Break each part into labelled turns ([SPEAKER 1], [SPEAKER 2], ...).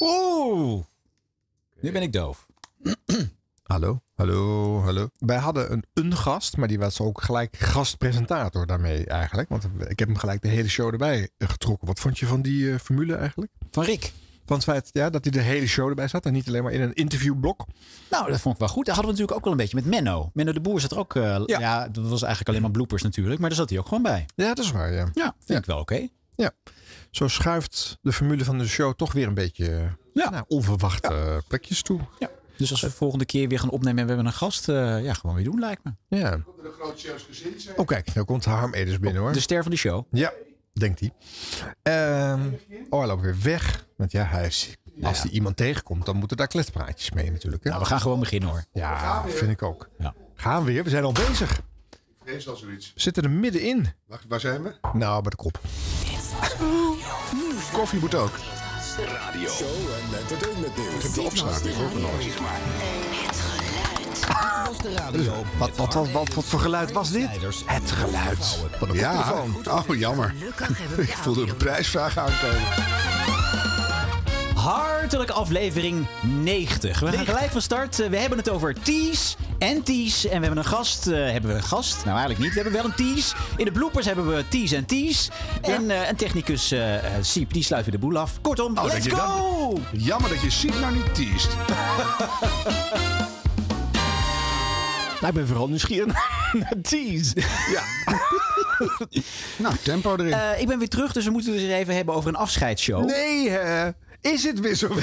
[SPEAKER 1] Oeh. Nu ben ik doof.
[SPEAKER 2] Hallo, hallo, hallo. Wij hadden een, een gast, maar die was ook gelijk gastpresentator daarmee eigenlijk. Want ik heb hem gelijk de hele show erbij getrokken. Wat vond je van die eh, formule eigenlijk?
[SPEAKER 1] Van Rick.
[SPEAKER 2] Van het feit ja, dat hij de hele show erbij zat en niet alleen maar in een interviewblok.
[SPEAKER 1] Nou, dat vond ik wel goed. Dat hadden we natuurlijk ook wel een beetje met Menno. Menno de Boer zat er ook... eh, ja.
[SPEAKER 2] Ja.
[SPEAKER 1] dat was eigenlijk alleen maar bloopers natuurlijk. Maar daar zat hij ook gewoon bij.
[SPEAKER 2] Ja, dat is waar, ja.
[SPEAKER 1] Ja, vind ik wel oké.
[SPEAKER 2] ja. Zo schuift de formule van de show toch weer een beetje eh,
[SPEAKER 1] Ja.
[SPEAKER 2] naar onverwachte eh, plekjes toe.
[SPEAKER 1] Ja. Dus als we de volgende keer weer gaan opnemen en we hebben een gast... eh, ja, gewoon weer doen lijkt me.
[SPEAKER 2] Ja. Oh kijk, nou komt Harm Edens binnen hoor.
[SPEAKER 1] De ster van de show.
[SPEAKER 2] Ja, denkt hij. Ehm, oh, hij loopt weer weg. Want ja, hij is, als hij iemand tegenkomt, dan moeten daar kletspraatjes mee natuurlijk. Hè?
[SPEAKER 1] Nou, we gaan gewoon beginnen hoor.
[SPEAKER 2] ja, vind ik ook.
[SPEAKER 1] Ja.
[SPEAKER 2] Gaan we weer, we zijn al bezig.
[SPEAKER 3] Vrees al zoiets.
[SPEAKER 2] We zitten er middenin.
[SPEAKER 3] Wacht, waar zijn we?
[SPEAKER 2] Nou, bij de kop.
[SPEAKER 3] Koffie moet ook.
[SPEAKER 4] Radio.
[SPEAKER 5] Dit was de radio. Het geluid.
[SPEAKER 2] Wat, wat, wat, wat, wat voor geluid was dit? Het geluid. Van een
[SPEAKER 3] Ja,
[SPEAKER 2] koptelefoon.
[SPEAKER 3] oh jammer.
[SPEAKER 5] Gelukkig hebben we
[SPEAKER 3] Ik voelde een prijsvraag aankomen.
[SPEAKER 1] Hartelijk aflevering 90. We gaan gelijk van start. Eh, We hebben het over teas en teas. En we hebben een gast. eh, hebben we een gast? Nou, eigenlijk niet. We hebben wel een teas. In de bloopers hebben we teas en teas. En eh, een technicus, eh, eh, Siep, die sluit weer de boel af.
[SPEAKER 2] Oh,
[SPEAKER 1] Kortom,
[SPEAKER 3] dat
[SPEAKER 1] let's
[SPEAKER 3] je dat-
[SPEAKER 1] go!
[SPEAKER 3] Oh, Jammer dat je ziet nou niet teest.
[SPEAKER 2] Nou, ik ben vooral nieuwsgierig naar tease.
[SPEAKER 3] Nou, tempo erin.
[SPEAKER 1] Eh, ik ben weer terug, dus we moeten het eens even hebben over een afscheidsshow.
[SPEAKER 2] Nee, hè. Is het weer zo?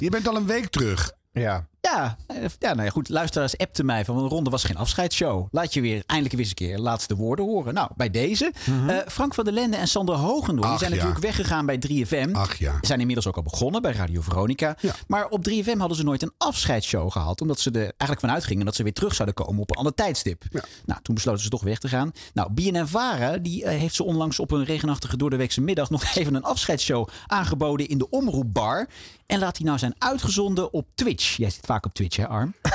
[SPEAKER 3] Je bent al een week terug.
[SPEAKER 2] Ja.
[SPEAKER 1] Ja, eh, ja, nou ja, goed. Luisteraars appten mij van een ronde was geen afscheidsshow. Laat je weer eindelijk weer eens een keer laatste woorden horen. Nou, bij deze. eh, Frank van der Lende en Sander Hogendoorn die
[SPEAKER 3] Mhm. Ach,
[SPEAKER 1] zijn
[SPEAKER 3] ja.
[SPEAKER 1] natuurlijk weggegaan bij 3FM.
[SPEAKER 3] Ach, ja.
[SPEAKER 1] Zijn inmiddels ook al begonnen bij Radio Veronica.
[SPEAKER 3] Ja.
[SPEAKER 1] Maar op 3FM hadden ze nooit een afscheidsshow gehad. Omdat ze er eigenlijk vanuit gingen dat ze weer terug zouden komen op een ander tijdstip. Nou, toen besloten ze toch weg te gaan. Nou, BNN Vara die, eh, heeft ze onlangs op een regenachtige doordeweekse middag nog even een afscheidsshow aangeboden in de omroepbar. En laat die nou zijn uitgezonden op Twitch. Jij zit vaak op Twitch, hè, Arm?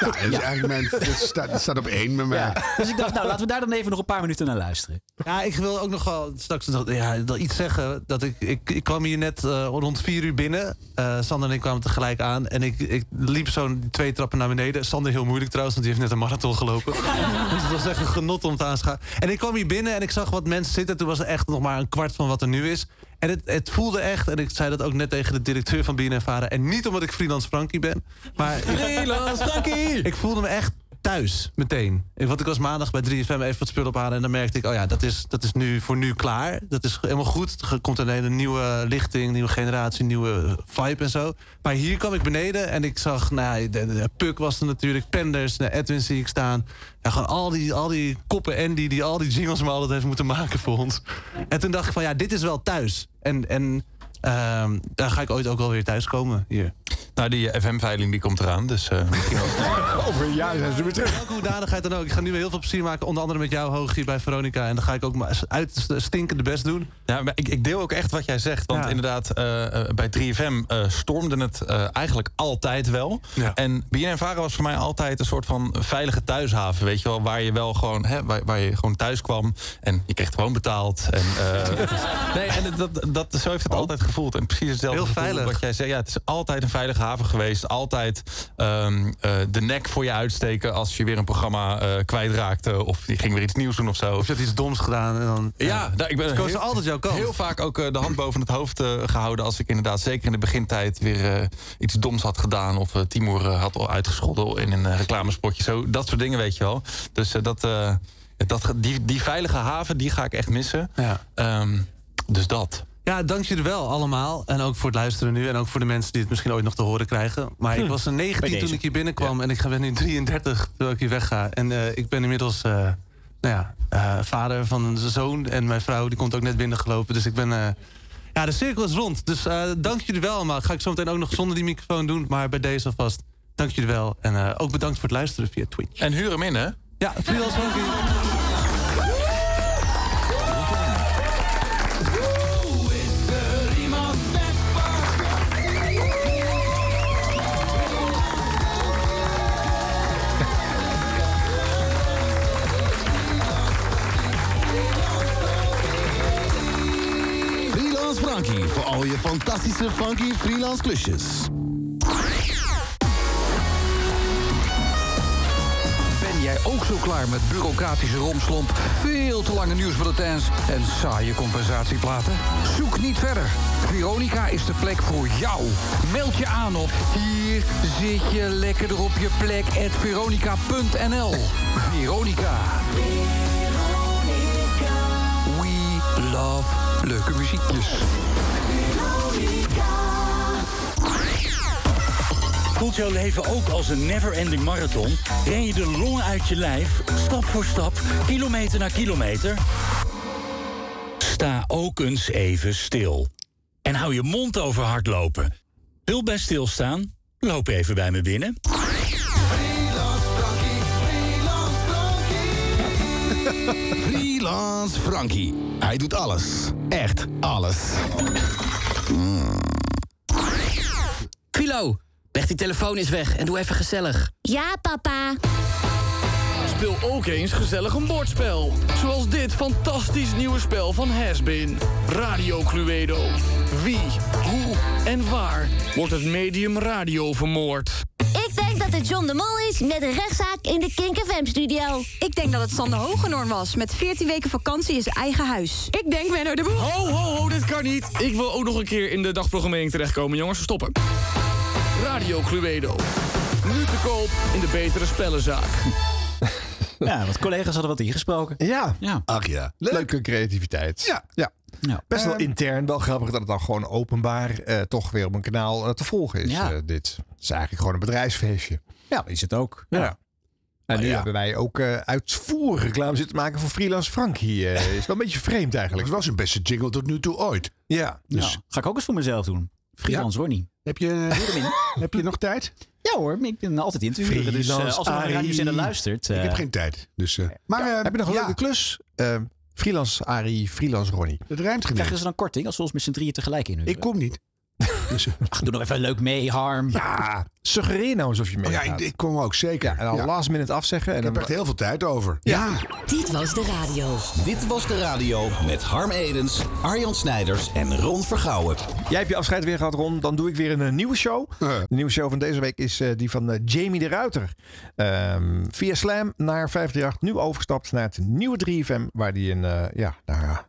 [SPEAKER 3] Ja, dat, is eigenlijk mijn, dat, staat, dat staat op één met mij.
[SPEAKER 1] Ja. Dus ik dacht, nou, laten we daar dan even nog een paar minuten naar luisteren.
[SPEAKER 6] Ja, ik wil ook nog wel straks nog- ja, dat iets zeggen. Dat ik, ik, ik kwam hier net eh, rond vier uur binnen. Eh, Sander en ik kwamen tegelijk aan. En ik, ik liep zo'n twee trappen naar beneden. Sander heel moeilijk trouwens, want die heeft net een marathon gelopen. dus het was echt een genot om te aanschouwen. En ik kwam hier binnen en ik zag wat mensen zitten. Toen was er echt nog maar een kwart van wat er nu is. En het, het voelde echt, en ik zei dat ook net tegen de directeur van BNN Varen. En niet omdat ik freelance Frankie ben. Maar freelance Frankie! Ik voelde me echt thuis, meteen. Want ik was maandag bij 3FM even wat spullen ophalen... en dan merkte ik, oh ja, dat is, dat is nu voor nu klaar. Dat is helemaal goed. Er komt een hele nieuwe lichting, nieuwe generatie, nieuwe vibe en zo. Maar hier kwam ik beneden en ik zag, nou ja, de, de Puk was er natuurlijk... Penders, nou, Edwin zie ik staan. Ja, gewoon al die, al die koppen Andy die al die jingles maar altijd heeft moeten maken voor ons. En toen dacht ik van, ja, dit is wel thuis. En, en ehm, daar ga ik ooit ook wel weer thuis komen, hier.
[SPEAKER 7] Nou, die FM-veiling die komt eraan, dus... eh,
[SPEAKER 2] Over een jaar zijn ze weer terug.
[SPEAKER 6] Welke hoedanigheid dan ook. Ik ga nu weer heel veel plezier maken. Onder andere met jou, Hoog, hier bij Veronica. En dan ga ik ook maar uit stinkende best doen.
[SPEAKER 7] ja, maar ik, ik deel ook echt wat jij zegt. Want
[SPEAKER 6] Ja.
[SPEAKER 7] inderdaad, eh, eh, bij 3FM eh, stormde het eh, eigenlijk altijd wel.
[SPEAKER 6] Ja.
[SPEAKER 7] En BNN Varen was voor mij altijd een soort van veilige thuishaven. Weet je wel, waar je wel gewoon, hè, waar, waar je gewoon thuis kwam. En je kreeg het gewoon betaald. En, eh, nee, en dat, dat, zo heeft het altijd gevoeld. En precies hetzelfde
[SPEAKER 6] Oh. Heel
[SPEAKER 7] gevoel
[SPEAKER 6] veilig.
[SPEAKER 7] wat jij zei. Ja, het is altijd een veilige haven geweest. Altijd ehm, eh, de nek voor je uitsteken als je weer een programma eh, kwijtraakte. Of je ging weer iets nieuws doen of zo.
[SPEAKER 6] Of je had iets doms gedaan. En dan,
[SPEAKER 7] Ja, daar- ik ben
[SPEAKER 6] koos
[SPEAKER 7] heel,
[SPEAKER 6] altijd jouw kant.
[SPEAKER 7] heel vaak ook eh, de hand boven het hoofd eh, gehouden. Als ik inderdaad zeker in de begintijd weer eh, iets doms had gedaan. Of eh, Timur eh, had al uitgescholden in een eh, reclamespotje. Zo, dat soort dingen weet je wel. Dus eh, dat, eh, dat, ge- die, die veilige haven, die ga ik echt missen.
[SPEAKER 6] Ja.
[SPEAKER 7] Ehm, dus dat.
[SPEAKER 6] Ja, dank jullie wel allemaal. En ook voor het luisteren nu. En ook voor de mensen die het misschien ooit nog te horen krijgen. Maar ik was een 19 toen
[SPEAKER 1] deze.
[SPEAKER 6] ik hier binnenkwam. En ik ga- ben nu 33 terwijl ik hier wegga. En eh, ik ben inmiddels eh, nou ja, eh, vader van een zoon. En mijn vrouw die komt ook net binnengelopen. Dus ik ben... eh, ja, de cirkel is rond. Dus eh, dank jullie wel allemaal. Ga ik zo meteen ook nog zonder die microfoon doen. Maar bij deze alvast. Dank jullie wel. En eh, ook bedankt voor het luisteren via Twitch.
[SPEAKER 7] En huur hem in, hè?
[SPEAKER 6] Ja, freelance Frankie.
[SPEAKER 4] Freelance Frankie voor al
[SPEAKER 7] al je fantastische funky freelance klusjes.
[SPEAKER 8] Ben jij ook zo klaar met bureaucratische romslomp, veel te lange nieuwsbulletins en saaie compensatieplaten? Zoek niet verder. Veronica is de plek voor jou. Meld je aan op hier zit je lekkerder op je plek at veronica.nl. Veronica. We love leuke muziekjes.
[SPEAKER 9] Voelt jouw leven ook als een never-ending marathon? Ren je de longen uit je lijf, stap voor stap, kilometer na kilometer? Sta ook eens even stil. En hou je mond over hardlopen. Wil bij stilstaan? Loop even bij me binnen.
[SPEAKER 7] Freelance Frankie. Hij doet alles. Echt alles. Hmm.
[SPEAKER 10] Culo, leg die telefoon eens weg en doe even gezellig.
[SPEAKER 4] Ja, papa.
[SPEAKER 10] Speel ook eens gezellig een bordspel. Zoals dit fantastisch nieuwe spel van Hasbin. Radio Cluedo. Wie, hoe en waar wordt het medium radio vermoord?
[SPEAKER 4] Ik denk dat het John de Mol is met een rechtszaak in de Kink FM studio.
[SPEAKER 11] Ik denk dat het Sander Hogenorm was. Met 14 weken vakantie in zijn eigen huis. Ik denk Menno de Boer.
[SPEAKER 12] Ho, ho, ho, dit kan niet. Ik wil ook nog een keer in de dagprogrammering terechtkomen, jongens. We stoppen.
[SPEAKER 10] Radio Cluedo. Nu te koop in de betere spellenzaak.
[SPEAKER 1] Ja, want collega's hadden wat ingesproken.
[SPEAKER 2] Ja.
[SPEAKER 1] ja.
[SPEAKER 7] Ach ja.
[SPEAKER 2] Leuke creativiteit. Ja. ja. Best
[SPEAKER 3] Ehm,
[SPEAKER 2] wel intern, wel grappig dat het dan gewoon openbaar eh, toch weer op een kanaal eh, te volgen is.
[SPEAKER 1] Ja.
[SPEAKER 2] eh, dit Het is eigenlijk gewoon een bedrijfsfeestje.
[SPEAKER 1] Ja, is het ook.
[SPEAKER 2] Ja. En nu
[SPEAKER 1] ja.
[SPEAKER 2] hebben wij ook eh uitvoerig reclame zitten maken voor Freelance Frank hier. eh. is wel een beetje vreemd eigenlijk.
[SPEAKER 3] Het was een beste jingle tot nu toe ooit.
[SPEAKER 2] Ja.
[SPEAKER 3] Dus
[SPEAKER 1] Nou, Ga ik ook eens voor mezelf doen. Freelance Ronnie.
[SPEAKER 3] heb, je, eh, heb je nog tijd?
[SPEAKER 1] Ja hoor, ik ben altijd in te huren. Dus eh,
[SPEAKER 2] Freelance
[SPEAKER 1] als er naar de
[SPEAKER 2] Arie.
[SPEAKER 1] radiozender luistert... eh,
[SPEAKER 3] Ik heb geen tijd. Dus, eh, maar
[SPEAKER 2] Maar
[SPEAKER 3] eh,
[SPEAKER 2] heb je nog een
[SPEAKER 3] ja,
[SPEAKER 2] leuke klus? Eh, freelance Arie, freelance Ronnie.
[SPEAKER 3] Het ruimt
[SPEAKER 1] Krijgen
[SPEAKER 3] geen.
[SPEAKER 1] ze dan korting als we ons met z'n drieën tegelijk inhuren?
[SPEAKER 3] Ik kom niet. Dus, eh,
[SPEAKER 1] Ach, doe nog even leuk mee, Harm.
[SPEAKER 2] Ja, suggereer nou eens of je
[SPEAKER 3] oh ja,
[SPEAKER 2] meegaat.
[SPEAKER 3] ik, ik kom ook zeker.
[SPEAKER 2] en dan
[SPEAKER 3] Ja.
[SPEAKER 2] last minute afzeggen. En
[SPEAKER 3] Ik heb
[SPEAKER 2] dan
[SPEAKER 3] echt heel veel tijd over.
[SPEAKER 7] Ja.
[SPEAKER 13] Dit was de radio.
[SPEAKER 7] Dit was de radio met Harm Edens, Arjan Snijders en Ron Vergouwen.
[SPEAKER 2] Jij hebt je afscheid weer gehad, Ron. Dan doe ik weer een, eh, nieuwe show.
[SPEAKER 3] Eh.
[SPEAKER 2] De nieuwe show van deze week is eh, die van eh, Jamie de Ruiter. Ehm, via Slam naar 538. Nu overgestapt naar het nieuwe 3FM. Waar die een, eh, ja, nou ja,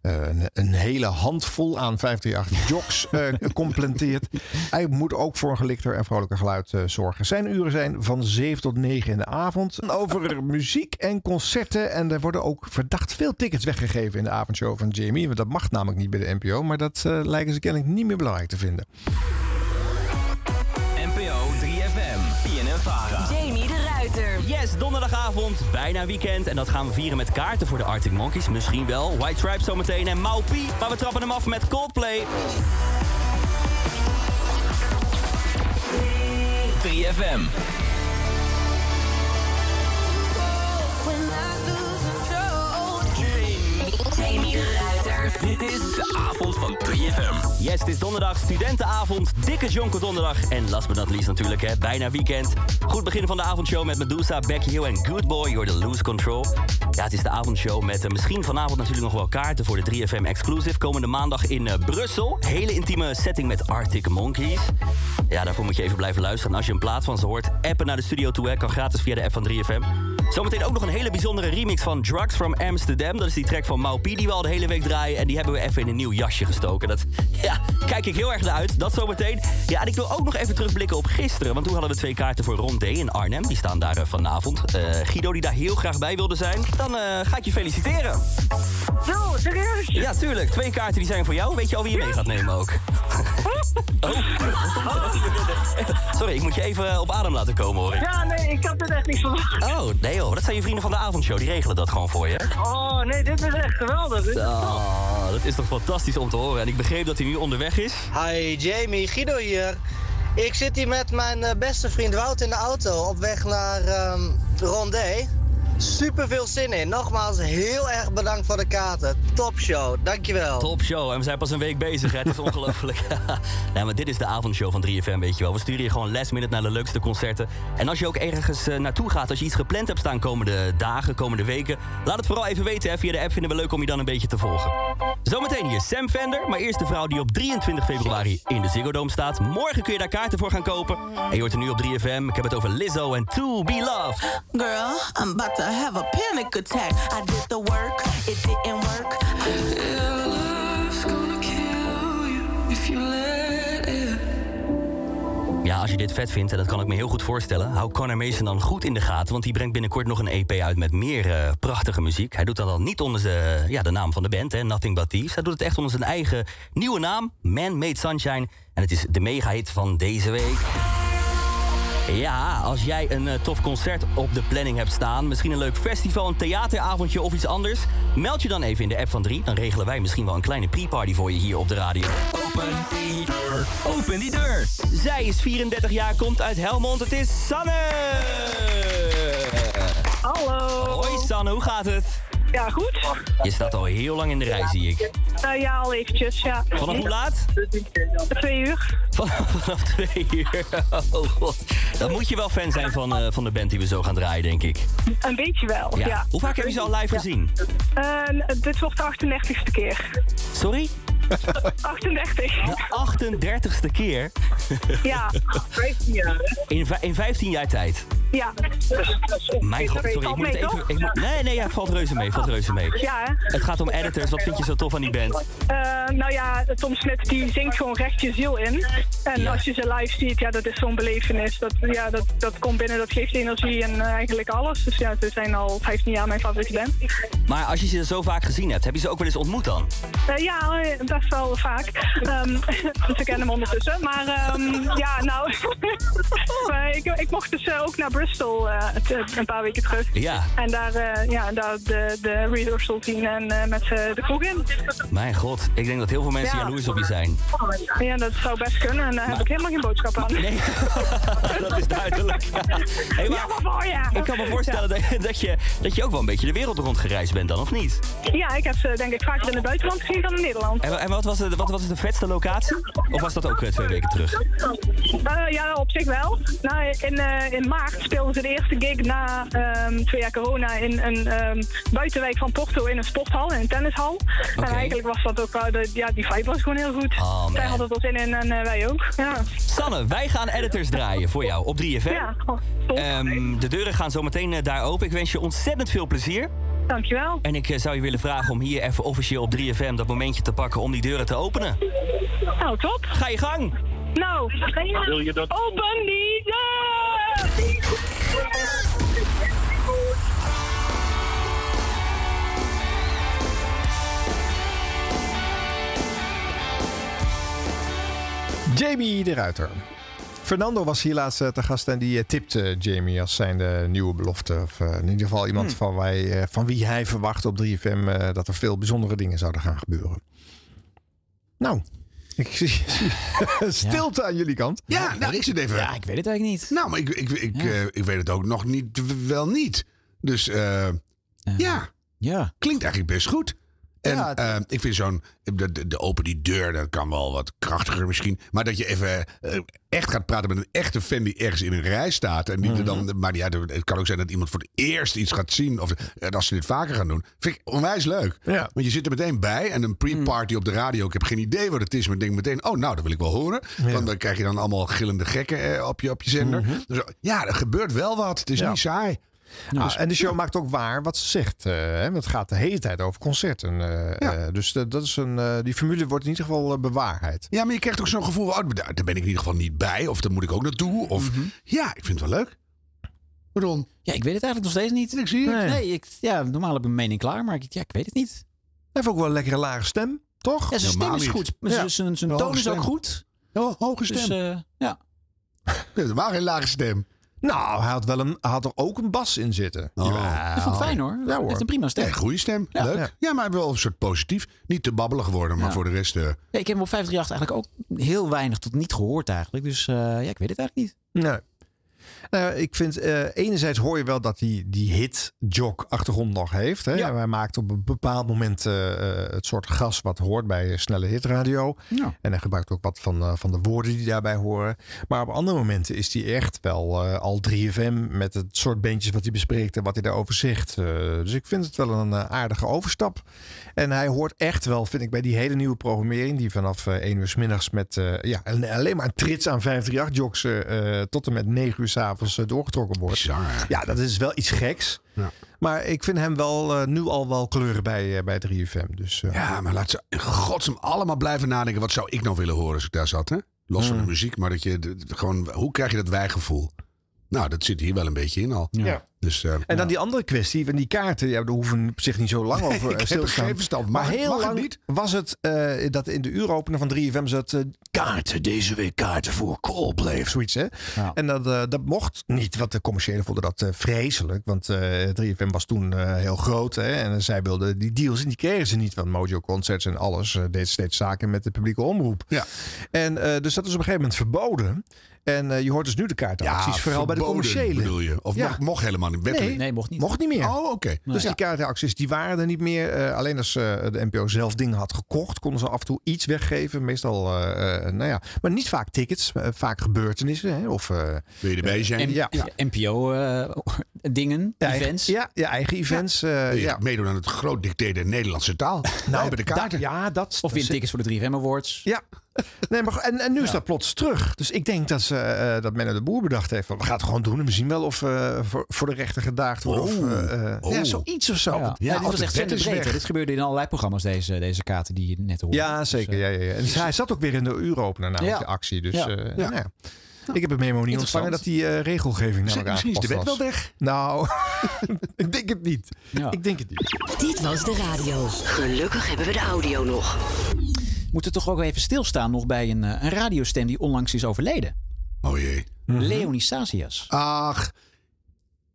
[SPEAKER 2] eh, een, een hele handvol aan 538 jocks eh complementeert. Hij moet ook voor een gelikter en vrolijker geluid eh, zorgen. Zijn uren zijn van 7 tot 9 in de avond. Over muziek en concerten. En er worden ook verdacht veel tickets weggegeven in de avondshow van Jamie. Want dat mag namelijk niet bij de NPO. Maar dat eh, lijken ze kennelijk niet meer belangrijk te vinden.
[SPEAKER 14] NPO 3FM, PNN Vara.
[SPEAKER 11] Jamie de Ruiter.
[SPEAKER 14] Yes, donderdagavond, bijna weekend. En dat gaan we vieren met kaarten voor de Arctic Monkeys. Misschien wel White Stripes zometeen en Maupie. Maar we trappen hem af met Coldplay. 3FM.
[SPEAKER 11] Jamie de Ruiter.
[SPEAKER 14] Dit is de avond van 3FM. Yes, het is donderdag, studentenavond, dikke jonko donderdag. En last but not least natuurlijk, hè, bijna weekend. Goed beginnen van de avondshow met Medusa, Becky Hill en Good Boy. You're the Loose Control. Ja, het is de avondshow met eh, misschien vanavond natuurlijk nog wel kaarten... voor de 3FM Exclusive komende maandag in eh, Brussel. Hele intieme setting met Arctic Monkeys. Ja, daarvoor moet je even blijven luisteren. En als je een plaat van ze hoort, appen naar de studio toe. Hè, kan gratis via de app van 3FM. Zometeen ook nog een hele bijzondere remix van Drugs from Amsterdam. Dat is die track van Maupie die we al de hele week draaien. En die hebben we even in een nieuw jasje gestoken. Dat, ja, kijk ik heel erg naar uit. Dat zometeen. Ja, en ik wil ook nog even terugblikken op gisteren. Want toen hadden we twee kaarten voor Rondé in Arnhem. Die staan daar eh, vanavond. Eh, Guido, die daar heel graag bij wilde zijn. Dan eh, ga ik je feliciteren.
[SPEAKER 15] Zo, serieus?
[SPEAKER 14] Ja, tuurlijk. Twee kaarten die zijn voor jou. Weet je al wie je mee gaat nemen ook? Oh. Sorry, ik moet je even eh, op adem laten komen hoor. ik.
[SPEAKER 15] Ja, nee, ik had dit echt niet verwacht.
[SPEAKER 14] Oh, nee hoor. Dat zijn je vrienden van de avondshow. Die regelen dat gewoon voor je.
[SPEAKER 15] Oh, nee, dit is echt geweldig. Dit is top.
[SPEAKER 14] Oh, dat is toch fantastisch om te horen. En ik begreep dat hij nu onderweg is.
[SPEAKER 16] Hi Jamie, Guido hier. Ik zit hier met mijn eh, beste vriend Wout in de auto op weg naar ehm Rondé. Super veel zin in. Nogmaals, heel erg bedankt voor de kaarten. Top show, dankjewel.
[SPEAKER 14] Top show. En we zijn pas een week bezig. Hè? Het is ongelooflijk. nee, maar dit is de avondshow van 3FM, weet je wel. We sturen je gewoon last minute naar de leukste concerten. En als je ook ergens eh, naartoe gaat, als je iets gepland hebt staan komende dagen, komende weken, laat het vooral even weten. Hè? Via de app vinden we leuk om je dan een beetje te volgen. Zometeen hier Sam Fender, maar eerst de vrouw die op 23 februari in de Ziggo Dome staat. Morgen kun je daar kaarten voor gaan kopen. En je hoort er nu op 3FM. Ik heb het over Lizzo en To Be Loved.
[SPEAKER 17] Girl, I'm about to have a panic attack. I did the work, it didn't work.
[SPEAKER 14] Ja, als je dit vet vindt, en dat kan ik me heel goed voorstellen... hou Conor Mason dan goed in de gaten... want die brengt binnenkort nog een EP uit met meer eh, prachtige muziek. Hij doet dat dan niet onder de, ja, de naam van de band, hè, Nothing But Thieves. Hij doet het echt onder zijn eigen nieuwe naam, Man Made Sunshine. En het is de mega-hit van deze week. Ja, als jij een eh, tof concert op de planning hebt staan, misschien een leuk festival, een theateravondje of iets anders, meld je dan even in de app van 3. Dan regelen wij misschien wel een kleine pre-party voor je hier op de radio. Open die deur. Open die deur. Zij is 34 jaar, komt uit Helmond. Het is Sanne.
[SPEAKER 11] Hallo.
[SPEAKER 14] Hoi Sanne, hoe gaat het?
[SPEAKER 11] Ja, goed.
[SPEAKER 14] Je staat al heel lang in de rij, zie ik.
[SPEAKER 11] Nou ja, al eventjes, ja.
[SPEAKER 14] Vanaf hoe laat?
[SPEAKER 11] Twee uur.
[SPEAKER 14] Vanaf twee uur. Oh god. Dan moet je wel fan zijn van, eh, van de band die we zo gaan draaien, denk ik.
[SPEAKER 11] Een beetje wel, ja.
[SPEAKER 14] Ja. Hoe vaak heb je ze al live
[SPEAKER 11] Ja.
[SPEAKER 14] gezien?
[SPEAKER 11] Eh, dit wordt de 38ste keer.
[SPEAKER 14] Sorry?
[SPEAKER 11] 38.
[SPEAKER 14] De 38ste keer.
[SPEAKER 11] Ja. 15 jaar.
[SPEAKER 14] In, vij- in 15 jaar tijd.
[SPEAKER 11] Ja.
[SPEAKER 14] Mijn god, sorry, ik moet het even. Ik moet, nee, nee, ja, valt reuze mee, valt reuze mee.
[SPEAKER 11] Ja, hè?
[SPEAKER 14] Het gaat om editors. Wat vind je zo tof aan die band?
[SPEAKER 11] Eh, nou ja, Tom Smit die zingt gewoon recht je ziel in. En
[SPEAKER 14] Ja.
[SPEAKER 11] als je ze live ziet, ja, dat is zo'n belevenis. Dat, ja, dat, dat komt binnen, dat geeft energie en eh, eigenlijk alles. Dus ja, ze zijn al 15 jaar mijn favoriete band.
[SPEAKER 14] Maar als je ze zo vaak gezien hebt, heb je ze ook wel eens ontmoet dan?
[SPEAKER 11] Eh, ja, eh, best wel vaak. Ehm, ze kennen hem ondertussen. Maar ehm, ja, nou, eh, ik, ik mocht dus eh, ook naar Bristol eh, t- een paar weken terug.
[SPEAKER 14] Ja.
[SPEAKER 11] En daar, eh, ja, daar de, de rehearsal zien en eh, met eh, de kroeg in.
[SPEAKER 14] Mijn god, ik denk dat heel veel mensen
[SPEAKER 11] Ja.
[SPEAKER 14] jaloers op je zijn.
[SPEAKER 11] Ja, dat zou best kunnen. En daar heb ik helemaal geen boodschap aan.
[SPEAKER 14] Nee, dat is duidelijk. Hey, maar
[SPEAKER 11] voor je.
[SPEAKER 14] ik kan me voorstellen dat, dat, je, dat je ook wel een beetje de wereld rondgereisd bent dan, of niet?
[SPEAKER 11] Ja, ik heb ze denk ik vaker in het buitenland gezien dan in Nederland.
[SPEAKER 14] En, en wat, was de, wat was de vetste locatie? Of was dat ook eh, twee weken terug?
[SPEAKER 11] Eh, ja, op zich wel. Nou, in, eh, in maart speelden ze de eerste gig na ehm, twee jaar corona in een ehm, buitenwijk van Porto in een sporthal, in een tennishal. En eigenlijk was dat ook, wel de, ja, die vibe was gewoon heel goed. Zij hadden er zin in en eh, wij ook. Ja.
[SPEAKER 14] Sanne, wij gaan editors draaien voor jou op 3FM.
[SPEAKER 11] Ja,
[SPEAKER 14] Ehm, de deuren gaan zometeen meteen daar open. Ik wens je ontzettend veel plezier.
[SPEAKER 11] Dankjewel.
[SPEAKER 14] En ik eh, zou je willen vragen om hier even officieel op 3FM dat momentje te pakken om die deuren te openen.
[SPEAKER 11] Nou, top.
[SPEAKER 14] Ga je gang.
[SPEAKER 11] Nou,
[SPEAKER 14] Wil je dat-
[SPEAKER 11] open die
[SPEAKER 2] Jamie de Ruiter. Fernando was hier laatst eh, te gast en die eh, tipte Jamie als zijnde nieuwe belofte. Of eh, in ieder geval iemand
[SPEAKER 3] Hmm.
[SPEAKER 2] van, wij, eh, van wie hij verwacht op 3FM eh, dat er veel bijzondere dingen zouden gaan gebeuren. Nou, ik zie, zie- stilte aan jullie kant.
[SPEAKER 3] Ja, nou, ik zit even. Ja,
[SPEAKER 1] ik weet het eigenlijk niet.
[SPEAKER 3] Nou, maar ik, ik, ik, eh, ik weet het ook nog niet, wel niet. Dus eh, ja.
[SPEAKER 1] ja.
[SPEAKER 3] Klinkt eigenlijk best goed. En eh, ik vind zo'n. De, de- de open die deur, dat kan wel wat krachtiger misschien. Maar dat je even eh, echt gaat praten met een echte fan die ergens in een rij staat. En die er
[SPEAKER 2] Mhm.
[SPEAKER 3] dan. Maar ja, het kan ook zijn dat iemand voor het eerst iets gaat zien. Of en als ze dit vaker gaan doen. Vind ik onwijs leuk. Want je zit er meteen bij. En een
[SPEAKER 2] Mhm.
[SPEAKER 3] pre-party op de radio. Ik heb geen idee wat het is. Maar ik denk meteen. Oh, nou, dat wil ik wel horen. Want dan krijg je dan allemaal gillende gekken eh, op, je, op je zender. Dus, ja, er gebeurt wel wat. Het is
[SPEAKER 2] Mhm. Ja.
[SPEAKER 3] niet saai.
[SPEAKER 2] Ah,
[SPEAKER 3] Dus-
[SPEAKER 2] en de show maakt ook waar wat ze zegt. eh, hè, want het gaat de hele tijd over concerten. eh, eh, dus eh, dat is een, eh, die formule wordt in ieder geval eh, bewaarheid.
[SPEAKER 3] Ja, maar je krijgt ook zo'n gevoel van, oh, daar daar ben ik in ieder geval niet bij. Of daar moet ik ook naartoe. Of
[SPEAKER 2] Mhm.
[SPEAKER 3] ja, ik vind het wel leuk. Ron?
[SPEAKER 1] Ja, ik weet het eigenlijk nog steeds niet.
[SPEAKER 3] Ik zie
[SPEAKER 1] Nee,
[SPEAKER 2] het.
[SPEAKER 1] ik, ja, normaal heb ik mijn mening klaar, maar ik, ja, ik weet het niet.
[SPEAKER 2] Hij heeft ook wel een lekkere lage stem, toch?
[SPEAKER 1] Ja, zijn stem is goed. maar Zijn, zijn, zijn toon is ook goed.
[SPEAKER 3] Ja, hoge
[SPEAKER 1] Dus,
[SPEAKER 2] stem.
[SPEAKER 1] eh, ja.
[SPEAKER 3] Er waren geen lage stem.
[SPEAKER 2] Nou, hij had, wel een, hij had er ook een bas in zitten. Ja,
[SPEAKER 1] Dat vond ik fijn, hoor.
[SPEAKER 2] Ja, hoor.
[SPEAKER 1] Echt een prima stem.
[SPEAKER 3] Nee, Oh. goede stem.
[SPEAKER 1] Ja.
[SPEAKER 3] Leuk.
[SPEAKER 1] Ja.
[SPEAKER 3] Ja. maar wel een soort positief. Niet te babbelig worden, maar
[SPEAKER 1] Ja.
[SPEAKER 3] voor de rest... eh,
[SPEAKER 1] Ja, ik heb hem op 538 eigenlijk ook heel weinig tot niet gehoord eigenlijk. Dus eh, ja, ik weet het eigenlijk niet.
[SPEAKER 2] Nee. Nou, ja, ik vind, eh, enerzijds hoor je wel dat hij die hit-jog-achtergrond nog heeft. Hè? Hij maakt op een bepaald moment eh, eh, het soort gas wat hoort bij eh, snelle hitradio.
[SPEAKER 1] Ja.
[SPEAKER 2] En hij gebruikt ook wat van, eh, van de woorden die daarbij horen. Maar op andere momenten is hij echt wel eh, al 3FM met het soort bandjes wat hij bespreekt en wat hij daarover zegt. Eh, dus ik vind het wel een eh, aardige overstap. En hij hoort echt wel, vind ik, bij die hele nieuwe programmering die vanaf eh 1 uur 's middags met eh, ja, en alleen maar trits aan 538-jocks eh eh, tot en met 9 uur s'avonds eh doorgetrokken wordt. Ja, dat is wel iets geks. Maar ik vind hem wel eh, nu al wel kleuren bij, eh, bij 3FM. Dus, eh,
[SPEAKER 3] Ja, maar laat ze in godsnaam allemaal blijven nadenken. Wat zou ik nou willen horen als ik daar zat, hè? Los van de
[SPEAKER 2] Hmm.
[SPEAKER 3] muziek, maar dat je d- d- gewoon... Hoe krijg je dat wijgevoel? Nou, dat zit hier wel een beetje in al.
[SPEAKER 2] Ja.
[SPEAKER 3] Dus, eh,
[SPEAKER 2] En dan die andere kwestie van die kaarten. Ja, daar hoeven op zich niet zo lang
[SPEAKER 3] Nee,
[SPEAKER 2] over
[SPEAKER 3] ik
[SPEAKER 2] eh,
[SPEAKER 3] heb
[SPEAKER 2] stil
[SPEAKER 3] er
[SPEAKER 2] te staan.
[SPEAKER 3] geen verstand van.
[SPEAKER 2] Maar
[SPEAKER 3] Mag het-
[SPEAKER 2] heel
[SPEAKER 3] mag het
[SPEAKER 2] lang
[SPEAKER 3] niet?
[SPEAKER 2] was het eh, dat in de uuropener van 3FM zat... eh, kaarten, deze week kaarten voor Coldplay of zoiets. Hè? En dat, eh, dat mocht niet, want de commerciële vonden dat eh, vreselijk. Want eh 3FM was toen eh, heel groot. Hè? En zij wilden die deals en die kregen ze niet. Want Mojo Concerts en alles eh, deed steeds zaken met de publieke omroep.
[SPEAKER 3] Ja.
[SPEAKER 2] En eh, dus dat is op een gegeven moment verboden. En eh, je hoort dus nu de kaartenacties, vooral bij de
[SPEAKER 3] verboden,
[SPEAKER 2] commerciële.
[SPEAKER 3] bedoel je? Of mocht- mocht helemaal niet, wettelijk?
[SPEAKER 2] Nee,
[SPEAKER 1] mocht niet.
[SPEAKER 2] Mocht niet meer.
[SPEAKER 3] Oh, oké.
[SPEAKER 2] Dus
[SPEAKER 3] Ja.
[SPEAKER 2] die kaartenacties die waren er niet meer. Eh, alleen als eh, de NPO zelf dingen had gekocht, konden ze af en toe iets weggeven. Meestal, eh, eh, nou ja, maar niet vaak tickets, eh, vaak gebeurtenissen. Hè? Of, eh,
[SPEAKER 3] Wil je erbij zijn?
[SPEAKER 2] ja. ja.
[SPEAKER 1] NPO-dingen,
[SPEAKER 2] Eigen-
[SPEAKER 1] eh, events.
[SPEAKER 2] Ja, ja, eigen events. eh, Ja.
[SPEAKER 3] Wil je meedoen aan het groot dictaat der Nederlandse taal? nou, bij de kaart.
[SPEAKER 2] Dat- ja, dat.
[SPEAKER 1] Of win tickets voor de 3FM Awards.
[SPEAKER 2] Ja. Nee, maar, go- en, en nu is dat plots terug. Dus ik denk dat, ze, eh, dat men de boer bedacht heeft. van, We gaan het gewoon doen en we zien wel of eh, voor, voor de rechter gedaagd wordt. of, eh, eh, Ja, zoiets of zo.
[SPEAKER 1] Ja, dit was echt zenderbreed. hè. Dit gebeurde in allerlei programma's, deze, deze kaarten die je net hoorde. Dus, eh,
[SPEAKER 2] Ja, zeker. ja, ja, ja. En hij zat ook weer in de uuropener namelijk,
[SPEAKER 1] Ja.
[SPEAKER 2] de actie. Dus
[SPEAKER 1] Ja.
[SPEAKER 2] eh, nou
[SPEAKER 1] Ja.
[SPEAKER 2] ja. Ik heb het memo niet
[SPEAKER 1] Interessant.
[SPEAKER 2] ontvangen dat die eh, regelgeving
[SPEAKER 1] Misschien-
[SPEAKER 2] namelijk
[SPEAKER 1] misschien is de
[SPEAKER 2] aangepast
[SPEAKER 1] wet
[SPEAKER 2] was.
[SPEAKER 1] wel
[SPEAKER 2] weg. Nou, ik denk het niet. Ik denk het niet.
[SPEAKER 18] Dit was de radio. Gelukkig hebben we de audio nog.
[SPEAKER 1] We moeten toch ook even stilstaan nog bij een, eh, een radiostem die onlangs is overleden.
[SPEAKER 3] Oh jee.
[SPEAKER 1] Leonie Sasias.
[SPEAKER 3] Ach.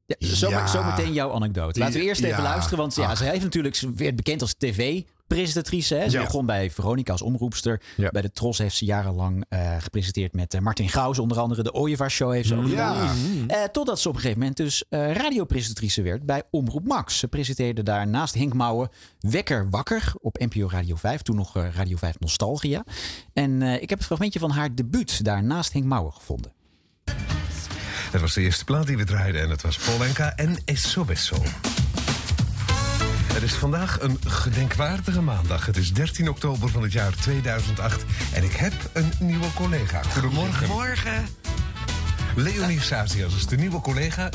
[SPEAKER 1] Ja, zo,
[SPEAKER 3] Ja.
[SPEAKER 1] Zometeen jouw anekdote. Laten we eerst even
[SPEAKER 3] Ja.
[SPEAKER 1] luisteren, want ja, ze heeft natuurlijk, ze werd bekend als tv. Presentatrice. Hè? Ze
[SPEAKER 3] Ja.
[SPEAKER 1] begon bij Veronica als omroepster. Bij de Tros heeft ze jarenlang eh, gepresenteerd met eh, Martin Gauws. Onder andere de Ooievaar Show heeft ze ook
[SPEAKER 3] Ja. Mhm.
[SPEAKER 1] gedaan. Eh, totdat ze op een gegeven moment dus eh, radiopresentatrice werd bij Omroep Max. Ze presenteerde daar naast Henk Mouwen Wekker Wakker op NPO Radio 5. Toen nog eh, Radio 5 Nostalgia. En eh, ik heb het fragmentje van haar debuut daar naast Henk Mouwen gevonden.
[SPEAKER 19] Dat was de eerste plaat die we draaiden en dat was Polenka en Esobeso. Het is vandaag een gedenkwaardige maandag. Het is 13 oktober van het jaar 2008 en ik heb een nieuwe collega. Goedemorgen.
[SPEAKER 20] Morgen.
[SPEAKER 19] Leonie Sazias is de nieuwe collega.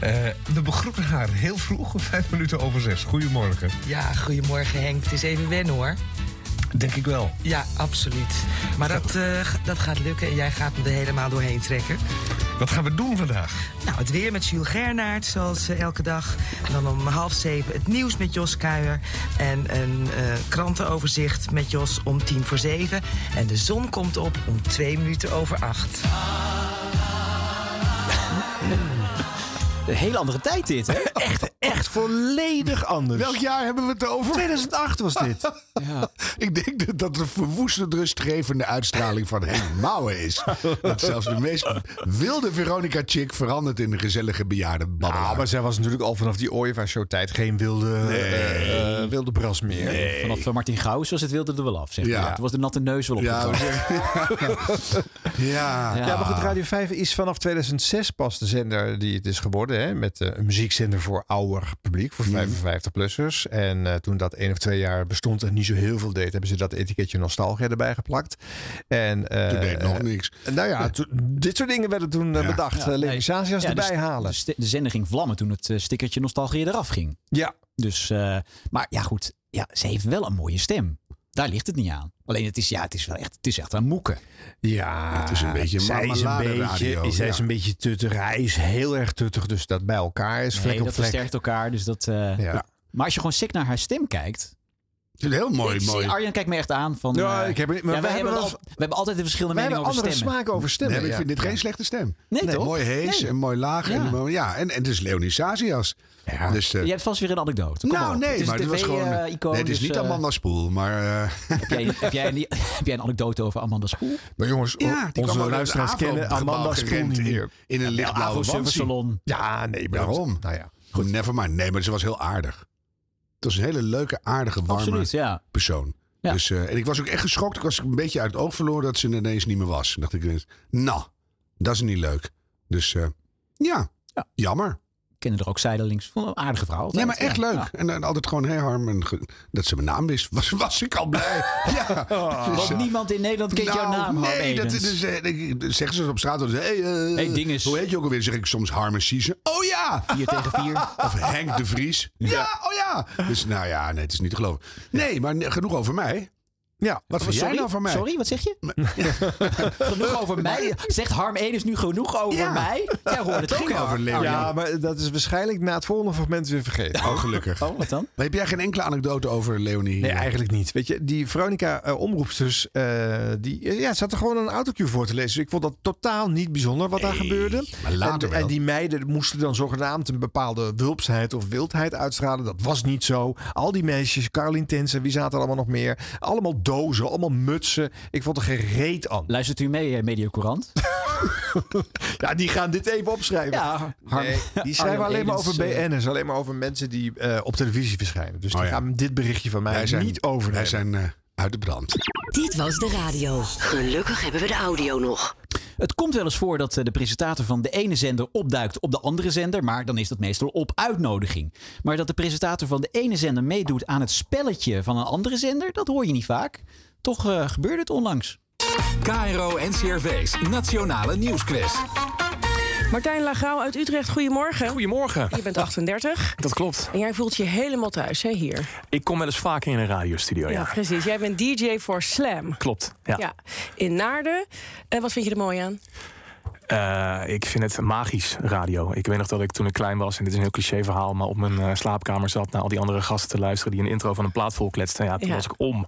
[SPEAKER 19] Eh, we begroeten haar heel vroeg, vijf minuten over zes. Goedemorgen.
[SPEAKER 20] Ja, goedemorgen Henk. Het is even wennen hoor.
[SPEAKER 19] Denk ik wel.
[SPEAKER 20] Ja, absoluut. Maar dat, eh, g- dat gaat lukken en jij gaat me er helemaal doorheen trekken.
[SPEAKER 19] Wat gaan we doen vandaag?
[SPEAKER 20] Nou, het weer met Jules Gernaert, zoals eh, elke dag. En dan om half zeven het nieuws met Jos Kuijer. En een eh, krantenoverzicht met Jos om tien voor zeven. En de zon komt op om twee minuten over acht.
[SPEAKER 1] Een hele andere tijd dit, hè?
[SPEAKER 2] echt, echt volledig anders.
[SPEAKER 3] Welk jaar hebben we het over?
[SPEAKER 2] 2008 was dit.
[SPEAKER 3] Ik denk dat dat de verwoestend rustgevende uitstraling van Henk Mouwen is. Dat zelfs de meest wilde Veronica Chick verandert in een gezellige bejaarde babbelaar.
[SPEAKER 2] Ah, maar zij was natuurlijk al vanaf die Ooievaar-show-tijd geen wilde, eh, eh, wilde bras meer.
[SPEAKER 1] Vanaf eh, Martin Gauws was het wilde er wel af, zeg
[SPEAKER 2] Ja.
[SPEAKER 1] maar. Toen was de natte neus wel op.
[SPEAKER 2] Ja,
[SPEAKER 3] Ja.
[SPEAKER 2] Ja. maar goed, Radio 5 is vanaf 2006 pas de zender die het is geworden. Hè? Met eh, een muziekzender voor ouder publiek,
[SPEAKER 3] Mm.
[SPEAKER 2] voor 55-plussers. En eh, toen dat één of twee jaar bestond en niet zo heel veel deed, hebben ze dat etiketje nostalgia erbij geplakt. En, eh,
[SPEAKER 3] Toen deed nog
[SPEAKER 2] niks. Nou ja, toen- dit soort dingen werden toen eh, bedacht. Ja.
[SPEAKER 1] Ja, de
[SPEAKER 2] erbij
[SPEAKER 1] st-
[SPEAKER 2] halen.
[SPEAKER 1] De, st- de zender ging vlammen toen het eh, stickertje nostalgie eraf ging.
[SPEAKER 2] Ja.
[SPEAKER 1] Dus, eh, maar ja, goed. Ja, ze heeft wel een mooie stem. Daar ligt het niet aan. Alleen het is, ja, het is wel echt, het is echt aan moeken.
[SPEAKER 2] Ja,
[SPEAKER 1] Het is een beetje
[SPEAKER 2] zij is een beetje,
[SPEAKER 1] marmeladeradio,
[SPEAKER 2] zij is
[SPEAKER 1] ja.
[SPEAKER 2] een beetje tuttig. Hij is heel erg tuttig, dus dat bij elkaar is vlek
[SPEAKER 1] Nee,
[SPEAKER 2] op
[SPEAKER 1] dat
[SPEAKER 2] vlek.
[SPEAKER 1] versterkt elkaar. Dus dat, eh,
[SPEAKER 2] Ja.
[SPEAKER 1] Maar als je gewoon sick naar haar stem kijkt.
[SPEAKER 3] Het is een heel mooi,
[SPEAKER 1] ik zie-
[SPEAKER 3] mooi.
[SPEAKER 1] Arjan kijkt me echt aan van...
[SPEAKER 3] Ja,
[SPEAKER 1] eh,
[SPEAKER 3] ik heb- maar wij
[SPEAKER 1] ja, wij
[SPEAKER 3] hebben
[SPEAKER 1] hebben,
[SPEAKER 3] wel-
[SPEAKER 1] al- we hebben altijd de verschillende
[SPEAKER 3] Wij
[SPEAKER 1] meningen
[SPEAKER 3] hebben
[SPEAKER 1] over
[SPEAKER 3] andere
[SPEAKER 1] stemmen.
[SPEAKER 3] smaak over stemmen. Nee, maar ik vind dit geen slechte stem.
[SPEAKER 1] Nee, toch?
[SPEAKER 3] Mooi hees
[SPEAKER 1] Nee.
[SPEAKER 3] en mooi laag.
[SPEAKER 1] Ja.
[SPEAKER 3] En, ja, en, en het is Leonie Sazias. Dus, eh,
[SPEAKER 1] Je hebt vast weer een anekdote. Kom
[SPEAKER 3] nou,
[SPEAKER 1] op.
[SPEAKER 3] nee,
[SPEAKER 1] het is
[SPEAKER 3] maar
[SPEAKER 1] een
[SPEAKER 3] dit was gewoon.
[SPEAKER 1] TV, eh, icoon,
[SPEAKER 3] nee, het is
[SPEAKER 1] dus,
[SPEAKER 3] niet
[SPEAKER 1] eh,
[SPEAKER 3] Amanda Spoel, maar. eh,
[SPEAKER 1] Heb jij, heb, jij een, heb jij een anekdote over Amanda Spoel?
[SPEAKER 2] Maar jongens,
[SPEAKER 3] Ja, die
[SPEAKER 2] onze
[SPEAKER 3] kwam ook
[SPEAKER 2] luisteraars
[SPEAKER 3] uit het
[SPEAKER 2] kennen
[SPEAKER 3] AVRO-gebouw
[SPEAKER 2] Amanda Spoel
[SPEAKER 3] gerend
[SPEAKER 2] niet
[SPEAKER 3] in-
[SPEAKER 2] meer.
[SPEAKER 3] in een lichtblauwe
[SPEAKER 2] Avro
[SPEAKER 3] wansie.
[SPEAKER 2] Servicesalon. Ja, nee, maar dat-
[SPEAKER 3] Daarom.
[SPEAKER 2] Nou ja.
[SPEAKER 3] Goed, never mind. Nee, maar ze was heel aardig. Het was een hele leuke, aardige, warme
[SPEAKER 1] Absoluut, ja.
[SPEAKER 3] persoon. Dus, eh, en ik was ook echt geschokt. Ik was een beetje uit het oog verloren dat ze ineens niet meer was. Toen dacht ik ineens, nou, dat is niet leuk. Dus eh, ja, jammer.
[SPEAKER 1] Kennen er ook zijdelings. Vond een aardige vrouw. altijd.
[SPEAKER 3] Nee, maar echt
[SPEAKER 1] Ja,
[SPEAKER 3] leuk.
[SPEAKER 1] ja.
[SPEAKER 3] En, dan altijd gewoon, hey Harm, en ge- dat ze mijn naam wist, was, was ik al blij. ja. Dus,
[SPEAKER 1] Oh. Want
[SPEAKER 3] eh,
[SPEAKER 1] niemand in Nederland kent jouw
[SPEAKER 3] nou,
[SPEAKER 1] naam, Harm
[SPEAKER 3] Nee, dat
[SPEAKER 1] Edens.
[SPEAKER 3] is, eh, ik- zeggen ze op straat. dan zeggen ze, Hey, eh,
[SPEAKER 1] Hey, dinges.
[SPEAKER 3] Hoe heet je ook alweer? Dan Zeg ik soms Harm en Siezen. Oh ja!
[SPEAKER 1] 4 tegen 4.
[SPEAKER 3] Of Henk de Vries. Ja, oh ja! Dus nou ja, nee, het is niet te geloven. Nee, maar ne- genoeg over mij. Ja, wat vind jij
[SPEAKER 1] Oh, Sorry?
[SPEAKER 3] nou van mij?
[SPEAKER 1] Sorry, wat zeg je? genoeg over mij? Zegt Harm Edens nu genoeg over mij? Jij hoort het
[SPEAKER 2] Het
[SPEAKER 1] ook,
[SPEAKER 2] ging
[SPEAKER 1] hè?
[SPEAKER 2] over Leon. Ja, maar dat is waarschijnlijk na het volgende fragment weer vergeten.
[SPEAKER 3] Oh, gelukkig.
[SPEAKER 1] Oh, wat dan?
[SPEAKER 3] Maar heb jij geen enkele anekdote over Leonie?
[SPEAKER 2] Nee, eigenlijk niet. Weet je, die Veronica eh, Omroepsters, eh, die eh, ja, zat er gewoon een autocue voor te lezen. Dus ik vond dat totaal niet bijzonder wat daar gebeurde.
[SPEAKER 3] maar later
[SPEAKER 2] en, en
[SPEAKER 3] wel.
[SPEAKER 2] die meiden moesten dan zogenaamd een bepaalde wulpsheid of wildheid uitstralen. Dat was niet zo. Al die meisjes, Caroline Tensen, wie zaten er allemaal nog meer? Allemaal dozen, allemaal mutsen. Ik vond er geen reet aan.
[SPEAKER 1] Luistert u mee, eh, Mediacourant?
[SPEAKER 2] ja, die gaan dit even opschrijven.
[SPEAKER 1] Ja, Harm-
[SPEAKER 2] Nee, die schrijven
[SPEAKER 1] Arjan
[SPEAKER 2] alleen maar over
[SPEAKER 1] Edens, eh,
[SPEAKER 2] BN'ers. Alleen maar over mensen die eh, op televisie verschijnen. Dus die
[SPEAKER 3] Oh ja.
[SPEAKER 2] gaan dit berichtje van mij
[SPEAKER 3] Wij zijn-
[SPEAKER 2] niet over.
[SPEAKER 3] Wij zijn eh, uit de brand.
[SPEAKER 18] Dit was de radio. Gelukkig hebben we de audio nog.
[SPEAKER 1] Het komt wel eens voor dat eh, de presentator van de ene zender opduikt op de andere zender, maar dan is dat meestal op uitnodiging. Maar dat de presentator van de ene zender meedoet aan het spelletje van een andere zender, dat hoor je niet vaak. Toch eh, gebeurde het onlangs.
[SPEAKER 4] KRO NCRV's Nationale Nieuwsquiz.
[SPEAKER 21] Martijn Lagrauw uit Utrecht, goedemorgen.
[SPEAKER 22] Goedemorgen.
[SPEAKER 21] Je bent 38.
[SPEAKER 22] Dat klopt.
[SPEAKER 21] En jij voelt je helemaal thuis, hè, hier.
[SPEAKER 22] Ik kom wel eens vaak in een radiostudio, ja.
[SPEAKER 21] precies. Jij bent DJ voor Slam.
[SPEAKER 22] Klopt, ja.
[SPEAKER 21] In Naarden. En wat vind je er mooi aan?
[SPEAKER 22] Eh, ik vind het magisch, radio. Ik weet nog dat ik toen ik klein was, en dit is een heel cliché verhaal... maar op mijn eh, slaapkamer zat naar al die andere gasten te luisteren... die een intro van een plaat volkletsten. Ja, toen
[SPEAKER 21] Ja.
[SPEAKER 22] was ik om.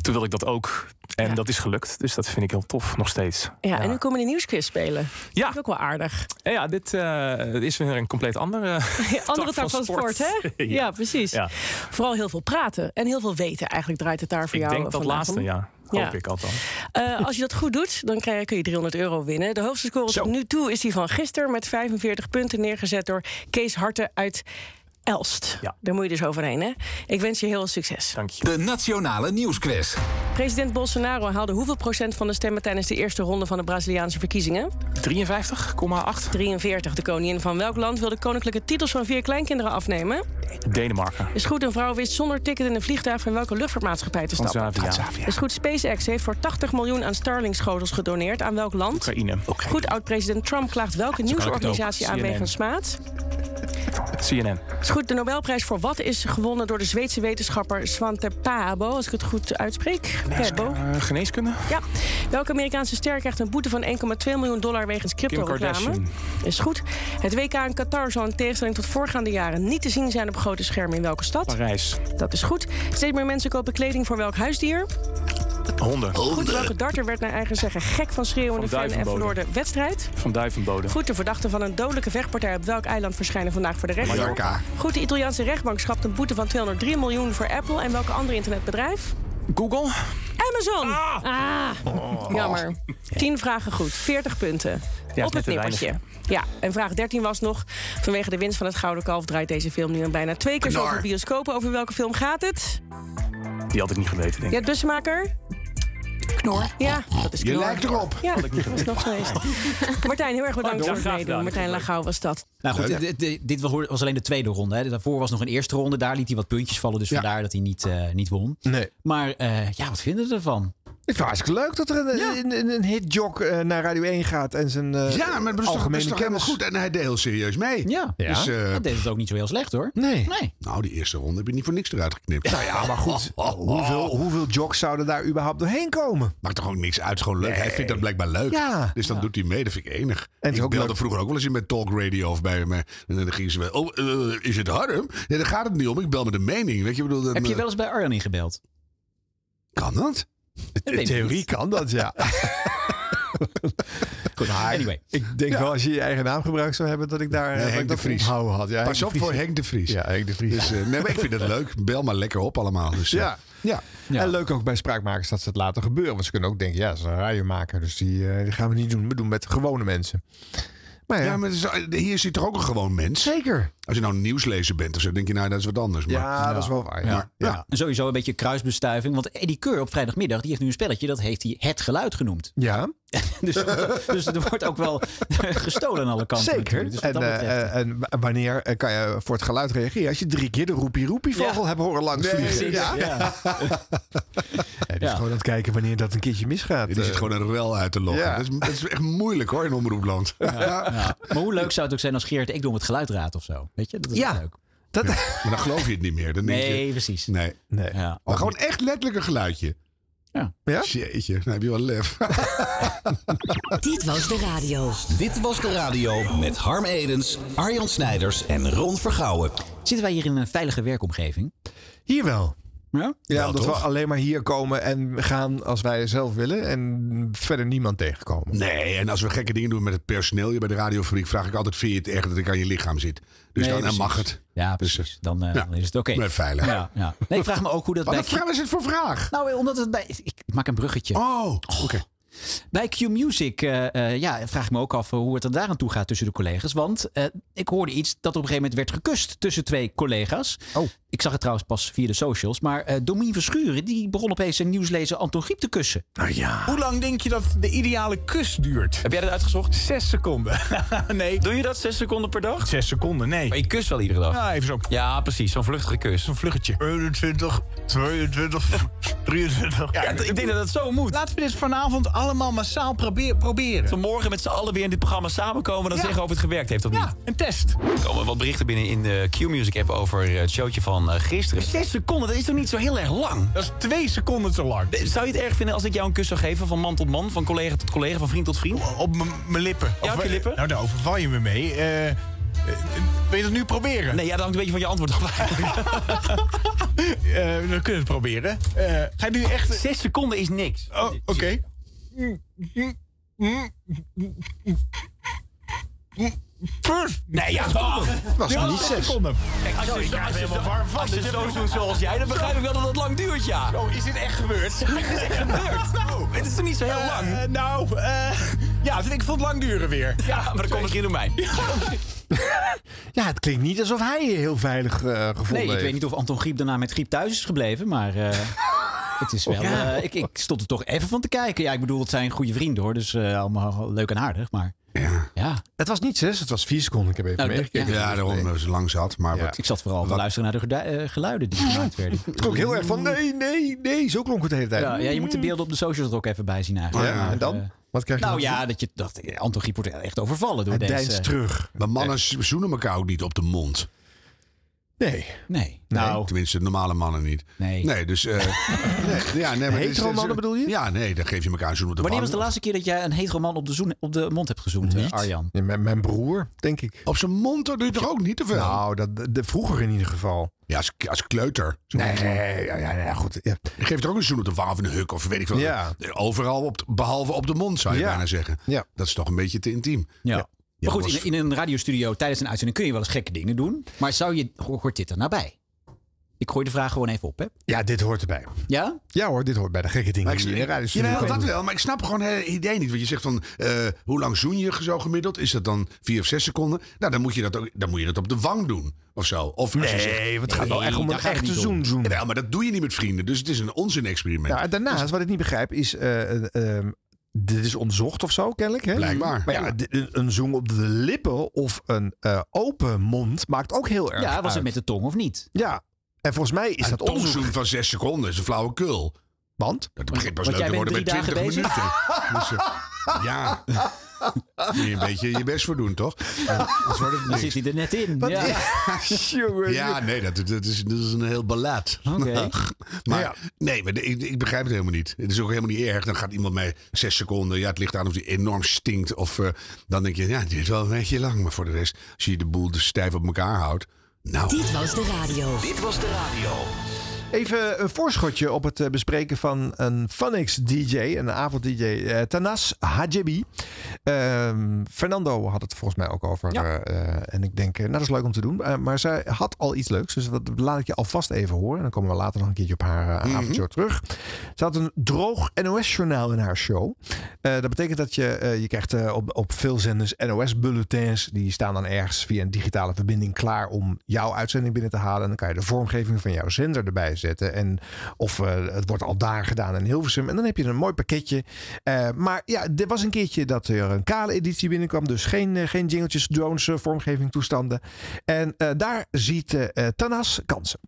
[SPEAKER 22] Toen wilde ik dat ook. En dat is gelukt, dus dat vind ik heel tof, nog steeds.
[SPEAKER 21] Ja, en nu komen we een nieuwsquiz spelen.
[SPEAKER 22] Ja.
[SPEAKER 21] Dat is ook wel aardig.
[SPEAKER 22] En ja, dit eh, is weer een compleet andere...
[SPEAKER 21] Andere tak van sport, hè?
[SPEAKER 22] Ja.
[SPEAKER 21] ja. precies.
[SPEAKER 22] Ja.
[SPEAKER 21] Vooral heel veel praten en heel veel weten. Eigenlijk draait het daar voor
[SPEAKER 22] ik
[SPEAKER 21] jou
[SPEAKER 22] denk dat
[SPEAKER 21] vandaag
[SPEAKER 22] laatste,
[SPEAKER 21] om.
[SPEAKER 22] ja. Hoop ik althans.
[SPEAKER 21] Eh, als je dat goed doet, dan krijg, kun je 300 euro winnen. De hoogste score tot nu toe is die van gisteren met 45 punten neergezet door Kees Harten uit Elst. Daar moet je dus overheen, hè? Ik wens je heel veel succes.
[SPEAKER 22] Dank je.
[SPEAKER 4] De Nationale Nieuwsquiz.
[SPEAKER 21] President Bolsonaro haalde hoeveel procent van de stemmen tijdens de eerste ronde van de Braziliaanse verkiezingen?
[SPEAKER 22] 53,8.
[SPEAKER 21] 43. De koningin van welk land wil de koninklijke titels van vier kleinkinderen afnemen?
[SPEAKER 22] Denemarken.
[SPEAKER 21] Is goed, een vrouw wist zonder ticket in een vliegtuig van welke luchtvaartmaatschappij te stappen?
[SPEAKER 22] Transavia. Transavia.
[SPEAKER 21] Is goed, SpaceX heeft voor 80 miljoen aan Starlink-schotels gedoneerd. Aan welk land?
[SPEAKER 22] Oekraïne.
[SPEAKER 21] Goed, oud-president Trump klaagt welke
[SPEAKER 22] kan ik het
[SPEAKER 21] nieuwsorganisatie
[SPEAKER 22] ook.
[SPEAKER 21] aan
[SPEAKER 22] CNN.
[SPEAKER 21] wegens smaad?
[SPEAKER 22] CNN.
[SPEAKER 21] Is goed, de Nobelprijs voor wat is gewonnen door de Zweedse wetenschapper Svante Paabo, als ik het goed uitspreek. Paabo.
[SPEAKER 22] Eh, geneeskunde.
[SPEAKER 21] Ja. Welke Amerikaanse ster krijgt een boete van 1,2 miljoen dollar wegens crypto-reclame?
[SPEAKER 22] Kardashian.
[SPEAKER 21] Is goed. Het WK in Qatar zal in tegenstelling tot voorgaande jaren niet te zien zijn op grote schermen in welke stad?
[SPEAKER 22] Parijs.
[SPEAKER 21] Dat is goed. Steeds meer mensen kopen kleding voor welk huisdier?
[SPEAKER 22] Honden.
[SPEAKER 21] Goed, welke darter werd naar eigen zeggen gek van schreeuwende
[SPEAKER 22] Van
[SPEAKER 21] fan en
[SPEAKER 22] Duivenbode.
[SPEAKER 21] verloor de wedstrijd?
[SPEAKER 22] Van Duivenbode.
[SPEAKER 21] Goed, de verdachten van een dodelijke vechtpartij op welk eiland verschijnen vandaag voor de rechter?
[SPEAKER 22] Mallorca.
[SPEAKER 21] Goed, de Italiaanse rechtbank schrapt een boete van 203 miljoen voor Apple en welke andere internetbedrijf?
[SPEAKER 22] Google.
[SPEAKER 21] Amazon. Ah,
[SPEAKER 22] Oh.
[SPEAKER 21] jammer. 10 vragen goed, 40 punten.
[SPEAKER 22] is net
[SPEAKER 21] Op het
[SPEAKER 22] te weinig.
[SPEAKER 21] nippertje. Ja, en vraag 13 was nog. Vanwege de winst van het Gouden Kalf draait deze film nu een bijna twee keer
[SPEAKER 22] Knar.
[SPEAKER 21] zoveel bioscopen. Over welke film gaat het?
[SPEAKER 22] Die had ik niet geweten, denk ik.
[SPEAKER 21] Jet Bussemaker? Knor. Ja, dat is
[SPEAKER 22] Je
[SPEAKER 21] knor.
[SPEAKER 22] lijkt erop.
[SPEAKER 21] Ja,
[SPEAKER 22] Had ik niet
[SPEAKER 21] dat is nog geweest. Martijn, heel
[SPEAKER 1] Pardon.
[SPEAKER 21] erg bedankt voor het
[SPEAKER 1] Graag gedaan.
[SPEAKER 21] meedoen. Martijn Lagau was dat.
[SPEAKER 1] Nou goed,
[SPEAKER 21] Ja, ja.
[SPEAKER 1] dit, dit- dit was alleen de tweede ronde. Hè. Daarvoor was nog een eerste ronde. Daar liet hij wat puntjes vallen, dus vandaar dat hij niet, eh, niet won.
[SPEAKER 2] Nee.
[SPEAKER 1] Maar eh, ja, wat vinden we ervan?
[SPEAKER 2] Ik vind het hartstikke leuk dat er een, een, een, een hitjock eh, naar Radio 1 gaat en zijn eh
[SPEAKER 3] ja, maar dat is toch, dat
[SPEAKER 2] algemene
[SPEAKER 3] is toch helemaal
[SPEAKER 2] kennis.
[SPEAKER 3] goed. En hij deed heel serieus mee.
[SPEAKER 1] Ja,
[SPEAKER 2] Ja.
[SPEAKER 3] Dus,
[SPEAKER 2] Hij
[SPEAKER 1] deed het ook niet zo heel slecht hoor.
[SPEAKER 2] Nee.
[SPEAKER 3] Nou, die eerste ronde heb je niet voor niks eruit geknipt. Oh.
[SPEAKER 2] Nou ja, maar goed. Hoeveel, hoeveel jocks zouden daar überhaupt doorheen komen?
[SPEAKER 3] Maakt toch ook niks uit. Gewoon leuk. Hij vindt dat blijkbaar leuk.
[SPEAKER 2] Ja.
[SPEAKER 3] Dus dan doet hij mee. Dat vind ik enig. En ik
[SPEAKER 2] ook
[SPEAKER 3] belde
[SPEAKER 2] leuk-
[SPEAKER 3] vroeger ook wel eens in bij Talk Radio of bij me. En dan gingen ze wel. Oh, eh, is het Harm? Nee, daar gaat het niet om. Ik bel met een mening. Weet je, ik bedoel, dan,
[SPEAKER 1] Heb je
[SPEAKER 3] eh,
[SPEAKER 1] wel eens bij Arjan ingebeld?
[SPEAKER 3] Kan dat?
[SPEAKER 1] weet
[SPEAKER 2] In
[SPEAKER 1] ik
[SPEAKER 2] theorie
[SPEAKER 1] niet.
[SPEAKER 2] kan dat, ja.
[SPEAKER 1] Goed, anyway.
[SPEAKER 2] Ik denk wel als je je eigen naam gebruikt zou hebben, dat ik daar eh,
[SPEAKER 3] Nee,
[SPEAKER 2] dat ik
[SPEAKER 3] Henk de
[SPEAKER 2] dat
[SPEAKER 3] Vries.
[SPEAKER 2] onthouden had. Ja,
[SPEAKER 3] Pas
[SPEAKER 2] de
[SPEAKER 3] op
[SPEAKER 2] Vries.
[SPEAKER 3] voor Henk de Vries.
[SPEAKER 2] Ja, Henk de Vries.
[SPEAKER 3] Dus, eh, nee, maar ik vind het leuk. Bel maar lekker op allemaal. Dus, eh,
[SPEAKER 2] Ja. Ja. en leuk ook bij spraakmakers dat ze het laten gebeuren. Want ze kunnen ook denken, ja, ze is een radiomaker, dus die, eh, die gaan we niet doen. We doen met gewone mensen. Maar
[SPEAKER 3] ja.
[SPEAKER 2] ja.
[SPEAKER 3] maar het is- hier zit toch ook een gewoon mens?
[SPEAKER 2] Zeker.
[SPEAKER 3] Als je nou een nieuwslezer bent of zo, denk je, nou, dat is wat anders. Maar,
[SPEAKER 2] Ja, dat is wel waar. Ja.
[SPEAKER 3] Maar-
[SPEAKER 1] Ja. En sowieso een beetje kruisbestuiving. Want Eddie Keur op vrijdagmiddag, die heeft nu een spelletje. Dat heeft hij het geluid genoemd.
[SPEAKER 2] Ja.
[SPEAKER 1] dus, dus er wordt ook wel gestolen aan alle kanten.
[SPEAKER 2] Zeker.
[SPEAKER 1] natuurlijk. Dus wat
[SPEAKER 2] en,
[SPEAKER 1] dat betreft-
[SPEAKER 2] eh, eh, en wa- wanneer eh, kan je voor het geluid reageren? Als je drie keer de roepie-roepie-vogel
[SPEAKER 1] Ja.
[SPEAKER 2] hebt horen langs
[SPEAKER 1] Nee,
[SPEAKER 2] vliegen.
[SPEAKER 1] precies, ja.
[SPEAKER 2] En dus gewoon aan het kijken wanneer dat een keertje misgaat.
[SPEAKER 3] Die zit
[SPEAKER 2] Eh,
[SPEAKER 3] gewoon een rel uit te lokken.
[SPEAKER 2] Ja.
[SPEAKER 3] Dat, is, dat is echt moeilijk hoor, in omroepland.
[SPEAKER 1] Ja. Maar hoe leuk zou het ook zijn als Geert ik doe om het geluid raadt of zo? Weet je, dat is
[SPEAKER 3] Ja.
[SPEAKER 1] leuk.
[SPEAKER 3] Ja, Maar dan geloof je het niet meer. Dan denk
[SPEAKER 1] Nee,
[SPEAKER 3] je,
[SPEAKER 1] precies.
[SPEAKER 3] Nee.
[SPEAKER 2] nee.
[SPEAKER 1] Ja.
[SPEAKER 3] Maar gewoon echt letterlijk een geluidje.
[SPEAKER 1] Ja.
[SPEAKER 3] Jeetje, dan heb je wel lef.
[SPEAKER 23] Dit was de radio. Dit was de radio met Harm Edens, Arjan Snijders en Ron Vergouwen.
[SPEAKER 1] Zitten wij hier in een veilige werkomgeving?
[SPEAKER 2] Hier wel.
[SPEAKER 1] Ja,
[SPEAKER 2] Ja,
[SPEAKER 1] Wel,
[SPEAKER 2] omdat
[SPEAKER 1] toch?
[SPEAKER 2] we alleen maar hier komen en gaan als wij zelf willen. En verder niemand tegenkomen.
[SPEAKER 3] Nee, en als we gekke dingen doen met het personeel hier bij de radiofabriek, vraag ik altijd: vind je het echt dat ik aan je lichaam zit? Dus
[SPEAKER 1] Nee,
[SPEAKER 3] dan, dan
[SPEAKER 1] precies.
[SPEAKER 3] mag het. Dus,
[SPEAKER 1] Ja, precies. Dan, eh, dan is het oké.
[SPEAKER 3] Maar veilig.
[SPEAKER 1] Ja, ja. Nee, ik vraag me ook hoe dat
[SPEAKER 3] Wat
[SPEAKER 1] bij...
[SPEAKER 3] een vraag is het voor vraag?
[SPEAKER 1] Nou, omdat het bij... Ik maak een bruggetje.
[SPEAKER 3] Oh, oké.
[SPEAKER 1] Bij Q-Music eh, eh, ja, vraag ik me ook af eh, hoe het er daaraan toe gaat tussen de collega's. Want eh, ik hoorde iets dat op een gegeven moment werd gekust tussen twee collega's.
[SPEAKER 2] Oh.
[SPEAKER 1] Ik zag het trouwens pas via de socials. Maar eh Domien Verschuren die begon opeens zijn nieuwslezer Anton Griep te kussen.
[SPEAKER 9] Nou, Hoe lang denk je dat de ideale kus duurt? Heb jij dat uitgezocht? Zes seconden. nee. Doe je dat zes seconden per dag? Zes seconden, nee. Maar je kust wel iedere dag? Ja, even zo. Ja, precies. Zo'n vluchtige kus. Zo'n vluggetje. 21, 22, 23. Ja, ik denk dat dat zo moet.
[SPEAKER 10] Laten we dit vanavond allemaal massaal probeer- proberen.
[SPEAKER 9] Vanmorgen met z'n allen weer in dit programma samenkomen... en dan
[SPEAKER 10] Ja.
[SPEAKER 9] zeggen of het gewerkt heeft of niet.
[SPEAKER 10] Een test.
[SPEAKER 9] Er komen wat berichten binnen in eh, de Q-Music-app over het showtje van eh, gisteren.
[SPEAKER 10] Dus
[SPEAKER 9] Zes seconden, dat is toch niet zo heel erg lang? Dat is twee seconden te lang. Zou je het erg vinden als ik jou een kus zou geven van man tot man, van collega tot collega, van vriend tot vriend? Op mijn lippen. Ja, op je lippen?
[SPEAKER 10] Nou, daar overval je me mee. Eh, eh, wil je het nu proberen?
[SPEAKER 9] Nee, ja, dat hangt een beetje van je antwoord af.
[SPEAKER 10] Eh, we kunnen het proberen. Eh, ga je nu echt...
[SPEAKER 9] Zes seconden is niks.
[SPEAKER 10] Oh, oké. First.
[SPEAKER 9] Nee, ja, toch.
[SPEAKER 10] was
[SPEAKER 9] Ja,
[SPEAKER 10] niet zes. seconden.
[SPEAKER 9] Kijk, als je,
[SPEAKER 10] Zo, ik krijg
[SPEAKER 9] als
[SPEAKER 10] er
[SPEAKER 9] je
[SPEAKER 10] helemaal
[SPEAKER 9] zo-
[SPEAKER 10] warm van.
[SPEAKER 9] als
[SPEAKER 10] Dit
[SPEAKER 9] je
[SPEAKER 10] is
[SPEAKER 9] zo
[SPEAKER 10] echt-
[SPEAKER 9] doet zoals jij, dan begrijp ik wel dat het lang duurt, ja.
[SPEAKER 10] Zo, is dit echt gebeurd?
[SPEAKER 9] Dit is echt gebeurd. Oh, Het is toch niet zo heel
[SPEAKER 10] Eh,
[SPEAKER 9] lang?
[SPEAKER 10] nou, eh, ja, ik vond het lang duren weer.
[SPEAKER 9] Ja, maar dat komt misschien door mij.
[SPEAKER 2] Ja, het klinkt niet alsof hij je heel veilig eh gevonden
[SPEAKER 1] Nee, ik
[SPEAKER 2] heeft.
[SPEAKER 1] weet niet of Anton Griep daarna met Griep thuis is gebleven. Maar eh, het is wel...
[SPEAKER 2] Ja.
[SPEAKER 1] eh, ik, ik stond er toch even van te kijken. Ja, ik bedoel, het zijn goede vrienden hoor. Dus eh, allemaal leuk en aardig. Maar ja.
[SPEAKER 2] Het was niet zes, het was vier seconden. Ik heb even
[SPEAKER 1] Nou, dat-
[SPEAKER 2] meegekeken.
[SPEAKER 1] ja.
[SPEAKER 3] Ja, daarom was het lang zat. Maar wat,
[SPEAKER 1] Ik zat vooral te luisteren naar de gedu- eh, geluiden die gemaakt werden.
[SPEAKER 2] Het klonk heel erg van nee, nee, nee. Zo klonk het de hele tijd. Mm.
[SPEAKER 1] Ja, ja, je moet de beelden op de socials er ook even bij zien eigenlijk.
[SPEAKER 2] Ja,
[SPEAKER 1] Maar,
[SPEAKER 2] en dan?
[SPEAKER 1] eh,
[SPEAKER 2] Wat krijg je
[SPEAKER 1] nou
[SPEAKER 2] dan?
[SPEAKER 1] ja, dat je dacht, eh, Anton Griep wordt echt overvallen door deze...
[SPEAKER 3] Maar mannen zoenen elkaar ook niet op de mond.
[SPEAKER 2] Nee.
[SPEAKER 1] Nee. Nou,
[SPEAKER 3] Tenminste, normale mannen niet.
[SPEAKER 1] Nee.
[SPEAKER 3] Nee, dus... eh nee, ja, nee, maar dit is-
[SPEAKER 1] Hetero mannen bedoel je?
[SPEAKER 3] Ja, nee, dan geef je elkaar een zoen op de
[SPEAKER 1] wanneer was
[SPEAKER 3] wang.
[SPEAKER 1] de laatste keer dat jij een hetero man op de, zoen, op de mond hebt gezoend, eh, Arjan?
[SPEAKER 2] Ja, mijn, mijn broer, denk ik.
[SPEAKER 3] Op zijn mond, dat doe je toch ook niet te veel?
[SPEAKER 2] Nou, dat, de, de- vroeger in ieder geval.
[SPEAKER 3] Ja, als, als kleuter.
[SPEAKER 2] Nee, ja, ja, nou ja, goed. Ja.
[SPEAKER 3] Je geeft er ook een zoen op de wang of een huk of weet ik veel.
[SPEAKER 2] Ja.
[SPEAKER 3] Overal, op, de- behalve op de mond zou je
[SPEAKER 2] Ja.
[SPEAKER 3] bijna zeggen.
[SPEAKER 2] Ja.
[SPEAKER 3] Dat is toch een beetje te intiem.
[SPEAKER 1] Ja.
[SPEAKER 3] Ja,
[SPEAKER 1] maar goed,
[SPEAKER 3] was-
[SPEAKER 1] in, in een radiostudio tijdens een uitzending kun je wel eens gekke dingen doen. Maar zou je, ho- hoort dit er nou bij? Ik gooi de vraag gewoon even op, hè?
[SPEAKER 2] Ja, dit hoort erbij.
[SPEAKER 1] Ja?
[SPEAKER 2] Ja hoor, dit hoort bij de gekke dingen.
[SPEAKER 3] Maar ik,
[SPEAKER 2] die je in de radiostudio
[SPEAKER 3] jawel,
[SPEAKER 2] kan
[SPEAKER 3] dat
[SPEAKER 2] doen.
[SPEAKER 3] wel, maar ik snap gewoon het idee niet. Want je zegt van, eh, hoe lang zoen je zo gemiddeld? Is dat dan vier of zes seconden? Nou, dan moet je dat, ook, dan moet je dat op de wang doen of zo. Of als je
[SPEAKER 2] Nee,
[SPEAKER 3] zegt-
[SPEAKER 2] want het gaat wel echt om
[SPEAKER 3] daar
[SPEAKER 2] een
[SPEAKER 3] gaat het
[SPEAKER 2] echte
[SPEAKER 3] niet om.
[SPEAKER 2] zoen, zoen.
[SPEAKER 3] Jawel, maar dat doe je niet met vrienden. Dus het is een onzin-experiment.
[SPEAKER 2] Ja, en Nou, daarnaast, wat ik niet begrijp, is... eh, eh, ehm, dit is onderzocht of zo, kennelijk. Hè?
[SPEAKER 3] Blijkbaar.
[SPEAKER 2] Maar ja, dit- een- een zoen op de lippen of een eh, open mond maakt ook heel erg
[SPEAKER 1] Ja, was het
[SPEAKER 2] uit.
[SPEAKER 1] met de tong of niet?
[SPEAKER 2] Ja, en volgens mij is
[SPEAKER 3] Een
[SPEAKER 2] dat onderzoek.
[SPEAKER 3] tongzoen van zes seconden is een flauwekul.
[SPEAKER 2] Want?
[SPEAKER 3] Het begint pas
[SPEAKER 2] Want
[SPEAKER 3] leuk
[SPEAKER 2] jij
[SPEAKER 3] te worden bij
[SPEAKER 2] bent
[SPEAKER 3] 20
[SPEAKER 2] drie dagen
[SPEAKER 3] minuten.
[SPEAKER 2] bezig.
[SPEAKER 3] Dus, eh, ja. Moet je een beetje je best voor doen, toch? Dan wordt het
[SPEAKER 1] Dan zit hij er net in. Ja.
[SPEAKER 3] jongen. Ja, nee, dat, dat, is, dat is een heel ballad. maar nee, maar de- ik, ik begrijp het helemaal niet. Het is ook helemaal niet erg. Dan gaat iemand mij zes seconden. Ja, het ligt aan of die enorm stinkt. Of eh, dan denk je, ja, dit is wel een beetje lang. Maar voor de rest, als je de boel dus stijf op elkaar houdt. Nou.
[SPEAKER 18] Dit was de radio. Dit was de radio.
[SPEAKER 2] Even een voorschotje op het eh, bespreken van een Phonics DJ, een avond DJ, eh, Tanas Hajibi. Ehm, Fernando had het volgens mij ook over. eh, eh, en ik denk, eh, nou dat is leuk om te doen. Eh, maar zij had al iets leuks, dus dat laat ik je alvast even horen. En dan komen we later nog een keertje op haar eh, avondshow terug. Ze had een droog NOS-journaal in haar show. Eh, dat betekent dat je, eh, je krijgt eh, op, op veel zenders NOS-bulletins. Die staan dan ergens via een digitale verbinding klaar om jouw uitzending binnen te halen. En dan kan je de vormgeving van jouw zender erbij zetten. En, of eh, het wordt al daar gedaan in Hilversum. En dan heb je een mooi pakketje. Eh, maar ja, er was een keertje dat er een kale editie binnenkwam. Dus geen, eh, geen jingeltjes, drones, eh, vormgeving, toestanden. En eh, daar ziet eh, eh, Tanas kansen.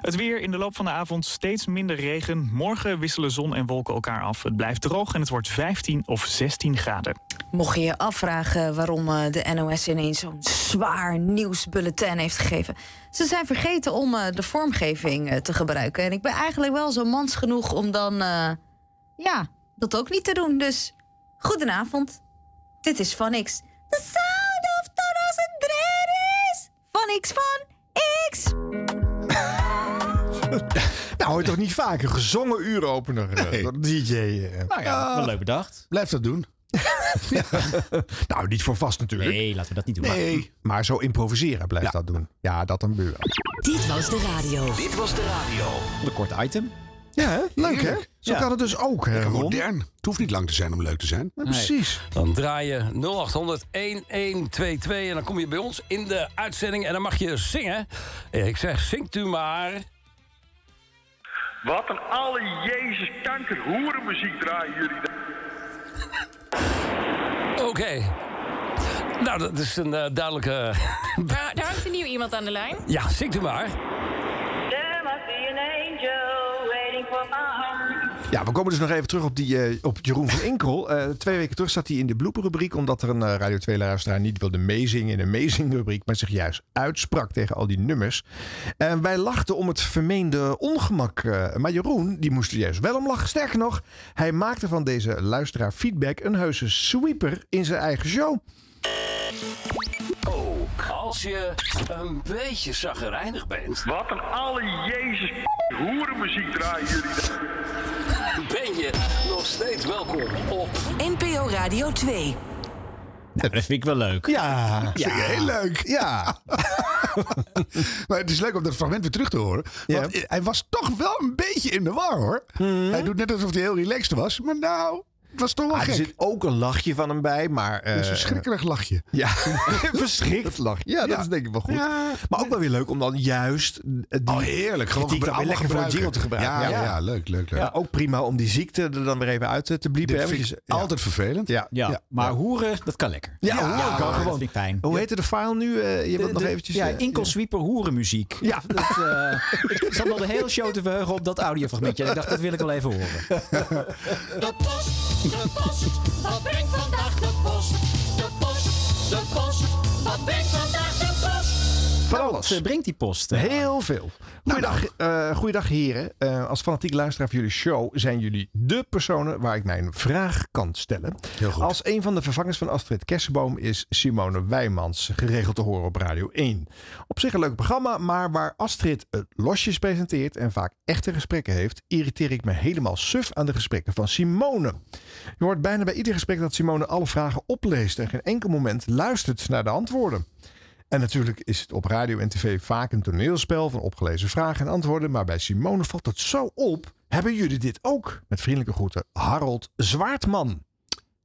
[SPEAKER 6] Het weer in de loop van de avond steeds minder regen. Morgen wisselen zon en wolken elkaar af. Het blijft droog en het wordt 15 of 16 graden.
[SPEAKER 9] Mocht je je afvragen waarom eh, de NOS ineens zo'n zwaar nieuwsbulletin heeft gegeven. Ze zijn vergeten om eh, de vormgeving eh, te gebruiken. En ik ben eigenlijk wel zo mans genoeg om dan eh, ja, dat ook niet te doen. Dus goedenavond. Dit is van X. The sound of Thomas and Dreris. Van X van X.
[SPEAKER 2] Nou, hoor je toch niet vaak een gezongen uuropener, eh, door een DJ.
[SPEAKER 1] Nou ja, wel leuk bedacht.
[SPEAKER 3] Blijf dat doen.
[SPEAKER 2] nou, niet voor vast natuurlijk.
[SPEAKER 1] Nee, laten we dat niet doen.
[SPEAKER 2] Maar, maar zo improviseren blijft dat doen. Ja, dat dan wel.
[SPEAKER 18] Dit was de radio. Dit was de radio.
[SPEAKER 1] Een kort item.
[SPEAKER 2] Ja, hè? leuk hè? Zo
[SPEAKER 1] Ja.
[SPEAKER 2] kan het dus ook. Hè,
[SPEAKER 3] Lekker
[SPEAKER 2] Ron?
[SPEAKER 3] modern. Het hoeft niet lang te zijn om leuk te zijn.
[SPEAKER 2] precies.
[SPEAKER 8] Dan draai je 0800 1122 en dan kom je bij ons in de uitzending en dan mag je zingen. Eh, Ik zeg, zingt u maar.
[SPEAKER 24] Wat een alle Jezus kanker hoerenmuziek draaien jullie daar.
[SPEAKER 8] Oké. Nou, dat is een eh, duidelijke...
[SPEAKER 25] Daar, daar hangt een nieuw iemand aan de lijn.
[SPEAKER 8] ja, zingt u maar.
[SPEAKER 25] There must be an angel waiting for
[SPEAKER 2] Ja, we komen dus nog even terug op, die, eh, op Jeroen van Inkel. Eh, twee weken terug zat hij in de blooperrubriek... omdat er een eh, Radio 2-luisteraar niet wilde meezingen in een meezingrubriek... maar zich juist uitsprak tegen al die nummers. En wij lachten om het vermeende ongemak. eh, maar Jeroen, die moest er juist wel om lachen. Sterker nog, hij maakte van deze luisteraar feedback... een heuse sweeper in zijn eigen show.
[SPEAKER 8] Als je een beetje zaggerijnig bent...
[SPEAKER 24] Wat een alle Jezus hoerenmuziek draaien jullie daar.
[SPEAKER 8] ben je nog steeds welkom op...
[SPEAKER 18] NPO Radio 2.
[SPEAKER 1] Nou, dat vind ik wel leuk.
[SPEAKER 2] Ja,
[SPEAKER 3] dat vind ik heel leuk.
[SPEAKER 2] Ja.
[SPEAKER 3] maar het is leuk om dat fragment weer terug te horen. Want hij was toch wel een beetje in de war, Nou, hoor. Hij doet net alsof hij heel relaxed was. Maar nou, het was toch wel
[SPEAKER 2] Hmm. Ah,
[SPEAKER 3] gek.
[SPEAKER 2] er zit ook een lachje van hem bij, maar...
[SPEAKER 3] Een
[SPEAKER 2] eh,
[SPEAKER 3] verschrikkelijk lachje.
[SPEAKER 2] Ja, verschrikt lach. Ja, dat
[SPEAKER 3] Ja.
[SPEAKER 2] is denk ik wel goed.
[SPEAKER 3] Ja.
[SPEAKER 2] Maar ook wel weer leuk om dan juist eh, die
[SPEAKER 3] Oh, heerlijk. Gewoon
[SPEAKER 2] kritiek dan weer
[SPEAKER 3] allemaal
[SPEAKER 2] lekker voor een
[SPEAKER 3] gebruiken.
[SPEAKER 2] jingle te gebruiken.
[SPEAKER 3] Ja, ja, leuk, leuk, leuk.
[SPEAKER 2] Ja, ook prima om die ziekte er dan weer even uit eh, te bliepen.
[SPEAKER 3] Dit
[SPEAKER 2] hè,
[SPEAKER 3] vind
[SPEAKER 2] want je
[SPEAKER 3] ik
[SPEAKER 2] ze- ja.
[SPEAKER 3] altijd vervelend.
[SPEAKER 2] Ja,
[SPEAKER 1] Ja, maar hoeren, dat kan lekker.
[SPEAKER 2] Ja, hoeren
[SPEAKER 1] dat
[SPEAKER 2] kan gewoon.
[SPEAKER 1] vind ik fijn.
[SPEAKER 2] Hoe heette de file nu? Eh, je
[SPEAKER 1] De-
[SPEAKER 2] wilt nog
[SPEAKER 1] de-
[SPEAKER 2] eventjes...
[SPEAKER 1] Ja,
[SPEAKER 2] eh,
[SPEAKER 1] Inkel Sweeper hoerenmuziek.
[SPEAKER 2] Ja.
[SPEAKER 1] Dat, eh, ik zat al de hele show te verheugen op dat audiofragmentje. En Ik dacht, dat wil ik wel even horen.
[SPEAKER 26] De post, de post, wat brengt vandaag de post? De post, de post, wat brengt vandaag de post?
[SPEAKER 2] Van alles.
[SPEAKER 1] eh, brengt die post? Nou,
[SPEAKER 2] Heel veel. Goeiedag, eh, goeiedag heren. Eh, als fanatiek luisteraar van jullie show zijn jullie de personen waar ik mijn vraag kan stellen. Als een van de vervangers van Astrid Kersenboom is Simone Wijmans geregeld te horen op Radio 1. Op zich een leuk programma, maar waar Astrid het losjes presenteert en vaak echte gesprekken heeft, irriteer ik me helemaal suf aan de gesprekken van Simone. Je hoort bijna bij ieder gesprek dat Simone alle vragen opleest en geen enkel moment luistert naar de antwoorden. En natuurlijk is het op radio en tv vaak een toneelspel van opgelezen vragen en antwoorden. Maar bij Simone valt het zo op. Hebben jullie dit ook? Met vriendelijke groeten, Harold Zwaardman.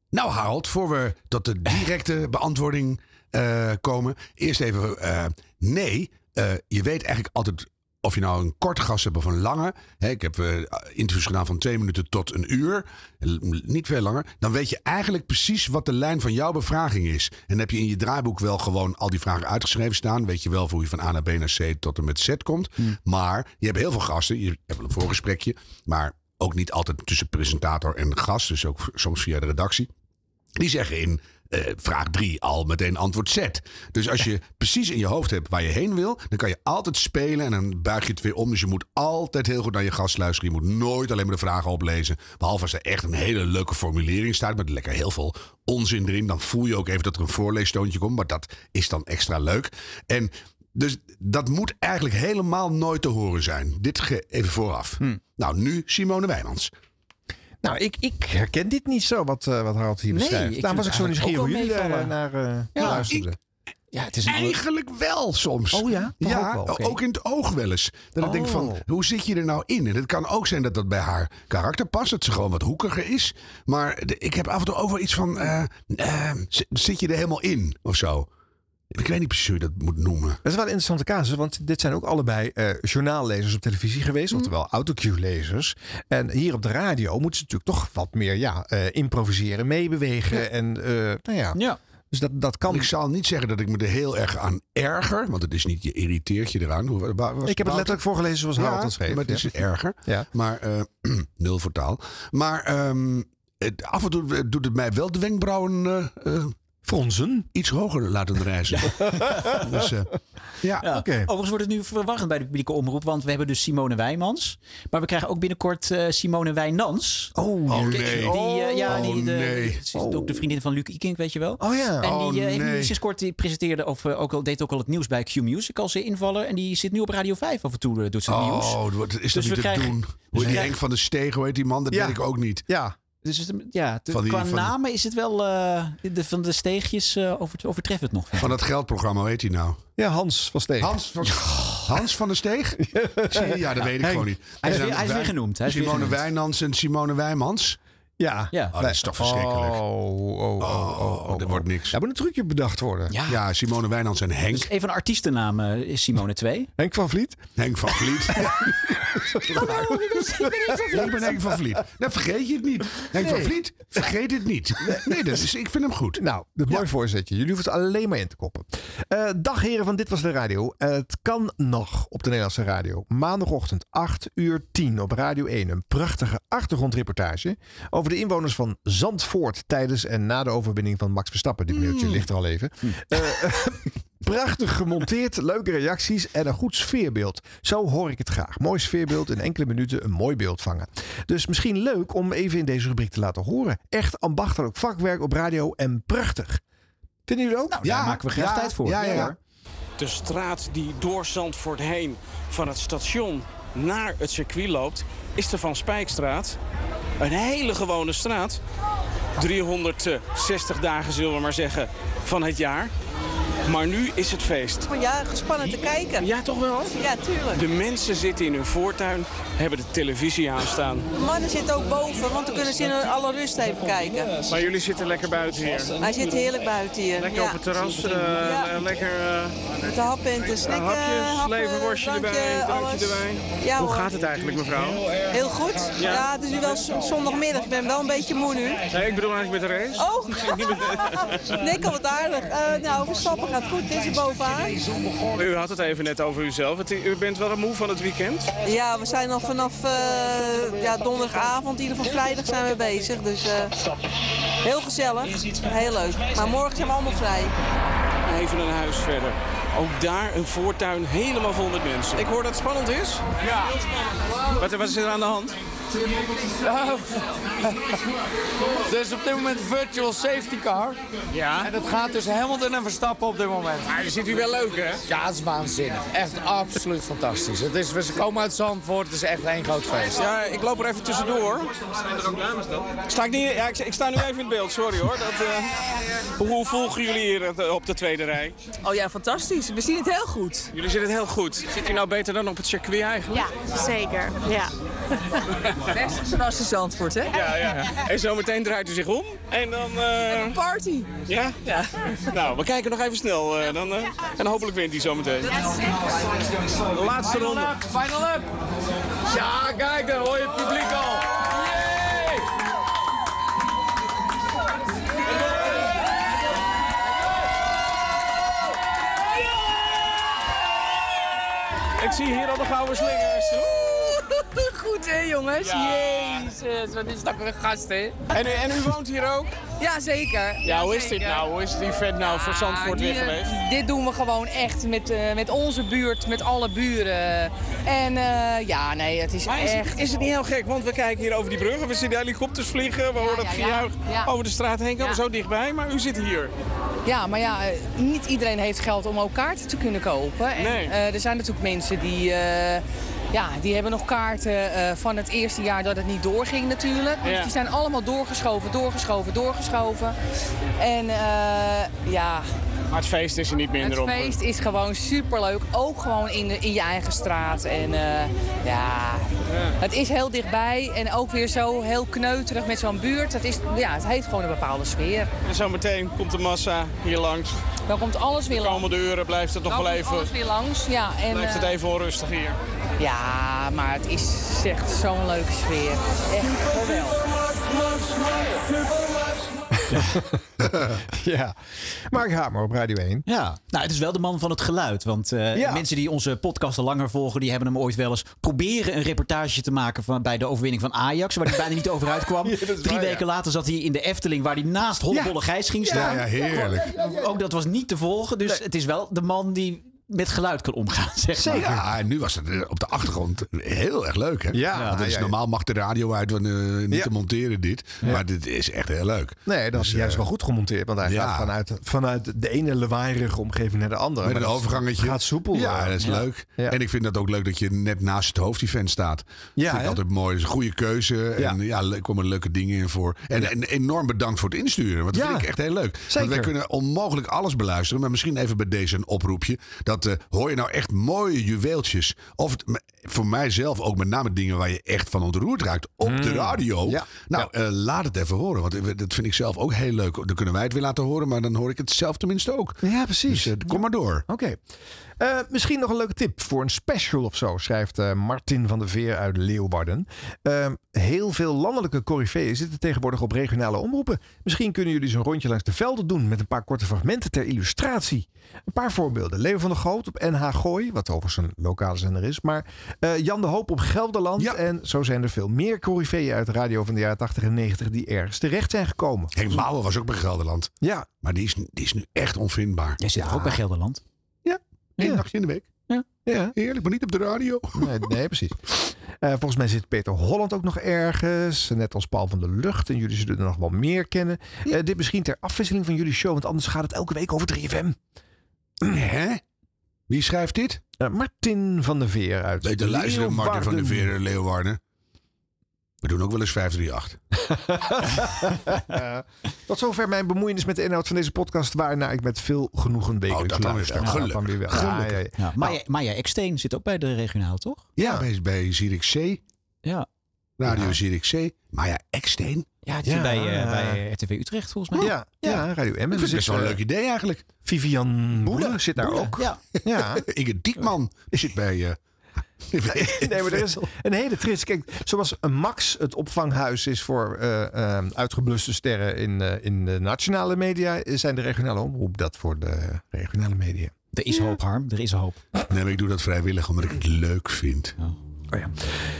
[SPEAKER 3] Nou, Harold, voor we tot de directe beantwoording eh, komen. Eerst even, eh, nee, eh, je weet eigenlijk altijd of je nou een kort gast hebt of een lange. Hè, ik heb eh, interviews gedaan van twee minuten tot een uur. L- niet veel langer. Dan weet je eigenlijk precies wat de lijn van jouw bevraging is. En dan heb je in je draaiboek wel gewoon al die vragen uitgeschreven staan. Weet je wel voor hoe je van A naar B naar C tot en met Z komt. Maar je hebt heel veel gasten. Je hebt wel een voorgesprekje. Maar Ook niet altijd tussen presentator en gast, dus ook soms via de redactie. Die zeggen in eh, vraag 3 al meteen antwoord Z. Dus als je precies in je hoofd hebt waar je heen wil, dan kan je altijd spelen en dan buig je het weer om. Dus je moet altijd heel goed naar je gast luisteren. Je moet nooit alleen maar de vragen oplezen. Behalve als er echt een hele leuke formulering staat met lekker heel veel onzin erin. Dan voel je ook even dat er een voorleestoontje komt, maar dat is dan extra leuk. En dus dat moet eigenlijk helemaal nooit te horen zijn. Dit ge- even vooraf. Nou, nu Simone Wijnands.
[SPEAKER 2] Hm. Nou, ik, ik herken dit niet zo, wat, eh, wat Harald hier
[SPEAKER 3] Nee,
[SPEAKER 2] beschrijft.
[SPEAKER 3] ik
[SPEAKER 2] Daarom was ik
[SPEAKER 3] vind
[SPEAKER 2] zo
[SPEAKER 3] het
[SPEAKER 2] nieuwsgierig hoe jullie
[SPEAKER 3] eigenlijk ook
[SPEAKER 2] daar
[SPEAKER 3] wel
[SPEAKER 2] naar eh,
[SPEAKER 3] Ja,
[SPEAKER 2] luisterden.
[SPEAKER 1] ja, het
[SPEAKER 2] is een-
[SPEAKER 3] Eigenlijk wel soms.
[SPEAKER 2] Oh ja? Toch ook wel, oké.
[SPEAKER 3] ook in het oog wel eens. Dat ik denk van, hoe zit je er nou in? En het kan ook zijn dat dat bij haar karakter past. Dat ze gewoon wat hoekiger is. Maar de- ik heb af en toe ook wel iets van, eh, eh, zi- zit je er helemaal in? Of zo. Ik weet niet precies hoe je dat moet noemen.
[SPEAKER 2] Dat is wel een interessante casus, want dit zijn ook allebei eh, journaallezers op televisie geweest,
[SPEAKER 3] Mm.
[SPEAKER 2] oftewel autocue-lezers. En hier op de radio moeten ze natuurlijk toch wat meer ja, eh, improviseren, meebewegen. En, eh, nou ja.
[SPEAKER 3] Dus dat, dat kan. Ik zal niet zeggen dat ik me er heel erg aan erger. Want het is niet, je irriteert je eraan. Hoe, wa- wa- was
[SPEAKER 2] ik heb het
[SPEAKER 3] Wouter?
[SPEAKER 2] letterlijk voorgelezen zoals
[SPEAKER 3] Ja,
[SPEAKER 2] Harald het schreef.
[SPEAKER 3] Maar het is
[SPEAKER 2] Ja.
[SPEAKER 3] erger. Maar eh, nul voor taal. Maar ehm, het, af en toe eh, doet het mij wel de wenkbrauwen. eh, eh,
[SPEAKER 2] Fronsen?
[SPEAKER 3] Iets hoger laten reizen. dus, eh, ja, oké.
[SPEAKER 1] Overigens wordt het nu verwarrend bij de publieke omroep, want we hebben dus Simone Wijmans. Maar we krijgen ook binnenkort eh, Simone Wijnans.
[SPEAKER 2] Oh,
[SPEAKER 3] nee.
[SPEAKER 1] Die, eh, ja,
[SPEAKER 3] Oh,
[SPEAKER 1] die, de,
[SPEAKER 3] nee.
[SPEAKER 1] ze is ook de vriendin van Luc Ikink, weet je wel.
[SPEAKER 2] Oh ja.
[SPEAKER 1] En
[SPEAKER 2] Oh,
[SPEAKER 1] die eh, heeft nu
[SPEAKER 2] nee.
[SPEAKER 1] sinds kort, die presenteerde of eh, ook al, deed ook al het nieuws bij Q Music als eh, invaller. En die zit nu op Radio 5 af en toe eh, doet ze het nieuws.
[SPEAKER 3] Oh, wat is dat
[SPEAKER 1] we
[SPEAKER 3] niet te
[SPEAKER 1] krijgen-
[SPEAKER 3] doen?
[SPEAKER 1] dus we
[SPEAKER 3] Hoe die
[SPEAKER 1] krijgen-
[SPEAKER 3] Henk van de Steeg, hoe heet die man? Dat
[SPEAKER 1] Ja.
[SPEAKER 3] weet ik ook niet.
[SPEAKER 2] Ja.
[SPEAKER 1] Dus het, ja, de-
[SPEAKER 3] Van die-
[SPEAKER 1] qua
[SPEAKER 3] van-
[SPEAKER 1] namen is het wel. eh, de, van de steegjes eh over, overtreft het nog.
[SPEAKER 3] Van dat geldprogramma, hoe heet hij nou?
[SPEAKER 2] Ja, Hans van Steeg.
[SPEAKER 3] Hans van, Hans van der Steeg? Zie je? Ja, dat weet ik
[SPEAKER 2] Henk.
[SPEAKER 3] gewoon niet.
[SPEAKER 2] Hij is weer-
[SPEAKER 3] En dan
[SPEAKER 2] hij is weer
[SPEAKER 3] Wij-
[SPEAKER 2] genoemd, hij is weer
[SPEAKER 3] Simone
[SPEAKER 2] genoemd.
[SPEAKER 3] Wijnands en Simone Wijmans.
[SPEAKER 2] Ja.
[SPEAKER 3] ja. Oh, dat is toch verschrikkelijk.
[SPEAKER 2] Oh, oh, oh, oh,
[SPEAKER 3] er wordt niks.
[SPEAKER 2] Daar moet een trucje bedacht worden.
[SPEAKER 1] Ja.
[SPEAKER 3] Simone Wijnands en Henk.
[SPEAKER 1] Dus een van de artiestennamen is Simone Oh, 2.
[SPEAKER 2] Henk van Vliet.
[SPEAKER 3] Henk van Vliet.
[SPEAKER 1] Hallo, dit is- ik ben Henk van Vliet.
[SPEAKER 3] Ik ben Henk van Vliet. Dan Nou, vergeet je het niet. Henk van
[SPEAKER 2] Nee.
[SPEAKER 3] Vliet, vergeet het niet. Nee, dat is, ik vind hem goed.
[SPEAKER 2] Nou, de mooi voorzetje. Jullie hoeven het alleen maar in te koppen. Eh, dag heren van Dit Was De Radio. Eh, het kan nog op de Nederlandse radio. Maandagochtend 8 uur 10 op Radio 1. Een prachtige achtergrondreportage over de inwoners van Zandvoort tijdens en na de overwinning van Max Verstappen. Dit mailtje
[SPEAKER 3] Mm.
[SPEAKER 2] ligt er al even. Eh, eh, Prachtig gemonteerd, leuke reacties en een goed sfeerbeeld. Zo hoor ik het graag. Mooi sfeerbeeld, in enkele minuten een mooi beeld vangen. Dus misschien leuk om even in deze rubriek te laten horen. Echt ambachtelijk vakwerk op radio en prachtig. Vinden jullie ook? Nou,
[SPEAKER 1] daar maken we graag tijd voor.
[SPEAKER 2] Ja, ja, ja.
[SPEAKER 27] De straat die door Zandvoort heen van het station naar het circuit loopt, is de Van Spijkstraat. Een hele gewone straat. 360 dagen zullen we maar zeggen van het jaar. Maar nu is het feest.
[SPEAKER 28] Ja, gespannen te kijken.
[SPEAKER 27] Ja, toch wel?
[SPEAKER 28] Ja, tuurlijk.
[SPEAKER 27] De mensen zitten in hun voortuin, hebben de televisie aanstaan.
[SPEAKER 28] De mannen zitten ook boven, want dan kunnen ze in alle rust even kijken.
[SPEAKER 27] Maar jullie zitten lekker buiten hier.
[SPEAKER 28] Hij zit heerlijk buiten hier.
[SPEAKER 27] Lekker
[SPEAKER 28] ja.
[SPEAKER 27] op het terras, eh, eh, lekker... eh,
[SPEAKER 28] Te happen en te snikken.
[SPEAKER 27] hapjes,
[SPEAKER 28] happen,
[SPEAKER 27] leverworstje
[SPEAKER 28] drankje,
[SPEAKER 27] erbij, drankje
[SPEAKER 28] alles.
[SPEAKER 27] erbij.
[SPEAKER 28] Ja,
[SPEAKER 27] Hoe
[SPEAKER 28] hoor.
[SPEAKER 27] gaat het eigenlijk, mevrouw?
[SPEAKER 28] Heel goed.
[SPEAKER 27] Ja.
[SPEAKER 28] Ja. het is nu wel z- zondagmiddag. Ik ben wel een beetje moe nu.
[SPEAKER 27] Nee, ik bedoel eigenlijk met de race.
[SPEAKER 28] Oh, nee, kan wat aardig. Eh, nou, Verstappen gaat goed. Dit is er bovenaan.
[SPEAKER 27] U had het even net over uzelf. Het- u bent wel moe van het weekend.
[SPEAKER 28] Ja, we zijn al vanaf eh, ja, donderdagavond, in ieder geval vrijdag zijn we bezig. Dus eh, heel gezellig, heel leuk. Maar morgen zijn we allemaal vrij.
[SPEAKER 27] Even een huis verder. Ook daar een voortuin helemaal vol met mensen. Ik hoor dat het spannend is. Ja. Wat, wat is er aan de hand? Oh.
[SPEAKER 10] Er
[SPEAKER 27] Dus
[SPEAKER 10] is op dit moment een virtual safety car. Ja. En dat gaat tussen Hamilton en Verstappen op dit moment.
[SPEAKER 27] Ah,
[SPEAKER 10] Maar zit u wel leuk, hè? Ja, het is waanzinnig. Echt absoluut fantastisch. Het is, we komen uit Zandvoort, het is echt één groot feest.
[SPEAKER 27] Ja, ik loop er even tussendoor. Sta ik, niet, ja, ik, ik sta nu even in het beeld, sorry hoor. Dat, eh, hoe, hoe volgen jullie hier het, eh, op de tweede rij?
[SPEAKER 28] Oh ja, fantastisch. We zien het heel goed.
[SPEAKER 27] Jullie zitten heel goed. Zit u nou beter dan op het circuit eigenlijk?
[SPEAKER 28] zeker. Ja. Best zoals in Zandvoort, hè?
[SPEAKER 27] Ja, ja. En zometeen draait u zich om. En dan... eh,
[SPEAKER 28] Party.
[SPEAKER 27] Ja? Ja. Nou, we kijken nog even snel. eh, dan, eh, en hopelijk wint hij zometeen. De laatste
[SPEAKER 10] Final
[SPEAKER 27] ronde.
[SPEAKER 10] Up, final up. Ja, kijk, daar hoor je het publiek al. Yay!
[SPEAKER 27] Ik zie hier al de gouden slingers.
[SPEAKER 28] Goed,
[SPEAKER 21] hè, jongens? Ja. Jezus, wat is dat voor een gast, hè?
[SPEAKER 10] En, u- en u woont hier ook?
[SPEAKER 21] Ja, zeker.
[SPEAKER 10] Ja, hoe is dit nou? Hoe is die vet nou voor Zandvoort weer
[SPEAKER 29] hier-
[SPEAKER 10] geweest?
[SPEAKER 29] Ah, eh, Dit doen we gewoon echt met, eh, met onze buurt, met alle buren. En eh, ja, nee, het is
[SPEAKER 10] Maar is,
[SPEAKER 29] echt...
[SPEAKER 10] het, is het niet heel gek? Want we kijken hier over die bruggen. We zien de helikopters vliegen. We horen dat
[SPEAKER 29] ja, ja.
[SPEAKER 10] gejuich
[SPEAKER 29] Ja.
[SPEAKER 10] over de straat heen komen. Zo dichtbij. Maar u zit hier.
[SPEAKER 29] Ja, maar ja, eh, niet iedereen heeft geld om ook kaarten te kunnen kopen. En,
[SPEAKER 10] Nee.
[SPEAKER 29] eh, er zijn natuurlijk mensen die, eh, ja, die hebben nog kaarten eh, van het eerste jaar dat het niet doorging natuurlijk.
[SPEAKER 21] Ja.
[SPEAKER 29] Dus die zijn allemaal doorgeschoven, doorgeschoven, doorgeschoven. En eh, ja,
[SPEAKER 10] Maar het feest is er niet minder
[SPEAKER 29] het
[SPEAKER 10] om.
[SPEAKER 29] feest is gewoon superleuk. Ook gewoon in, de- in je eigen straat. En eh, ja, het is heel dichtbij. En ook weer zo heel kneuterig met zo'n buurt. Dat is, ja, het heeft gewoon een bepaalde sfeer.
[SPEAKER 10] En zo meteen komt de massa hier langs.
[SPEAKER 29] Dan komt alles weer
[SPEAKER 10] langs. De komende uren blijft het nog
[SPEAKER 29] Dan
[SPEAKER 10] wel
[SPEAKER 29] komt
[SPEAKER 10] even,
[SPEAKER 29] alles weer langs. Ja, en,
[SPEAKER 10] blijft het
[SPEAKER 29] eh,
[SPEAKER 10] even onrustig hier.
[SPEAKER 29] ja, maar het is echt zo'n leuke sfeer. Echt geweldig.
[SPEAKER 2] ja. Mark Hamer op Radio 1.
[SPEAKER 1] Ja, nou, het is wel de man van het geluid. Want eh,
[SPEAKER 2] Ja.
[SPEAKER 1] mensen die onze podcast al langer volgen, die hebben hem ooit wel eens proberen een reportage te maken van, bij de overwinning van Ajax, waar hij bijna niet over uitkwam. Drie
[SPEAKER 2] waar, ja.
[SPEAKER 1] weken later zat hij in de Efteling, waar hij naast Hollebolle
[SPEAKER 2] Ja.
[SPEAKER 1] Gijs ging
[SPEAKER 2] Ja,
[SPEAKER 1] staan.
[SPEAKER 2] ja, heerlijk.
[SPEAKER 1] Ook dat was niet te volgen. Dus het is wel de man die met geluid kan omgaan, zeg maar.
[SPEAKER 3] Ja, en nu was het eh, op de achtergrond heel erg leuk, hè?
[SPEAKER 1] Ja,
[SPEAKER 3] Want het is
[SPEAKER 1] ja, ja.
[SPEAKER 3] normaal mag de radio uit, want eh, niet
[SPEAKER 2] Ja.
[SPEAKER 3] te monteren dit. Maar dit is echt heel leuk. Dus, eh,
[SPEAKER 2] Nee, dat is juist wel goed gemonteerd. Want hij
[SPEAKER 3] ja.
[SPEAKER 2] gaat vanuit, vanuit de ene lawaaierige omgeving naar de andere.
[SPEAKER 3] Met
[SPEAKER 2] Maar
[SPEAKER 3] een
[SPEAKER 2] dat
[SPEAKER 3] overgangetje.
[SPEAKER 2] Gaat soepel.
[SPEAKER 3] Ja,
[SPEAKER 2] eh.
[SPEAKER 3] dat is leuk.
[SPEAKER 2] Ja.
[SPEAKER 3] En ik vind dat ook leuk dat je net naast het hoofdevent staat.
[SPEAKER 2] Ja,
[SPEAKER 3] vind ik
[SPEAKER 2] hè?
[SPEAKER 3] altijd mooi. Dat is een goede keuze. En
[SPEAKER 2] Ja.
[SPEAKER 3] ja, er komen leuke dingen in voor. En, en enorm bedankt voor het insturen. Want dat
[SPEAKER 2] Ja,
[SPEAKER 3] vind ik echt heel leuk. Want wij
[SPEAKER 2] zeker.
[SPEAKER 3] kunnen onmogelijk alles beluisteren. Maar misschien even bij deze een oproepje. Dat eh, hoor je nou echt mooie juweeltjes. Of het, m- voor mijzelf ook met name dingen waar je echt van ontroerd raakt. Op
[SPEAKER 2] Hmm.
[SPEAKER 3] de radio. Nou, eh, laat het even horen. Want eh, dat vind ik zelf ook heel leuk. Dan kunnen wij het weer laten horen. Maar dan hoor ik het zelf tenminste ook.
[SPEAKER 2] Ja, precies.
[SPEAKER 3] Dus, eh, kom maar door.
[SPEAKER 2] Oké. Eh, misschien nog een leuke tip voor een special of zo, schrijft eh, Martin van der Veer uit Leeuwarden. Ehm, heel veel landelijke coryfeeën zitten tegenwoordig op regionale omroepen. Misschien kunnen jullie zo'n rondje langs de velden doen met een paar korte fragmenten ter illustratie. Een paar voorbeelden. Leo van der Goot op NH Gooi, wat overigens een lokale zender is. Maar eh, Jan de Hoop op Gelderland. En zo zijn er veel meer coryfeeën uit de radio van de jaren 80 en 90 die ergens terecht zijn gekomen.
[SPEAKER 3] Henk Mouwen was ook bij Gelderland.
[SPEAKER 2] Ja.
[SPEAKER 3] Maar die is, die is nu echt onvindbaar.
[SPEAKER 1] Jij zit toch ook bij Gelderland?
[SPEAKER 2] Ja.
[SPEAKER 3] Eén nachtje in de week.
[SPEAKER 1] Ja.
[SPEAKER 2] ja.
[SPEAKER 3] Heerlijk, maar niet op de radio.
[SPEAKER 2] Nee, nee precies. Eh, volgens mij zit Peter Holland ook nog ergens. Net als Paul van der Lucht. En jullie zullen er nog wel meer kennen. Eh, dit misschien ter afwisseling van jullie show. Want anders gaat het elke week over 3FM.
[SPEAKER 3] Hè? Wie schrijft dit?
[SPEAKER 2] Eh, Martin van der Veer uit
[SPEAKER 3] Weet je, luisteren, Martin van der
[SPEAKER 2] Leeuwarden.
[SPEAKER 3] Veer en Leeuwarden. We doen ook wel eens 538.
[SPEAKER 2] Tot zover mijn bemoeienis met de inhoud van deze podcast. Waarna ik met veel genoegen wekelijks
[SPEAKER 3] Oh, dat dan weer
[SPEAKER 2] luister.
[SPEAKER 3] wel.
[SPEAKER 2] Ja, dat
[SPEAKER 3] Gelukkig.
[SPEAKER 2] dan weer wel. Ah,
[SPEAKER 3] Gelukkig.
[SPEAKER 2] Ja, ja, ja.
[SPEAKER 1] Ja, Maya, Maya Eksteen zit ook bij de regionaal, toch?
[SPEAKER 3] Ja, bij, bij Zierik C.
[SPEAKER 1] Ja.
[SPEAKER 3] Radio Zierik C. Maar ja, Eksteen.
[SPEAKER 1] Ja, die zit bij, eh, bij RTV Utrecht volgens mij.
[SPEAKER 2] Ja, ja, Radio M. En
[SPEAKER 3] Ik vind
[SPEAKER 2] er
[SPEAKER 3] het
[SPEAKER 2] zit,
[SPEAKER 3] best wel een
[SPEAKER 2] eh,
[SPEAKER 3] leuk idee eigenlijk.
[SPEAKER 2] Vivian Boele zit daar ook.
[SPEAKER 1] Ja.
[SPEAKER 2] Ja.
[SPEAKER 3] Inge Diekman die zit bij... eh,
[SPEAKER 2] Nee, maar er is een hele trist. Kijk, zoals een Max het opvanghuis is voor eh, eh, uitgebluste sterren in, eh, in de nationale media, eh, zijn de regionale omroep dat voor de eh, regionale media.
[SPEAKER 1] Er is hoop, Harm. Er is hoop.
[SPEAKER 3] Nee, maar ik doe dat vrijwillig omdat ik het leuk vind.
[SPEAKER 2] Oh ja.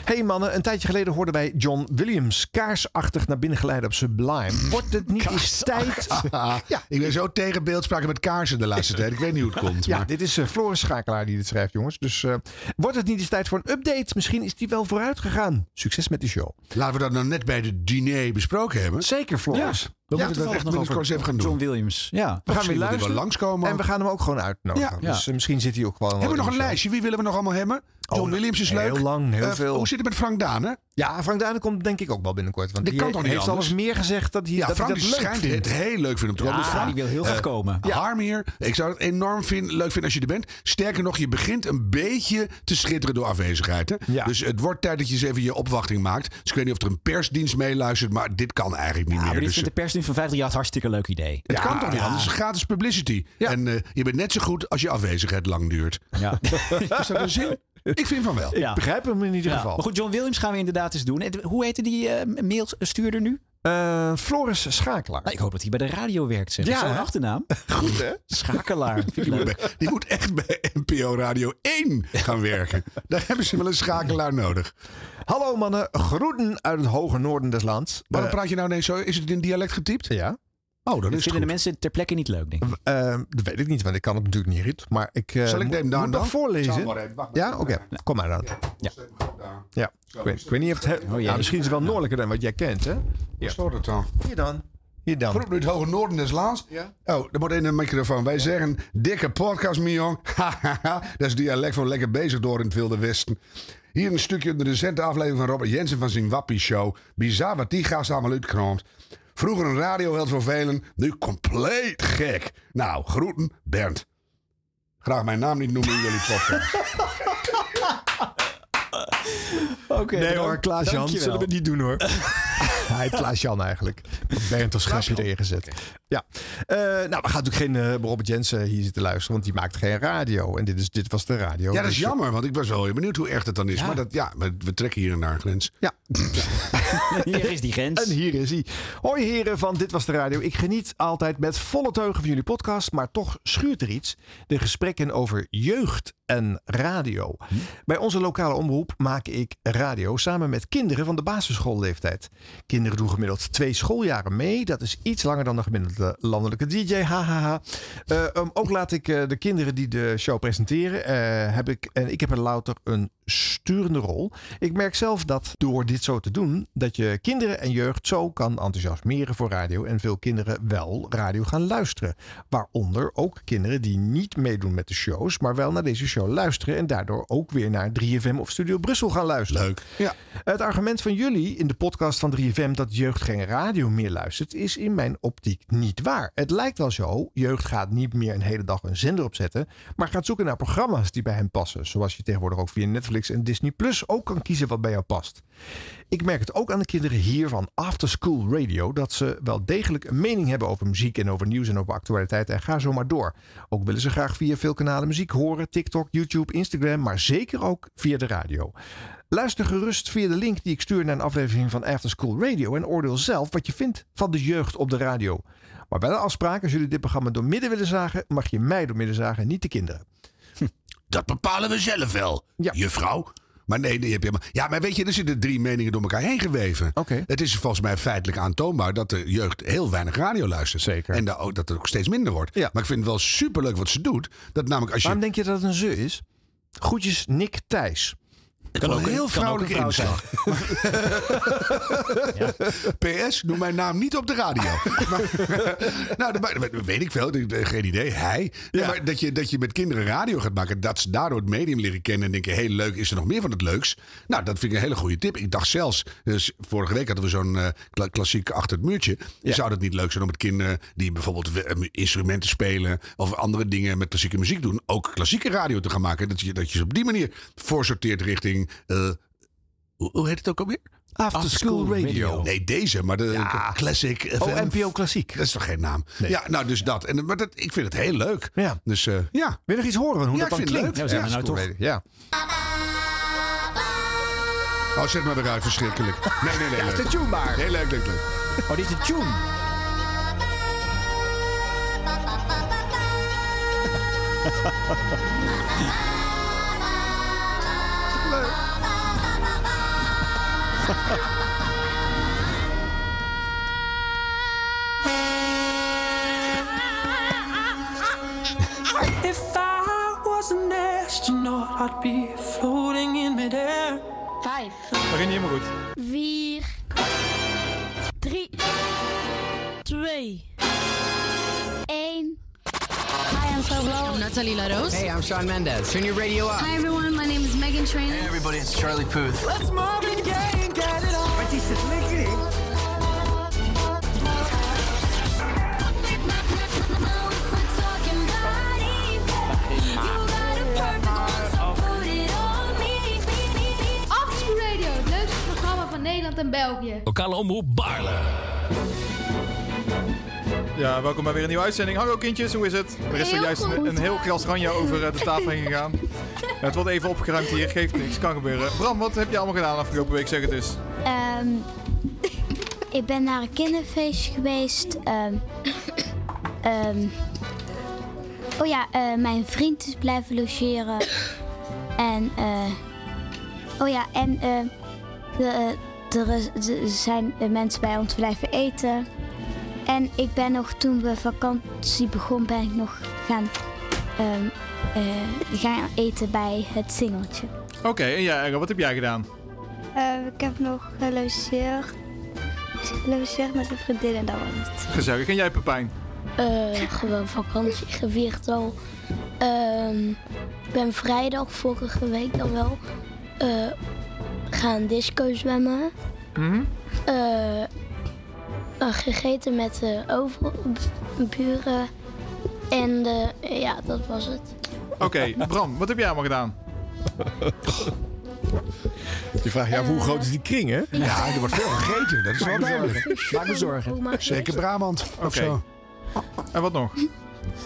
[SPEAKER 2] hey mannen, een tijdje geleden hoorden wij John Williams kaarsachtig naar binnen geleid op Sublime. Wordt het niet eens tijd?
[SPEAKER 3] ja. Ik ben zo tegen beeldspraken met kaarsen de laatste tijd. Ik weet niet hoe het komt.
[SPEAKER 2] Ja,
[SPEAKER 3] maar...
[SPEAKER 2] dit is eh, Floris Schakelaar die dit schrijft, jongens. Dus eh, wordt het niet eens tijd voor een update? Misschien is die wel vooruit gegaan. Succes met die show.
[SPEAKER 3] Laten we dat nou net bij de diner besproken hebben.
[SPEAKER 2] Zeker, Floris.
[SPEAKER 3] Ja,
[SPEAKER 2] We
[SPEAKER 3] we
[SPEAKER 2] moeten
[SPEAKER 3] moeten
[SPEAKER 2] toevallig
[SPEAKER 3] dat echt
[SPEAKER 2] nog
[SPEAKER 3] nog
[SPEAKER 2] over
[SPEAKER 3] eens even gaan doen.
[SPEAKER 1] John Williams. Ja.
[SPEAKER 2] We gaan weer
[SPEAKER 3] Misschien moet hij
[SPEAKER 2] luisteren.
[SPEAKER 3] wel langskomen
[SPEAKER 2] En we gaan hem ook gewoon uitnodigen.
[SPEAKER 3] Ja.
[SPEAKER 2] Dus eh, misschien zit hij ook wel.
[SPEAKER 3] Hebben we
[SPEAKER 2] in
[SPEAKER 3] nog een
[SPEAKER 2] de show.
[SPEAKER 3] lijstje? Wie willen we nog allemaal hebben? John
[SPEAKER 2] Oh,
[SPEAKER 3] Williams is
[SPEAKER 2] heel
[SPEAKER 3] leuk.
[SPEAKER 2] lang, heel
[SPEAKER 3] Eh,
[SPEAKER 2] veel.
[SPEAKER 3] Hoe zit het met Frank Daan? hè?
[SPEAKER 2] Ja, Frank Duinen komt denk ik ook wel binnenkort. Want
[SPEAKER 3] Dit
[SPEAKER 2] die
[SPEAKER 3] kan toch niet
[SPEAKER 2] heeft
[SPEAKER 3] anders?
[SPEAKER 2] alles meer gezegd dat hij
[SPEAKER 3] Ja,
[SPEAKER 2] dat hij
[SPEAKER 3] Frank
[SPEAKER 2] dat
[SPEAKER 3] die
[SPEAKER 2] leuk
[SPEAKER 3] schijnt
[SPEAKER 2] vindt.
[SPEAKER 3] het heel leuk vinden om te
[SPEAKER 2] Ja,
[SPEAKER 3] komen. Dus Frank,
[SPEAKER 2] die wil heel graag
[SPEAKER 3] eh,
[SPEAKER 2] komen.
[SPEAKER 3] Ja. Harm hier. Ik zou het enorm vind, leuk vinden als je er bent. Sterker nog, je begint een beetje te schitteren door afwezigheid. Hè? Dus het wordt tijd dat je eens even je opwachting maakt. Dus ik weet niet of er een persdienst meeluistert, maar dit kan eigenlijk niet
[SPEAKER 1] maar
[SPEAKER 3] meer.
[SPEAKER 1] dit
[SPEAKER 3] Dus,
[SPEAKER 1] vindt de persdienst van 538 hartstikke leuk idee.
[SPEAKER 3] het kan toch niet anders? Het is gratis publicity. En eh, je bent net zo goed als je afwezigheid lang duurt.
[SPEAKER 1] Ja.
[SPEAKER 3] is dat een zin? Ik vind van wel.
[SPEAKER 1] Ja.
[SPEAKER 2] begrijp hem in ieder
[SPEAKER 1] Ja,
[SPEAKER 2] geval.
[SPEAKER 1] Maar goed, John Williams gaan we inderdaad eens doen. En hoe heette die eh mailstuurder nu? Nou,
[SPEAKER 2] Eh, Floris Schakelaar.
[SPEAKER 1] ik hoop dat hij bij de radio werkt. Zeg.
[SPEAKER 2] Ja,
[SPEAKER 1] Zo'n
[SPEAKER 2] hè?
[SPEAKER 1] achternaam.
[SPEAKER 3] Goed, hè?
[SPEAKER 1] Schakelaar. Vind ik
[SPEAKER 3] Die moet,
[SPEAKER 1] leuk.
[SPEAKER 3] bij- die moet echt bij NPO Radio 1 gaan werken. Daar hebben ze wel een schakelaar nodig.
[SPEAKER 2] Hallo mannen, groeten uit het hoge noorden des lands.
[SPEAKER 3] Waarom
[SPEAKER 2] Eh,
[SPEAKER 3] praat je nou ineens zo? Is het in dialect getypt?
[SPEAKER 2] Ja.
[SPEAKER 3] Oh, dan
[SPEAKER 1] Dat
[SPEAKER 3] is het
[SPEAKER 1] vinden de
[SPEAKER 3] goed.
[SPEAKER 1] mensen ter plekke niet leuk, denk ik.
[SPEAKER 2] Eh, dat weet ik niet, want ik kan het natuurlijk niet, Ruud. Maar ik eh,
[SPEAKER 3] Zal ik
[SPEAKER 2] moet-
[SPEAKER 3] hem daar
[SPEAKER 2] moet
[SPEAKER 3] dan?
[SPEAKER 2] nog voorlezen.
[SPEAKER 3] Zal maar even, wacht maar.
[SPEAKER 2] ja, oké. Kom maar dan. Ja. Ja. Ik, weet, ik weet niet of het...
[SPEAKER 3] Oh, jee.
[SPEAKER 2] nou, misschien is het wel noordelijker dan wat jij kent, hè? Ja.
[SPEAKER 3] Stoort het dan?
[SPEAKER 2] Hier dan. Hier dan.
[SPEAKER 3] Groep nu het hoge noorden des Laans. Oh, er moet in de microfoon. Wij zeggen, dikke podcast, Mion. dat is dialect van lekker bezig door in het Wilde Westen. Hier een stukje uit de recente aflevering van Robert Jensen van zijn Wappie Show. Bizar wat die gast allemaal uitkroomt. Vroeger een radioheld voor velen, nu compleet gek. Nou, groeten, Bernd. Graag mijn naam niet noemen in jullie podcast.
[SPEAKER 1] Oké.
[SPEAKER 2] nee
[SPEAKER 1] bedankt.
[SPEAKER 2] hoor, Klaas-Jan.
[SPEAKER 1] Dankjewel.
[SPEAKER 2] Zullen we het niet doen, hoor. Hij heeft Klaas-Jan eigenlijk. Bernd als grapje erin gezet. Ja. Eh, nou, we gaan natuurlijk geen eh, Robert Jensen hier zitten luisteren, want die maakt geen radio. En dit, is, dit was de radio.
[SPEAKER 3] Ja, dat is
[SPEAKER 2] Dus-
[SPEAKER 3] jammer, want ik was wel heel benieuwd hoe echt het dan is.
[SPEAKER 2] Ja.
[SPEAKER 3] Maar dat, ja, we, we trekken hier en daar een grens.
[SPEAKER 2] Ja.
[SPEAKER 1] Hier is die grens.
[SPEAKER 2] En hier is hij. Hoi heren van Dit Was De Radio. Ik geniet altijd met volle teugen van jullie podcast, maar toch schuurt er iets. De gesprekken over jeugd en radio.
[SPEAKER 1] Hm?
[SPEAKER 2] Bij onze lokale omroep maak ik radio samen met kinderen van de basisschoolleeftijd. Kinderen doen gemiddeld twee schooljaren mee. Dat is iets langer dan de gemiddelde landelijke DJ. Hahaha. Eh, um, ook laat ik eh, de kinderen die de show presenteren, eh, heb ik, en ik heb er louter een sturende rol. Ik merk zelf dat door dit zo te doen, dat je kinderen en jeugd zo kan enthousiasmeren voor radio. En veel kinderen wel radio gaan luisteren. Waaronder ook kinderen die niet meedoen met de shows, maar wel naar deze show luisteren. En daardoor ook weer naar 3FM of Studio Brussel gaan luisteren.
[SPEAKER 3] Leuk. Ja.
[SPEAKER 2] Het argument van jullie in de podcast van 3FM dat jeugd geen radio meer luistert, is in mijn optiek niet waar. Het lijkt wel zo, jeugd gaat niet meer een hele dag een zender opzetten, maar gaat zoeken naar programma's die bij hen passen. Zoals je tegenwoordig ook via Netflix en Disney Plus ook kan kiezen wat bij jou past. Ik merk het ook aan de kinderen hier van After School Radio dat ze wel degelijk een mening hebben over muziek en over nieuws en over actualiteit en ga zo maar door. Ook willen ze graag via veel kanalen muziek horen, TikTok, YouTube, Instagram, maar zeker ook via de radio. Luister gerust via de link die ik stuur naar een aflevering van After School Radio en oordeel zelf wat je vindt van de jeugd op de radio. Maar wel een afspraak, als jullie dit programma door midden willen zagen, mag je mij door midden zagen, niet de kinderen.
[SPEAKER 3] Dat bepalen we zelf wel, juffrouw. Maar nee, nee, heb je maar. Ja, maar weet je, er zitten drie meningen door elkaar heen geweven. Het is volgens mij feitelijk aantoonbaar dat de jeugd heel weinig radio luistert. Zeker. En da- ook- dat het ook steeds minder wordt. Maar ik vind het wel superleuk wat ze doet. Dat namelijk als je.
[SPEAKER 2] Waarom denk je dat het een ze is? Groetjes Nick Thijs.
[SPEAKER 3] Ik kan ook een heel vrouwelijke
[SPEAKER 2] vrouw zijn.
[SPEAKER 3] inslag. PS, noem mijn naam niet op de radio. maar, nou, dat ma- dat weet ik veel. dat- eh, Geen idee. Hij. Nee, maar dat, je, dat je met kinderen radio gaat maken. Dat ze daardoor het medium leren kennen. En denken, hey, leuk, is er nog meer van het leuks? Nou, dat vind ik een hele goede tip. Ik dacht zelfs, dus vorige week hadden we zo'n eh, kla- klassiek achter het muurtje. Zou het niet leuk zijn om met kinderen die bijvoorbeeld we- eh, instrumenten spelen. Of andere dingen met klassieke muziek doen. Ook klassieke radio te gaan maken. Dat je, dat je ze op die manier voorsorteert richting... eh, hoe, hoe heet het ook alweer?
[SPEAKER 2] After, School, Radio.
[SPEAKER 3] Nee, deze, maar de Classic. eh,
[SPEAKER 2] Oh,
[SPEAKER 3] FM.
[SPEAKER 2] NPO Klassiek.
[SPEAKER 3] Dat is toch geen naam? Ja, nou, dus dat. En, maar dat, ik vind het heel leuk.
[SPEAKER 2] Ja.
[SPEAKER 3] Dus eh, ja.
[SPEAKER 2] Wil je nog iets horen van hoe
[SPEAKER 3] Ja,
[SPEAKER 2] dat
[SPEAKER 3] ik
[SPEAKER 2] dan
[SPEAKER 3] vind
[SPEAKER 2] klinkt?
[SPEAKER 3] het leuk. Ja, we zijn er nou
[SPEAKER 2] School Radio,
[SPEAKER 3] Oh, zet maar weer uit, verschrikkelijk. Nee, nee, nee.
[SPEAKER 2] Ja,
[SPEAKER 3] leuk.
[SPEAKER 2] is de tune maar.
[SPEAKER 3] Heel leuk, leuk, leuk.
[SPEAKER 1] Oh, dit is de tune.
[SPEAKER 30] If I was an astronaut, I'd be floating in midair. Vijf.
[SPEAKER 7] Begin niet helemaal goed.
[SPEAKER 30] Vier. Drie. Twee. Eén. Hi, I'm Pablo. I'm Natalie LaRose.
[SPEAKER 17] Hey, I'm Sean Mendez. Turn your radio up.
[SPEAKER 30] Hi, everyone. My name is Megan Trainor.
[SPEAKER 17] Hey, everybody, it's Charlie Puth.
[SPEAKER 30] Let's Marvin Gaye and get it on. Wat is het lekker,
[SPEAKER 14] Afspoel Radio, het leukste programma van Nederland en België.
[SPEAKER 8] Lokale omroep Baarle.
[SPEAKER 7] Ja, welkom bij weer een nieuwe uitzending. Hallo kindjes, hoe is het? Er is
[SPEAKER 14] Heel
[SPEAKER 7] zojuist
[SPEAKER 14] goed.
[SPEAKER 7] een, een heel glas ranja over eh, de tafel heen gegaan. Het wordt even opgeruimd hier, geeft niks, kan gebeuren. Bram, wat heb je allemaal gedaan afgelopen week? Zeg het eens.
[SPEAKER 14] Ehm
[SPEAKER 4] Ehm, Ik ben naar een kinderfeestje geweest. Ehm, ehm, oh ja, eh, mijn vriend is blijven logeren. En, eh, oh ja, en eh, de, eh, er is- er zijn eh, mensen bij ons blijven eten. En ik ben nog, toen we vakantie begon, ben ik nog gaan, ehm, eh, gaan eten bij het singeltje.
[SPEAKER 11] Oké, en jij, Ergo, wat heb jij gedaan?
[SPEAKER 16] Eh, ik heb nog gelogeerd. Gelogeerd met een vriendin en dat was het.
[SPEAKER 11] Gezellig. En jij, Pepijn?
[SPEAKER 16] Eh,
[SPEAKER 4] Gewoon vakantie gevierd al. Ehm, ik ben vrijdag vorige week dan wel eh, gaan disco zwemmen.
[SPEAKER 3] Mhm.
[SPEAKER 4] Eh, eh, gegeten met de overburen. En eh, ja, dat was het.
[SPEAKER 11] Oké, Bram, wat heb jij allemaal gedaan?
[SPEAKER 2] Je vraagt je af hoe groot is die kring, hè?
[SPEAKER 11] Ja, er wordt veel gegeten.
[SPEAKER 2] dat is wel duidelijk.
[SPEAKER 11] Maak me zorgen.
[SPEAKER 2] Zeker Brabant of
[SPEAKER 11] Oké.
[SPEAKER 2] zo.
[SPEAKER 11] En wat nog?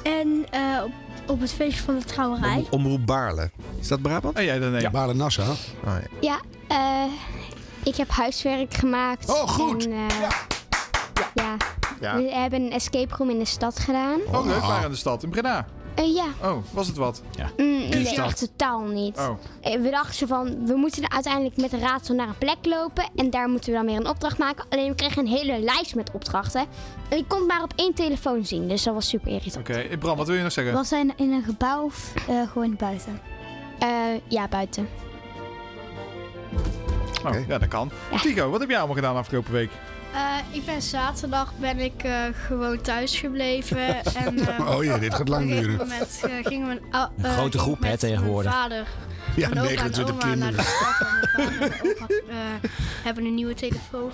[SPEAKER 16] En eh, op, op het feestje van de trouwerij.
[SPEAKER 2] Omroep Baarle. Is dat Brabant?
[SPEAKER 3] Oh,
[SPEAKER 11] En jij dan
[SPEAKER 2] ja. Baarle-Nassau.
[SPEAKER 3] Ah,
[SPEAKER 4] Ja, eh, ik heb huiswerk gemaakt.
[SPEAKER 2] Oh, goed.
[SPEAKER 4] En, eh, ja.
[SPEAKER 11] Ja.
[SPEAKER 4] We hebben een escape room in de stad gedaan.
[SPEAKER 11] Oh, leuk. Waar in de stad? In Breda.
[SPEAKER 4] Eh, ja.
[SPEAKER 11] Oh, was het wat? Ja.
[SPEAKER 4] Mm, nee, echt totaal niet.
[SPEAKER 11] Oh.
[SPEAKER 4] Eh, We dachten zo van, we moeten uiteindelijk met een raadsel naar een plek lopen. En daar moeten we dan weer een opdracht maken. Alleen we kregen een hele lijst met opdrachten. En ik kon het maar op één telefoon zien. Dus dat was super irritant.
[SPEAKER 11] Oké, eh, Bram, wat wil je nog zeggen?
[SPEAKER 4] zijn in een gebouw of eh, gewoon buiten? Eh, ja, buiten.
[SPEAKER 11] Oh, Ja, dat kan. Tico, wat heb jij allemaal gedaan afgelopen week?
[SPEAKER 19] Eh, ik ben zaterdag ben ik eh, gewoon thuis gebleven. en, eh,
[SPEAKER 11] Oh jee, dit gaat lang
[SPEAKER 19] op een
[SPEAKER 11] duren.
[SPEAKER 19] gegeven moment, eh, gingen mijn ou-
[SPEAKER 1] Een
[SPEAKER 19] eh,
[SPEAKER 1] grote
[SPEAKER 19] ging ik
[SPEAKER 1] groep, hè,
[SPEAKER 19] met mijn
[SPEAKER 1] tegenwoordig.
[SPEAKER 19] vader.
[SPEAKER 1] Ja,
[SPEAKER 19] mijn opa en
[SPEAKER 1] 29
[SPEAKER 19] oma naar de
[SPEAKER 1] kinderen.
[SPEAKER 19] stad. En mijn vader en mijn opa eh, hebben een nieuwe telefoon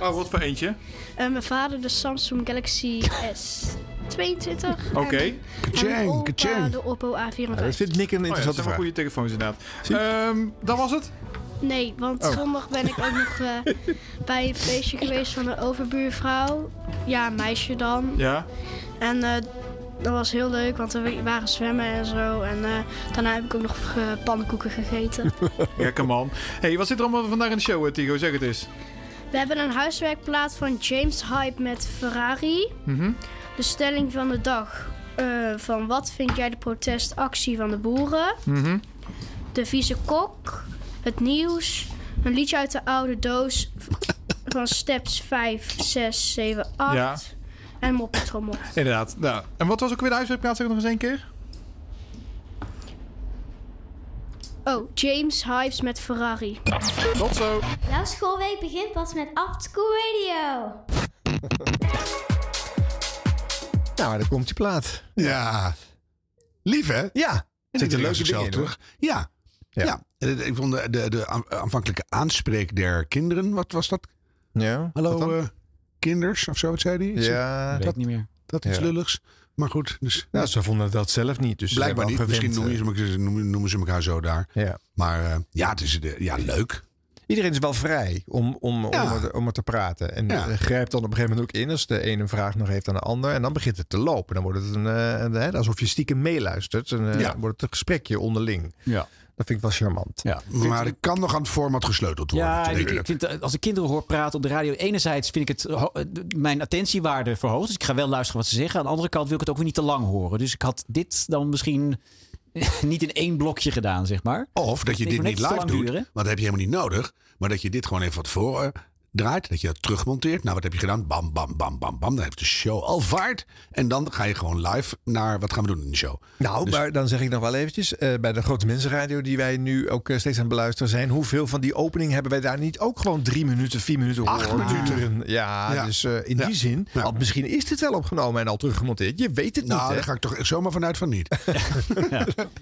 [SPEAKER 11] Oh, wat voor eentje?
[SPEAKER 19] Eh, mijn vader de Samsung Galaxy S22.
[SPEAKER 11] Oké.
[SPEAKER 19] En mijn opa de Oppo A54.
[SPEAKER 11] vindt Nick een
[SPEAKER 2] interessante
[SPEAKER 11] Oh dat zijn wel
[SPEAKER 2] vraag.
[SPEAKER 11] goede telefoons inderdaad. Ehm dat was het?
[SPEAKER 19] Nee, want
[SPEAKER 11] Oh.
[SPEAKER 19] zondag ben ik ook nog eh, bij een feestje geweest van een overbuurvrouw. Ja, een meisje dan.
[SPEAKER 11] Ja.
[SPEAKER 19] En eh, dat was heel leuk, want we waren zwemmen en zo. En eh, daarna heb ik ook nog eh, pannenkoeken gegeten.
[SPEAKER 11] Gekke man. hey, wat zit er allemaal vandaag in de show, eh, Tico? Zeg het eens.
[SPEAKER 19] We hebben een huiswerkplaat van James Hype met Ferrari.
[SPEAKER 11] Mhm.
[SPEAKER 19] De stelling van de dag. eh, van wat vind jij de protestactie van de boeren?
[SPEAKER 11] Mhm.
[SPEAKER 19] De vieze kok. Het nieuws. Een liedje uit de oude doos. Van steps 5, 6, 7, 8.
[SPEAKER 11] Ja.
[SPEAKER 19] En moppetrommel.
[SPEAKER 11] Inderdaad. Nou, en wat was ook weer de huiswerkplaats? Zeg het nog eens één keer.
[SPEAKER 19] Oh, James Hypes met Ferrari.
[SPEAKER 11] Tot zo.
[SPEAKER 4] Jouw schoolweek begint pas met Afterschool Radio.
[SPEAKER 2] Nou, daar komt die plaat.
[SPEAKER 3] Ja. Lief, hè?
[SPEAKER 2] Ja.
[SPEAKER 3] Zit er
[SPEAKER 2] iedereen
[SPEAKER 3] leuk
[SPEAKER 2] zichzelf
[SPEAKER 3] zelf terug.
[SPEAKER 2] terug.
[SPEAKER 3] Ja. Ja. Eh, Ik vond de, de, de aan- aanvankelijke aanspreek der kinderen, wat was dat?
[SPEAKER 2] Ja.
[SPEAKER 3] Hallo, eh, kinders of zo, wat zei hij?
[SPEAKER 2] Ja. Weet
[SPEAKER 3] dat
[SPEAKER 2] niet meer.
[SPEAKER 3] Dat is
[SPEAKER 2] Ja.
[SPEAKER 3] lulligs. Maar goed, dus.
[SPEAKER 2] Nou, ze vonden dat zelf niet. Dus ze
[SPEAKER 3] Blijkbaar
[SPEAKER 2] hebben
[SPEAKER 3] niet.
[SPEAKER 2] al
[SPEAKER 3] Misschien
[SPEAKER 2] gewend, eh,
[SPEAKER 3] noemen, ze, elkaar- noemen, noemen ze elkaar zo daar.
[SPEAKER 2] Ja.
[SPEAKER 3] Maar eh, ja, het is de, ja, leuk.
[SPEAKER 2] Iedereen is wel vrij om, om, om, er, om er te praten. En
[SPEAKER 3] Ja.
[SPEAKER 2] eh, grijpt dan op een gegeven moment ook in als de ene een vraag nog heeft aan de ander. En dan begint het te lopen. Dan wordt het een, eh, een, hè, alsof je stiekem meeluistert. En eh,
[SPEAKER 3] Ja.
[SPEAKER 2] wordt het een gesprekje onderling.
[SPEAKER 1] Ja.
[SPEAKER 2] Dat vind ik wel charmant.
[SPEAKER 1] Ja.
[SPEAKER 3] Maar er kan nog aan het format gesleuteld worden.
[SPEAKER 1] Ja, ik,
[SPEAKER 3] natuurlijk.
[SPEAKER 1] ik vind, eh, als ik kinderen hoor praten op de radio, enerzijds vind ik het ho- eh, d- mijn attentiewaarde verhoogd. Dus ik ga wel luisteren wat ze zeggen. Aan de andere kant wil ik het ook weer niet te lang horen. Dus ik had dit dan misschien niet in één blokje gedaan, zeg maar.
[SPEAKER 3] Of dat je
[SPEAKER 1] Ik
[SPEAKER 3] dit
[SPEAKER 1] moet
[SPEAKER 3] niet
[SPEAKER 1] net te
[SPEAKER 3] live
[SPEAKER 1] lang
[SPEAKER 3] doet,
[SPEAKER 1] duren.
[SPEAKER 3] want dat heb je helemaal niet nodig. Maar dat je dit gewoon even wat voor eh, draait, dat je dat terugmonteert. Nou, wat heb je gedaan? Bam, bam, bam, bam, bam. Dan heb je de show al vaart. En dan ga je gewoon live naar, wat gaan we doen in de show?
[SPEAKER 2] Nou, maar dan zeg ik nog wel eventjes, eh, bij de Grote Mensenradio die wij nu ook eh, steeds aan het beluisteren zijn, hoeveel van die opening hebben wij daar niet ook gewoon drie minuten, vier minuten
[SPEAKER 3] Acht
[SPEAKER 2] horen
[SPEAKER 3] minuten.
[SPEAKER 2] duren? Ja,
[SPEAKER 3] Ja.
[SPEAKER 2] dus eh, in
[SPEAKER 3] Ja.
[SPEAKER 2] die zin, al- misschien is dit wel opgenomen en al teruggemonteerd. Je weet het
[SPEAKER 3] Nou,
[SPEAKER 2] niet.
[SPEAKER 3] daar ga ik toch zomaar vanuit van niet.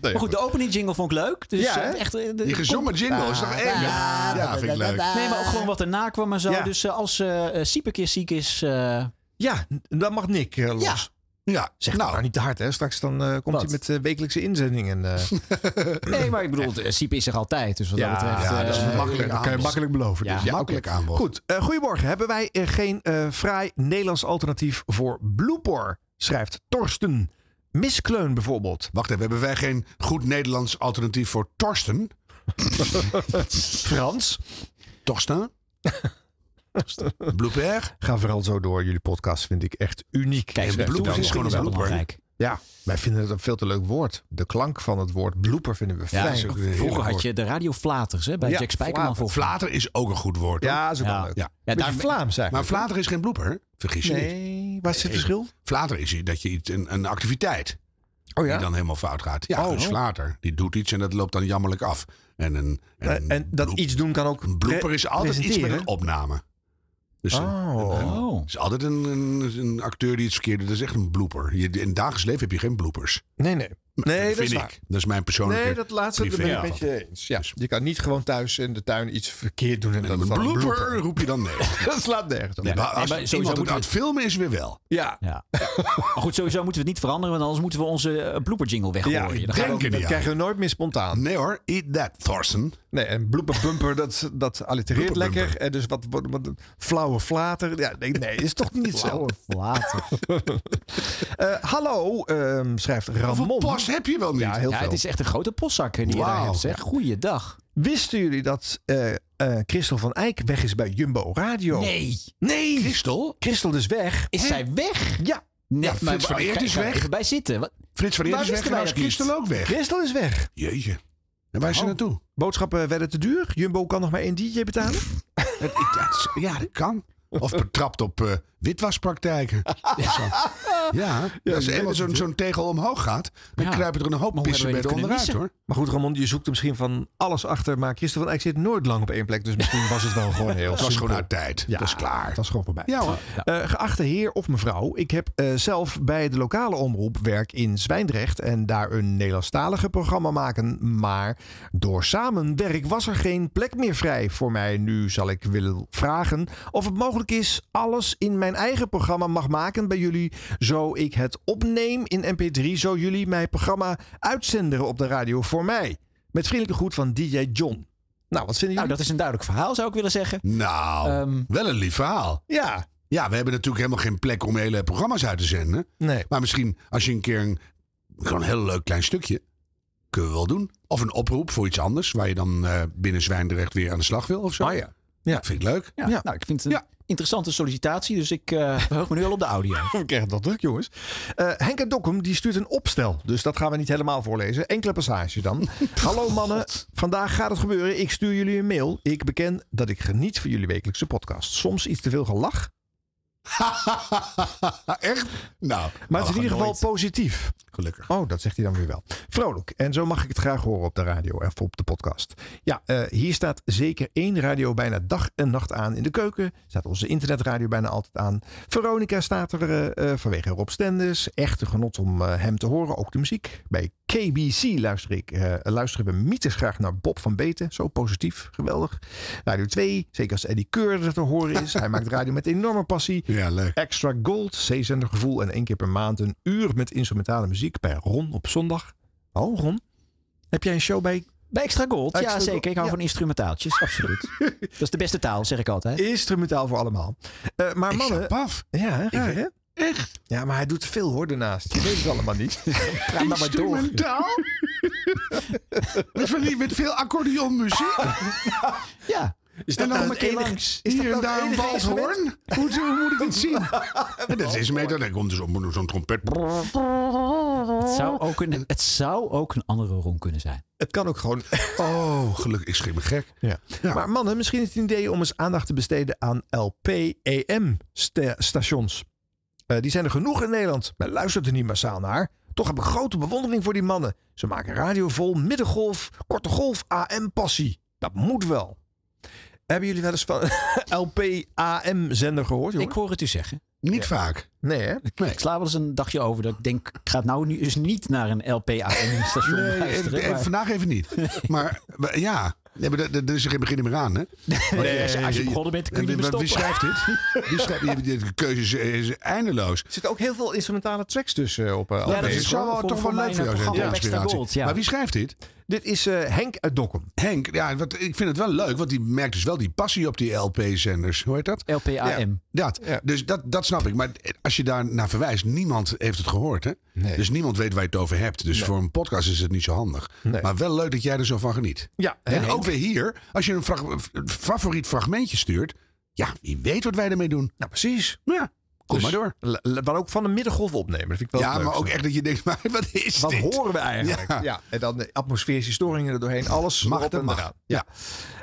[SPEAKER 1] Maar goed, de opening jingle vond ik leuk. Dus
[SPEAKER 2] Ja, hè?
[SPEAKER 1] eh, echt, eh, de-
[SPEAKER 3] Die gezongen
[SPEAKER 1] kom-
[SPEAKER 3] jingle is toch
[SPEAKER 1] Ah,
[SPEAKER 3] één?
[SPEAKER 1] ah,
[SPEAKER 3] Ja,
[SPEAKER 1] ah,
[SPEAKER 3] ja, vind ik leuk.
[SPEAKER 1] Nee, maar ook gewoon wat erna kwam en zo.
[SPEAKER 2] Ja.
[SPEAKER 1] Dus eh, als eh eh, Siep een keer ziek is... eh,
[SPEAKER 2] Ja, dan mag Nick eh, los.
[SPEAKER 3] Ja. ja.
[SPEAKER 2] Zeg nou. maar niet te hard, hè? Straks dan eh, komt hij met eh, wekelijkse inzendingen. eh.
[SPEAKER 1] Nee, maar ik bedoel, eh, Siep is er altijd. Dus wat dat betreft... eh,
[SPEAKER 2] Dat kan je makkelijk beloven.
[SPEAKER 1] Ja,
[SPEAKER 2] dus. oké.
[SPEAKER 1] makkelijk aanbod.
[SPEAKER 2] Goed, eh, goedemorgen. Hebben wij eh, geen eh vrij Nederlands alternatief voor blooper? Schrijft Torsten. Miskleun bijvoorbeeld.
[SPEAKER 3] Wacht even, hebben wij geen goed Nederlands alternatief voor Torsten?
[SPEAKER 2] Frans?
[SPEAKER 3] Torsten? Blooper?
[SPEAKER 2] Ga vooral zo door. Jullie podcast vind ik echt uniek.
[SPEAKER 3] Kijk, een blooper is gewoon een blooper.
[SPEAKER 2] Ja, wij vinden het een veel te leuk woord. De klank van het woord blooper vinden we fijn.
[SPEAKER 1] vroeger had je de radioflaters hè, bij
[SPEAKER 2] Ja,
[SPEAKER 1] Jack Spijkerman
[SPEAKER 2] flater.
[SPEAKER 1] volgens mij.
[SPEAKER 3] Flater is ook een goed woord. hoor.
[SPEAKER 2] Ja, is ook wel leuk. Beetje Vlaams eigenlijk.
[SPEAKER 3] Maar flater is geen blooper, vergis je
[SPEAKER 2] Nee,
[SPEAKER 3] niet.
[SPEAKER 2] waar zit het verschil?
[SPEAKER 3] Flater is dat je iets, een, een activiteit
[SPEAKER 2] oh, ja?
[SPEAKER 3] die dan helemaal fout gaat. Ja,
[SPEAKER 2] Oh,
[SPEAKER 3] een
[SPEAKER 2] oh.
[SPEAKER 3] flater. Die doet iets en dat loopt dan jammerlijk af. En, een, en,
[SPEAKER 2] Eh, En, dat iets doen kan ook.
[SPEAKER 3] Een blooper is altijd iets met
[SPEAKER 2] presenteren.
[SPEAKER 3] een opname. Dus een-
[SPEAKER 2] Oh.
[SPEAKER 3] een- het is altijd een, een, een acteur die iets verkeerd doet. Dat is echt een blooper. Je, in het dagelijks leven heb je geen bloopers.
[SPEAKER 2] Nee, nee. Nee, dat
[SPEAKER 3] vind
[SPEAKER 2] is
[SPEAKER 3] ik.
[SPEAKER 2] waar.
[SPEAKER 3] Dat is mijn persoonlijke
[SPEAKER 2] Nee, dat laatste
[SPEAKER 3] privé
[SPEAKER 2] ben ik een
[SPEAKER 3] aanval.
[SPEAKER 2] beetje eens. Ja, je kan niet gewoon thuis in de tuin iets verkeerd doen. En dan
[SPEAKER 3] Een
[SPEAKER 2] van
[SPEAKER 3] blooper,
[SPEAKER 2] blooper.
[SPEAKER 3] roep je dan nee.
[SPEAKER 2] dat slaat nergens op.
[SPEAKER 3] Nee, maar als
[SPEAKER 1] maar
[SPEAKER 3] iemand
[SPEAKER 1] sowieso
[SPEAKER 3] het
[SPEAKER 1] moeten
[SPEAKER 3] aan het
[SPEAKER 1] we-
[SPEAKER 3] filmen is weer wel.
[SPEAKER 2] Ja.
[SPEAKER 1] Ja. maar goed, sowieso moeten we het niet veranderen, want anders moeten we onze eh, blooper jingle weggooien.
[SPEAKER 2] Ja, ik
[SPEAKER 1] Dan gaan we
[SPEAKER 2] denk
[SPEAKER 1] ook-
[SPEAKER 2] het
[SPEAKER 1] dat krijgen
[SPEAKER 2] niet. Dat krijgen we nooit meer spontaan.
[SPEAKER 3] Nee hoor, eat that, Thorsten.
[SPEAKER 2] Nee, en blooper bumper, dat, dat allitereert
[SPEAKER 3] Blooper
[SPEAKER 2] lekker. En dus wat, wat, wat- flauwe flater. Ja, nee, nee, is toch niet zo.
[SPEAKER 1] Flater.
[SPEAKER 2] Eh, hallo, ehm, schrijft Ramon.
[SPEAKER 3] Hoeveel post heb je wel niet?
[SPEAKER 2] Ja, heel
[SPEAKER 1] Ja,
[SPEAKER 2] veel.
[SPEAKER 1] het is echt een grote postzak eh, die je daar
[SPEAKER 2] Wauw.
[SPEAKER 1] hebt. Zeg. Goeiedag.
[SPEAKER 2] Wisten jullie dat eh eh, Christel van Eijk weg is bij Jumbo Radio?
[SPEAKER 1] Nee.
[SPEAKER 2] Nee.
[SPEAKER 3] Christel?
[SPEAKER 2] Christel is weg.
[SPEAKER 1] Is
[SPEAKER 2] Hè?
[SPEAKER 1] zij weg?
[SPEAKER 2] Ja.
[SPEAKER 1] Nee,
[SPEAKER 3] Ja, Frits van Eert is
[SPEAKER 1] ga- ga
[SPEAKER 3] weg.
[SPEAKER 1] Even bij zitten. Wat-
[SPEAKER 3] Frits van Eert
[SPEAKER 1] Waar
[SPEAKER 3] is weg
[SPEAKER 1] wisten
[SPEAKER 3] en
[SPEAKER 1] wij
[SPEAKER 3] was
[SPEAKER 1] dat niet?
[SPEAKER 3] Christel ook weg.
[SPEAKER 2] Christel is weg.
[SPEAKER 3] Jeetje. En waar is ze
[SPEAKER 2] Oh.
[SPEAKER 3] naartoe?
[SPEAKER 2] Boodschappen werden te duur. Jumbo kan nog maar één DJ betalen.
[SPEAKER 3] Het- ik- ja, het is- ja, dat kan. Of betrapt op eh, witwaspraktijken. Zo. Ja, als
[SPEAKER 2] weet
[SPEAKER 3] eenmaal
[SPEAKER 2] het
[SPEAKER 3] zo'n zo'n tegel omhoog gaat, dan
[SPEAKER 1] Ja.
[SPEAKER 3] kruipen er een hoop
[SPEAKER 1] Maar hoe
[SPEAKER 3] pissen bij
[SPEAKER 1] hebben we dit
[SPEAKER 3] onderuit
[SPEAKER 1] kunnen
[SPEAKER 3] hoor.
[SPEAKER 2] Maar goed, Ramon, je zoekt er misschien van alles achter. Maar Christel van Eijk zit nooit lang op één plek. Dus misschien was het wel gewoon heel
[SPEAKER 3] Het was
[SPEAKER 2] simpel.
[SPEAKER 3] gewoon uit tijd.
[SPEAKER 2] Ja.
[SPEAKER 3] Dat is klaar.
[SPEAKER 2] Het was gewoon voorbij.
[SPEAKER 3] Ja hoor.
[SPEAKER 2] Eh, geachte heer of mevrouw, ik heb eh, zelf bij de lokale omroep werk in Zwijndrecht en daar een Nederlandstalige programma maken. Maar door samenwerk was er geen plek meer vrij voor mij. Nu zal ik willen vragen of het mogelijk is alles in mijn eigen programma mag maken bij jullie. Zo ik het opneem in MP3, zo jullie mijn programma uitzenderen op de radio voor mij. Met vriendelijke groet van DJ John. Nou, wat
[SPEAKER 1] Nou,
[SPEAKER 2] vinden jullie?
[SPEAKER 1] dat is een duidelijk verhaal, zou ik willen zeggen. Ehm,
[SPEAKER 3] Nou, wel een lief verhaal.
[SPEAKER 2] Ja,
[SPEAKER 3] Ja, we hebben natuurlijk helemaal geen plek om hele programma's uit te zenden.
[SPEAKER 2] nee.
[SPEAKER 3] Maar misschien als je een keer een, gewoon een heel leuk klein stukje. Kunnen we wel doen. Of een oproep voor iets anders. Waar je dan eh, binnen Zwijndrecht weer aan de slag wil of zo.
[SPEAKER 2] Ah ja. Ja.
[SPEAKER 3] Dat vind ik leuk.
[SPEAKER 1] Ja,
[SPEAKER 2] Ja.
[SPEAKER 1] Nou, ik vind het een
[SPEAKER 3] Ja.
[SPEAKER 1] interessante sollicitatie, dus ik eh verheug me nu al op de audio.
[SPEAKER 2] We krijgen dat druk, jongens. Eh Henk en Dokkum die stuurt een opstel. Dus dat gaan we niet helemaal voorlezen. Enkele passages dan.
[SPEAKER 1] Oh,
[SPEAKER 2] Hallo mannen, vandaag gaat het gebeuren. Ik stuur jullie een mail. Ik beken dat ik geniet van jullie wekelijkse podcast. Soms iets te veel gelach.
[SPEAKER 3] Echt? Nou,
[SPEAKER 2] Maar het is in ieder geval
[SPEAKER 3] nooit.
[SPEAKER 2] positief.
[SPEAKER 3] Gelukkig.
[SPEAKER 2] Oh, dat zegt hij dan weer wel. Vrolijk. En zo mag ik het graag horen op de radio of op de podcast. Ja, eh, hier staat zeker één radio bijna dag en nacht aan in de keuken. Staat onze internetradio bijna altijd aan. Veronica staat er eh, eh, vanwege Rob Stenders. Echte genot om eh, hem te horen. Ook de muziek. Bij KBC luister ik, eh, luisteren we mythes graag naar Bob van Beten. Zo positief. Geweldig. Radio 2. Zeker als Eddie Keur er te horen is. Hij maakt radio met enorme passie.
[SPEAKER 3] Ja, leuk.
[SPEAKER 2] Extra Gold, zeezender gevoel en één keer per maand een uur met instrumentale muziek bij Ron op zondag. Oh, Ron, heb jij een show bij
[SPEAKER 1] Bij Extra Gold,
[SPEAKER 2] Extra
[SPEAKER 1] ja
[SPEAKER 2] Gold,
[SPEAKER 1] zeker. Ik hou
[SPEAKER 2] ja.
[SPEAKER 1] van instrumentaaltjes, absoluut. dat is de beste taal, zeg ik altijd.
[SPEAKER 2] instrumentaal voor allemaal? Eh, maar mannen,
[SPEAKER 3] Paf.
[SPEAKER 2] ja, raar,
[SPEAKER 3] Ik-
[SPEAKER 2] hè?
[SPEAKER 3] Echt?
[SPEAKER 2] Ja, maar hij doet te veel hoor daarnaast. Je weet het allemaal niet.
[SPEAKER 1] Praat maar maar door.
[SPEAKER 3] Instrumentaal? Met van die- met veel accordeonmuziek?
[SPEAKER 1] Ja.
[SPEAKER 2] Is
[SPEAKER 3] en dan
[SPEAKER 2] nou
[SPEAKER 3] nog een
[SPEAKER 2] het
[SPEAKER 3] keer
[SPEAKER 2] enige-
[SPEAKER 3] langs.
[SPEAKER 2] is dat
[SPEAKER 3] Hier en
[SPEAKER 2] nou het
[SPEAKER 3] daar een
[SPEAKER 2] enige
[SPEAKER 3] walshoorn. Hoe, hoe moet ik dit zien? En dat is mee, dan komt dus op zo'n trompet.
[SPEAKER 1] Het zou, ook een, het zou ook een andere rom kunnen zijn.
[SPEAKER 2] Het kan ook gewoon.
[SPEAKER 3] Oh, gelukkig. Ik schrik me gek.
[SPEAKER 2] Ja. Maar mannen, misschien is het een idee om eens aandacht te besteden aan E LP-EM-stations. Eh, die zijn er genoeg in Nederland. Men luistert er niet massaal naar. Toch heb ik grote bewondering voor die mannen. Ze maken radio vol, middengolf, korte golf, AM-passie. Dat moet wel. Hebben jullie wel eens van LP-AM-zender gehoord? jongen?
[SPEAKER 1] Ik hoor het u zeggen.
[SPEAKER 3] Niet vaak.
[SPEAKER 2] Nee, hè?
[SPEAKER 1] Ik sla wel eens een dagje over dat ik denk, ik ga nou nu eens niet naar een LPAM-station
[SPEAKER 3] Nee,
[SPEAKER 1] luisteren.
[SPEAKER 3] even-
[SPEAKER 1] maar-
[SPEAKER 3] vandaag even niet. Maar we- ja, nee, maar dat, dat dat is er geen begin meer aan, hè?
[SPEAKER 1] Nee, als je- als je begonnen bent, kun je niet meer
[SPEAKER 3] Wie
[SPEAKER 1] stoppen.
[SPEAKER 3] schrijft dit? Wie schrijft, die- die- de keuze is, is eindeloos.
[SPEAKER 2] Er zitten ook heel veel instrumentale tracks tussen op eh,
[SPEAKER 1] Ja,
[SPEAKER 2] LP.
[SPEAKER 1] dat
[SPEAKER 3] Het
[SPEAKER 1] is
[SPEAKER 3] zou
[SPEAKER 1] gewoon
[SPEAKER 3] wel
[SPEAKER 1] voor-
[SPEAKER 3] toch
[SPEAKER 1] voor
[SPEAKER 3] wel
[SPEAKER 1] mij
[SPEAKER 3] leuk voor
[SPEAKER 1] een
[SPEAKER 3] jou zijn, die
[SPEAKER 1] programma. Extra
[SPEAKER 3] inspiratie.
[SPEAKER 1] gold, ja.
[SPEAKER 3] Maar wie schrijft dit?
[SPEAKER 2] Dit is eh, Henk uit Dokkum.
[SPEAKER 3] Henk, ja, wat, ik vind het wel leuk, want die merkt dus wel die passie op die LP-zenders. Hoe heet dat?
[SPEAKER 1] LPAM.
[SPEAKER 3] Dat.
[SPEAKER 2] Ja.
[SPEAKER 3] Dus dat, dat snap ik. Maar als je daar naar verwijst, niemand heeft het gehoord. Hè?
[SPEAKER 2] Nee.
[SPEAKER 3] Dus niemand weet waar je het over hebt. Dus voor een podcast is het niet zo handig.
[SPEAKER 2] Nee.
[SPEAKER 3] Maar wel leuk dat jij er zo van geniet.
[SPEAKER 2] Ja,
[SPEAKER 3] En
[SPEAKER 2] Henk.
[SPEAKER 3] ook weer hier, als je een frag- f- favoriet fragmentje stuurt. Ja, wie weet wat wij ermee doen.
[SPEAKER 2] Nou, precies.
[SPEAKER 3] Ja, kom
[SPEAKER 2] Dus
[SPEAKER 3] maar door.
[SPEAKER 2] l- l- Dan ook van de middengolf opnemen. Dat vind ik wel
[SPEAKER 3] Ja,
[SPEAKER 2] leuk.
[SPEAKER 3] maar ook echt dat je denkt, maar wat is
[SPEAKER 2] Wat
[SPEAKER 3] dit?
[SPEAKER 2] horen we eigenlijk?
[SPEAKER 3] Ja.
[SPEAKER 2] Ja. En dan de atmosferische storingen er doorheen. Alles
[SPEAKER 3] Mag
[SPEAKER 2] erop
[SPEAKER 3] dat
[SPEAKER 2] en
[SPEAKER 3] mag.
[SPEAKER 2] eraan. Ja.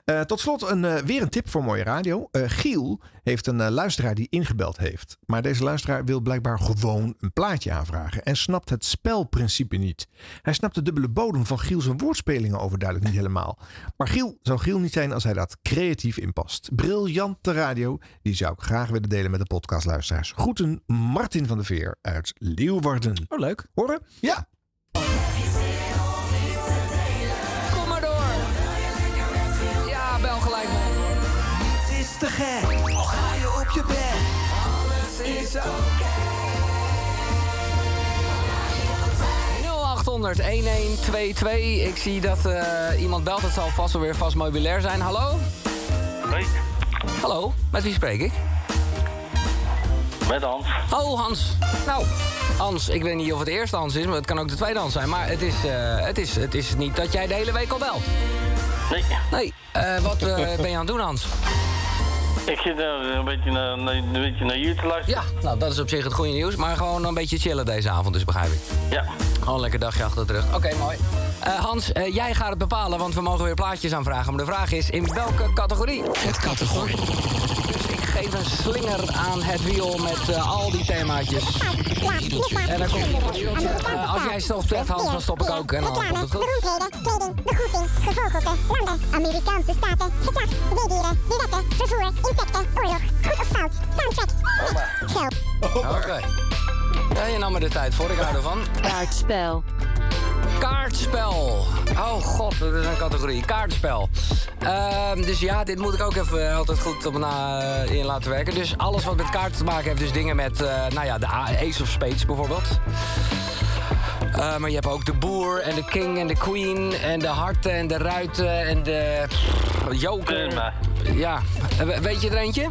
[SPEAKER 2] Eh, tot slot een, eh, weer een tip voor Mooie Radio. Eh, Giel heeft een eh, luisteraar die ingebeld heeft. Maar deze luisteraar wil blijkbaar gewoon een plaatje aanvragen. En snapt het spelprincipe niet. Hij snapt de dubbele bodem van Giel's woordspelingen overduidelijk niet helemaal. Maar Giel zou Giel niet zijn als hij dat creatief inpast. Briljante radio. Die zou ik graag willen delen met de podcastluisteraars. Groeten Martin van der Veer uit Leeuwarden.
[SPEAKER 1] Oh, leuk.
[SPEAKER 2] Horen? Ja.
[SPEAKER 28] Kom maar door. Ja, bel gelijk man.
[SPEAKER 26] Het is te gek, al ga je op je bed. Alles is oké.
[SPEAKER 5] 0800 1122. Ik zie dat eh, iemand belt. Het zal vast wel weer vast meubilair zijn. Hallo?
[SPEAKER 6] Hoi,
[SPEAKER 5] Hallo? Met wie spreek ik?
[SPEAKER 6] met Hans.
[SPEAKER 5] Oh, Hans. Nou, Hans, ik weet niet of het de eerste Hans is, maar het kan ook de tweede Hans zijn. Maar het is, eh, het is, het is niet dat jij de hele week al belt.
[SPEAKER 6] Nee.
[SPEAKER 5] Nee. Eh, wat eh, ben je aan het doen, Hans?
[SPEAKER 6] Ik zit eh, een beetje naar, naar- een beetje naar jullie te luisteren.
[SPEAKER 5] Nou, dat is op zich het goede nieuws. Maar gewoon een beetje chillen deze avond, dus begrijp ik.
[SPEAKER 6] Ja.
[SPEAKER 5] Al een lekker dagje achter de rug. Oké, mooi. Eh, Hans, eh, jij gaat het bepalen, want we mogen weer plaatjes aanvragen. Maar de vraag is, in welke categorie? Het categorie. Dus ik geef een slinger aan het wiel met eh, al die themaatjes. En dan komt Eh, Als jij stopt, Hans, dan stop ik ook. En dan komt het goed.
[SPEAKER 9] nou, Beroemdheden, kleding, begroeting, gevogelte, landen, Amerikaanse staten, gezag, weduwen, duetten, vervoer, insecten, oorlog, goed of fout, soundtracks, hits, geld.
[SPEAKER 5] Oké. Ja, je nam er de tijd voor, ik hou ervan. Kaartspel. Kaartspel. Oh god, dat is een categorie. Kaartspel. Ehm, dus ja, dit moet ik ook even eh, altijd goed op na, eh, in laten werken. Dus alles wat met kaarten te maken heeft, dus dingen met, eh, nou ja, de A- Ace of Spades bijvoorbeeld. Eh, maar je hebt ook de boer en de king en de queen en de harten en de ruiten en de pff, joker. Ja, Eh, we- weet je er eentje?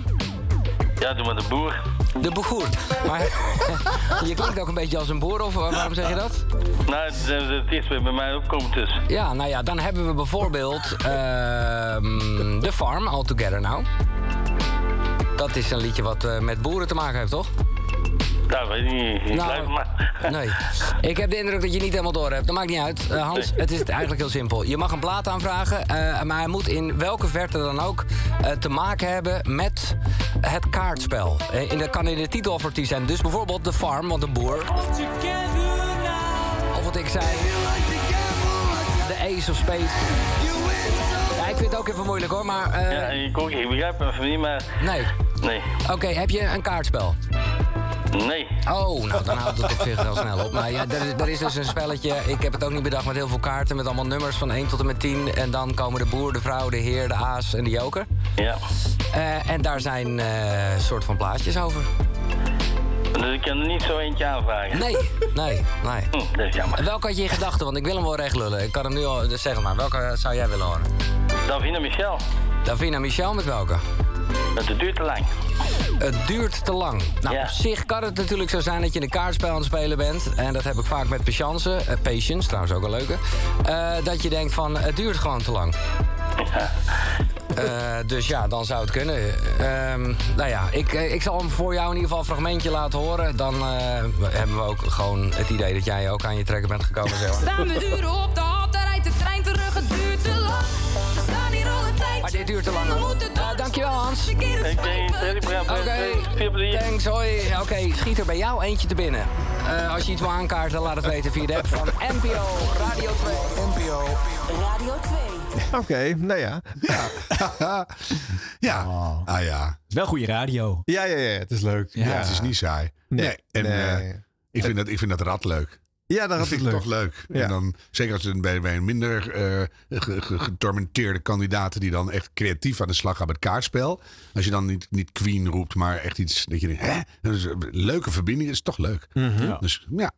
[SPEAKER 6] Ja, doe maar de boer.
[SPEAKER 5] De boer. Maar je klinkt ook een beetje als een boer, of eh, waarom zeg je dat?
[SPEAKER 6] Nou, het, is- het is weer bij mij opkomt dus.
[SPEAKER 5] Ja, nou ja, dan hebben we bijvoorbeeld ehm The Farm All Together Now. Dat is een liedje wat eh, met boeren te maken heeft, toch?
[SPEAKER 6] Nou, weet ik
[SPEAKER 5] Mm,
[SPEAKER 6] niet. Ik blijf maar.
[SPEAKER 5] Nee. Ik heb de indruk dat je niet helemaal door hebt. Dat maakt niet uit. Eh, Hans, het is eigenlijk heel simpel. Je mag een plaat aanvragen, eh, maar hij moet in welke verte dan ook eh, te maken hebben met het kaartspel. Eh, en dat kan in de titel of artiest zijn. Dus bijvoorbeeld The Farm, want een boer. Of wat ik zei. De Ace of Spades. Ja, ik vind het ook even moeilijk hoor, maar... eh,
[SPEAKER 6] Ja, ik ook. Ik begrijp me van niet, maar...
[SPEAKER 5] Nee.
[SPEAKER 6] Nee.
[SPEAKER 5] Oké, heb je een kaartspel?
[SPEAKER 6] Nee.
[SPEAKER 5] Oh, nou dan houdt het op zich wel snel op. Maar ja, er, is- er is dus een spelletje, ik heb het ook niet bedacht, met heel veel kaarten... met allemaal nummers van 1 tot en met 10. En dan komen de boer, de vrouw, de heer, de aas en de joker.
[SPEAKER 6] Ja.
[SPEAKER 5] Eh, en daar zijn eh, soort van plaatjes over.
[SPEAKER 6] Dus ik kan er niet zo eentje aanvragen.
[SPEAKER 5] Nee, nee, nee.
[SPEAKER 16] 嗯
[SPEAKER 6] Hm, dat is jammer.
[SPEAKER 5] Welke had je in gedachten? Want ik wil hem wel recht lullen. Ik kan hem nu al... Dus zeg het maar, welke zou jij willen horen?
[SPEAKER 6] Davina Michel.
[SPEAKER 5] Davina Michel met welke?
[SPEAKER 6] Het duurt te lang.
[SPEAKER 5] Het duurt te lang. Nou, op zich kan het natuurlijk zo zijn dat je een kaartspel aan het spelen bent. En dat heb ik vaak met patience. eh, patience, trouwens ook een leuke. eh, dat je denkt van, het duurt gewoon te lang. Eh, dus ja, dan zou het kunnen. Ehm, nou ja, ik, eh, ik zal hem voor jou in ieder geval een fragmentje laten horen. Dan eh, hebben we ook gewoon het idee dat jij ook aan je trekker bent gekomen. Zeg maar.
[SPEAKER 20] Staan we uren op de hap, daar rijdt de trein terug, het duurt te lang. We staan hier al een tijd.
[SPEAKER 5] Maar dit duurt te lang. Eh, dankjewel, Hans. Ik Oké, thanks, hoi. Oké, schiet er bij jou eentje te binnen. Eh, als je iets wil aankaarten, laat het weten via de app van NPO Radio 2. NPO Radio 2.
[SPEAKER 2] Oké, nou ja. Ja.
[SPEAKER 3] ja. Ah ja. Het
[SPEAKER 1] is wel goede radio.
[SPEAKER 2] Ja, ja, ja. Het is leuk.
[SPEAKER 3] Ja, het is niet saai.
[SPEAKER 2] Nee.
[SPEAKER 3] Nee. En
[SPEAKER 2] Nee.
[SPEAKER 3] eh, ik, vind dat, ik vind dat rad leuk.
[SPEAKER 2] Ja, dat rad
[SPEAKER 3] vind
[SPEAKER 2] is
[SPEAKER 3] ik
[SPEAKER 2] leuk.
[SPEAKER 3] toch leuk.
[SPEAKER 2] Ja.
[SPEAKER 3] En dan, zeker als het bij, bij een minder eh, ge- ge- getormenteerde kandidaten die dan echt creatief aan de slag gaan met kaarspel. Als je dan niet, niet Queen roept, maar echt iets dat je denkt, hè? Dat is een leuke verbinding, dat is toch leuk.
[SPEAKER 2] Mhm.
[SPEAKER 3] Dus ja.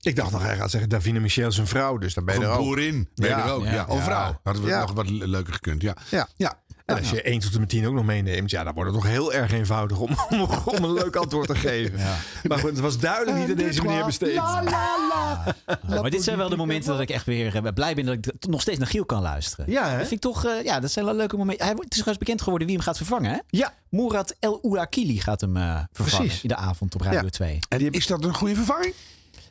[SPEAKER 2] Ik dacht nog, hij gaat zeggen Davina Michel zijn vrouw, dus dan ben je
[SPEAKER 3] Of
[SPEAKER 2] er
[SPEAKER 3] een
[SPEAKER 2] ook.
[SPEAKER 3] boerin, ben je er ook. Ja, of vrouw. Hadden we
[SPEAKER 2] Ja.
[SPEAKER 3] nog wat le- leuker gekund, ja.
[SPEAKER 2] Ja. ja. En als je 1 tot en met 10 ook nog meeneemt, ja, dan wordt het toch heel erg eenvoudig om, om, om een leuk antwoord te geven. Maar goed, het was duidelijk niet aan
[SPEAKER 3] Eh,
[SPEAKER 2] deze manier besteed.
[SPEAKER 1] maar dit zijn wel de momenten dat ik echt weer eh, blij ben dat ik t- nog steeds naar Giel kan luisteren.
[SPEAKER 2] Ja, hè?
[SPEAKER 1] dat vind ik toch, eh, ja, dat zijn wel leuke momenten. Hij wordt, het is trouwens bekend geworden wie hem gaat vervangen, hè?
[SPEAKER 2] Ja.
[SPEAKER 1] Murat El Ouakili gaat hem eh, vervangen
[SPEAKER 2] Precies.
[SPEAKER 1] in de avond op Radio
[SPEAKER 2] Ja.
[SPEAKER 1] 2.
[SPEAKER 3] En is dat een goede vervanging?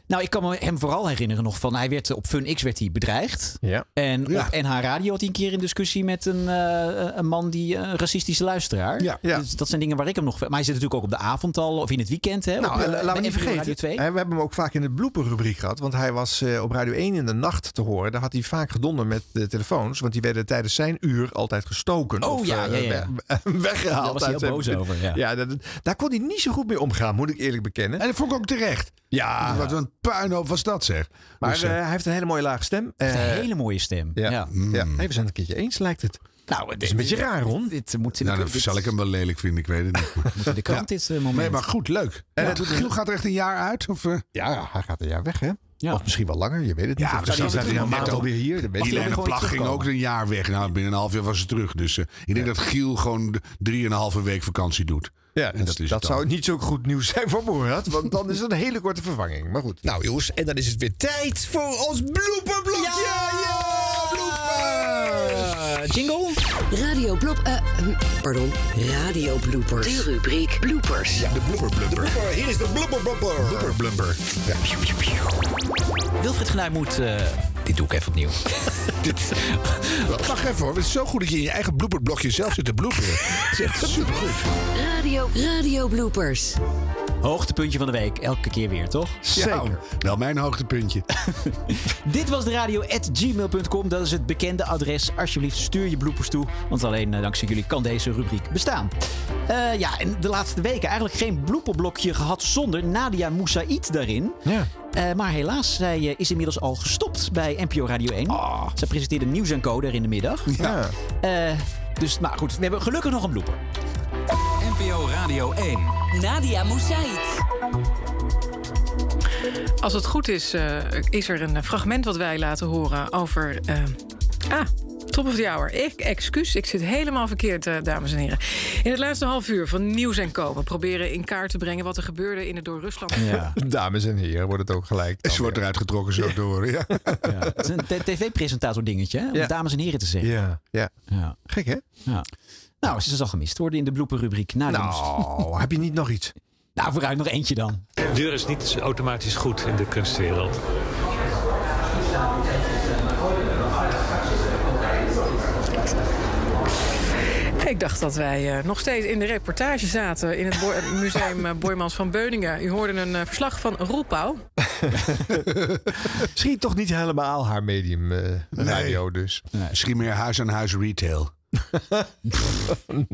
[SPEAKER 1] Nou, ik kan me hem vooral herinneren nog van, hij werd eh, op FunX werd hij bedreigd.
[SPEAKER 2] Ja.
[SPEAKER 1] En op NH Radio had hij een keer een discussie met een, eh, een man die eh, een racistische luisteraar.
[SPEAKER 2] Ja. Ja.
[SPEAKER 1] Dus dat zijn dingen waar ik hem nog... Maar hij zit natuurlijk ook op de avond al of in het weekend. Hè, op,
[SPEAKER 2] Nou,
[SPEAKER 1] eh,
[SPEAKER 2] en la-
[SPEAKER 1] bij
[SPEAKER 2] laten we niet
[SPEAKER 1] NPO Radio 2.
[SPEAKER 2] vergeten. hè, We hebben hem ook vaak in de blooperrubriek gehad. Want hij was eh, op Radio 1 in de nacht te horen. Daar had hij vaak gedonder met de telefoons. Want die werden tijdens zijn uur altijd gestoken.
[SPEAKER 1] Oh,
[SPEAKER 2] of,
[SPEAKER 1] ja,
[SPEAKER 2] eh,
[SPEAKER 1] ja, ja.
[SPEAKER 2] we- Weggehaald.
[SPEAKER 1] Daar was hij
[SPEAKER 2] uit
[SPEAKER 1] heel
[SPEAKER 2] zijn-
[SPEAKER 1] boos over, ja.
[SPEAKER 2] dat, daar kon hij niet zo goed mee omgaan, moet ik eerlijk bekennen.
[SPEAKER 3] En dat vond ik ook terecht.
[SPEAKER 2] Ja.
[SPEAKER 3] Wat een puinhoop was dat, zeg.
[SPEAKER 2] Maar
[SPEAKER 3] Dus,
[SPEAKER 2] eh,
[SPEAKER 3] eh,
[SPEAKER 2] hij heeft een hele mooie lage stem.
[SPEAKER 1] Hij heeft
[SPEAKER 2] Eh,
[SPEAKER 1] een hele mooie stem.
[SPEAKER 2] Ja.
[SPEAKER 1] ja.
[SPEAKER 2] ja.
[SPEAKER 3] Mm.
[SPEAKER 2] Nee, we zijn het een keertje eens, lijkt het.
[SPEAKER 1] Nou, het
[SPEAKER 2] is een beetje raar, Ron.
[SPEAKER 1] Dit, moet in
[SPEAKER 3] nou, dan zal ik hem wel lelijk vinden, ik weet het niet.
[SPEAKER 1] Moet in de krant dit eh, moment.
[SPEAKER 3] Nee, maar goed, leuk.
[SPEAKER 2] En
[SPEAKER 3] En
[SPEAKER 2] het-
[SPEAKER 3] Giel gaat er echt een jaar uit? Of, eh?
[SPEAKER 2] Ja, hij gaat een jaar weg, hè?
[SPEAKER 1] Ja.
[SPEAKER 2] Of misschien wel langer, je weet het
[SPEAKER 3] Ja,
[SPEAKER 2] niet. Misschien
[SPEAKER 3] precies.
[SPEAKER 2] staat hij een maand alweer hier. dat weet ik
[SPEAKER 3] Helene
[SPEAKER 2] niet.
[SPEAKER 3] Plag ging ook een jaar weg. Nou, binnen een half jaar was ze terug. Dus eh, ik denk dat Giel gewoon d- drieënhalve week vakantie doet.
[SPEAKER 2] Ja, dus
[SPEAKER 3] en dat, is
[SPEAKER 2] Dat zou niet zo goed nieuws zijn voor Borat, want dan is het een hele korte vervanging. Maar goed.
[SPEAKER 27] Nou jongens, en dan is het weer tijd voor ons blooperblokje. Ja,
[SPEAKER 1] jingle.
[SPEAKER 18] Radio blop... eh, pardon, radio bloopers. De rubriek bloopers.
[SPEAKER 27] Ja, de blooperblumper. Hier is de blooperblumper.
[SPEAKER 3] Blumper.
[SPEAKER 1] Wilfried Genuij moet... eh, dit doe ik even opnieuw.
[SPEAKER 3] Dit, wacht even hoor. Het is zo goed dat je in je eigen blooperblokje zelf zit te bloeperen. Het is echt supergoed.
[SPEAKER 18] Radio, radio bloopers.
[SPEAKER 1] Hoogtepuntje van de week. Elke keer weer, toch?
[SPEAKER 3] Ja, wel mijn hoogtepuntje.
[SPEAKER 1] Dit was de radio at gmail.com. Dat is het bekende adres. Alsjeblieft, stuur je bloepers toe. Want alleen eh, dankzij jullie kan deze rubriek bestaan. Eh, ja, en de laatste weken eigenlijk geen bloeperblokje gehad zonder Nadia Moussaïd daarin.
[SPEAKER 2] Ja.
[SPEAKER 1] Eh, maar helaas, zij eh, is inmiddels al gestopt bij NPO Radio 1. Zij presenteerde Nieuws en Co daar in de middag.
[SPEAKER 2] Ja.
[SPEAKER 1] Eh, dus, maar goed, we hebben gelukkig nog een blooper.
[SPEAKER 21] NPO Radio 1.
[SPEAKER 22] Nadia Moussaïd. Als het goed is, eh, is er een fragment wat wij laten horen over. eh, ah, top of the hour. Ik, excuus, ik zit helemaal verkeerd, eh, dames en heren. In het laatste half uur van Nieuws en Co. We proberen in kaart te brengen wat er gebeurde in het door Rusland.
[SPEAKER 2] Dames en heren, wordt het ook gelijk.
[SPEAKER 3] Ze wordt eruit getrokken zo door. Ja.
[SPEAKER 1] Het is een tv-presentator dingetje, hè? om
[SPEAKER 2] Ja.
[SPEAKER 1] dames en heren te zeggen.
[SPEAKER 2] Ja, ja.
[SPEAKER 1] Ja.
[SPEAKER 2] Gek, hè?
[SPEAKER 1] Ja. Nou, ze zal gemist worden in de blooperrubriek. Nou,
[SPEAKER 2] Nou, heb je niet nog iets?
[SPEAKER 1] Nou, vooruit nog eentje dan.
[SPEAKER 24] Deur is niet automatisch goed in de kunstwereld.
[SPEAKER 22] Ik dacht dat wij eh, nog steeds in de reportage zaten in het Boy- eh, museum eh, Boijmans van Beuningen. U hoorde een eh, verslag van Roepau.
[SPEAKER 2] Misschien toch niet helemaal haar medium eh, radio dus.
[SPEAKER 3] Misschien meer huis-aan-huis retail.
[SPEAKER 1] Waar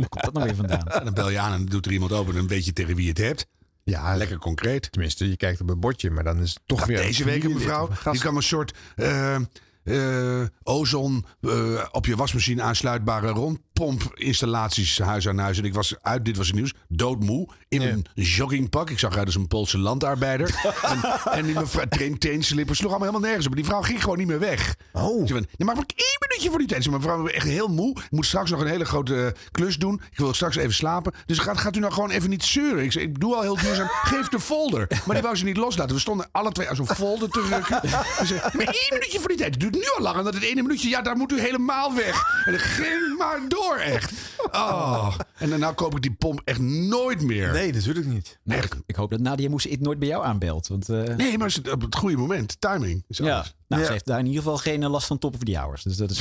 [SPEAKER 1] komt dat nou weer vandaan?
[SPEAKER 3] Dan bel je aan en doet er iemand open. Dan weet je tegen wie je het hebt.
[SPEAKER 2] Ja,
[SPEAKER 3] lekker concreet.
[SPEAKER 2] Tenminste, je kijkt op een bordje, maar dan is het toch
[SPEAKER 3] Nou,
[SPEAKER 2] weer...
[SPEAKER 3] deze week een mevrouw, die kan een soort eh, eh, ozon eh, op je wasmachine aansluitbare rondpompinstallaties huis aan huis. En ik was uit, dit was het nieuws, doodmoe in een joggingpak. Ik zag uit als een Poolse landarbeider. en, en die mevrouw, teen, teenslippers, sloeg allemaal helemaal nergens op. Maar die vrouw ging gewoon niet meer weg. Oh. Ze van, nee, maar ik één minuutje voor die tijd. Ze zei, mevrouw, ik ben echt heel moe. Ik moet straks nog een hele grote eh, klus doen. Ik wil straks even slapen. Dus gaat, gaat u nou gewoon even niet zeuren? Ik zei, ik doe al heel duurzaam. Geef de folder. Maar die wou ze niet loslaten. We stonden alle twee aan zo'n folder te rukken. Ze zei, maar één minuutje voor die tijd. Het duurt nu al lang. En dat het ene minuutje, ja, daar moet u helemaal weg. En dat ging maar door, echt. Oh. En daarna koop ik die pomp echt nooit meer.
[SPEAKER 2] Nee, natuurlijk niet.
[SPEAKER 1] Echt. Nou, Ik hoop dat Nadia Moes het nooit bij jou aanbelt. Want, eh,
[SPEAKER 3] Nee, maar ze- op het goede moment. Timing. Is
[SPEAKER 1] ja.
[SPEAKER 3] alles.
[SPEAKER 1] Nou,
[SPEAKER 3] Ja.
[SPEAKER 1] ze heeft daar in ieder geval geen eh, last van top of the hours. Dus dat is...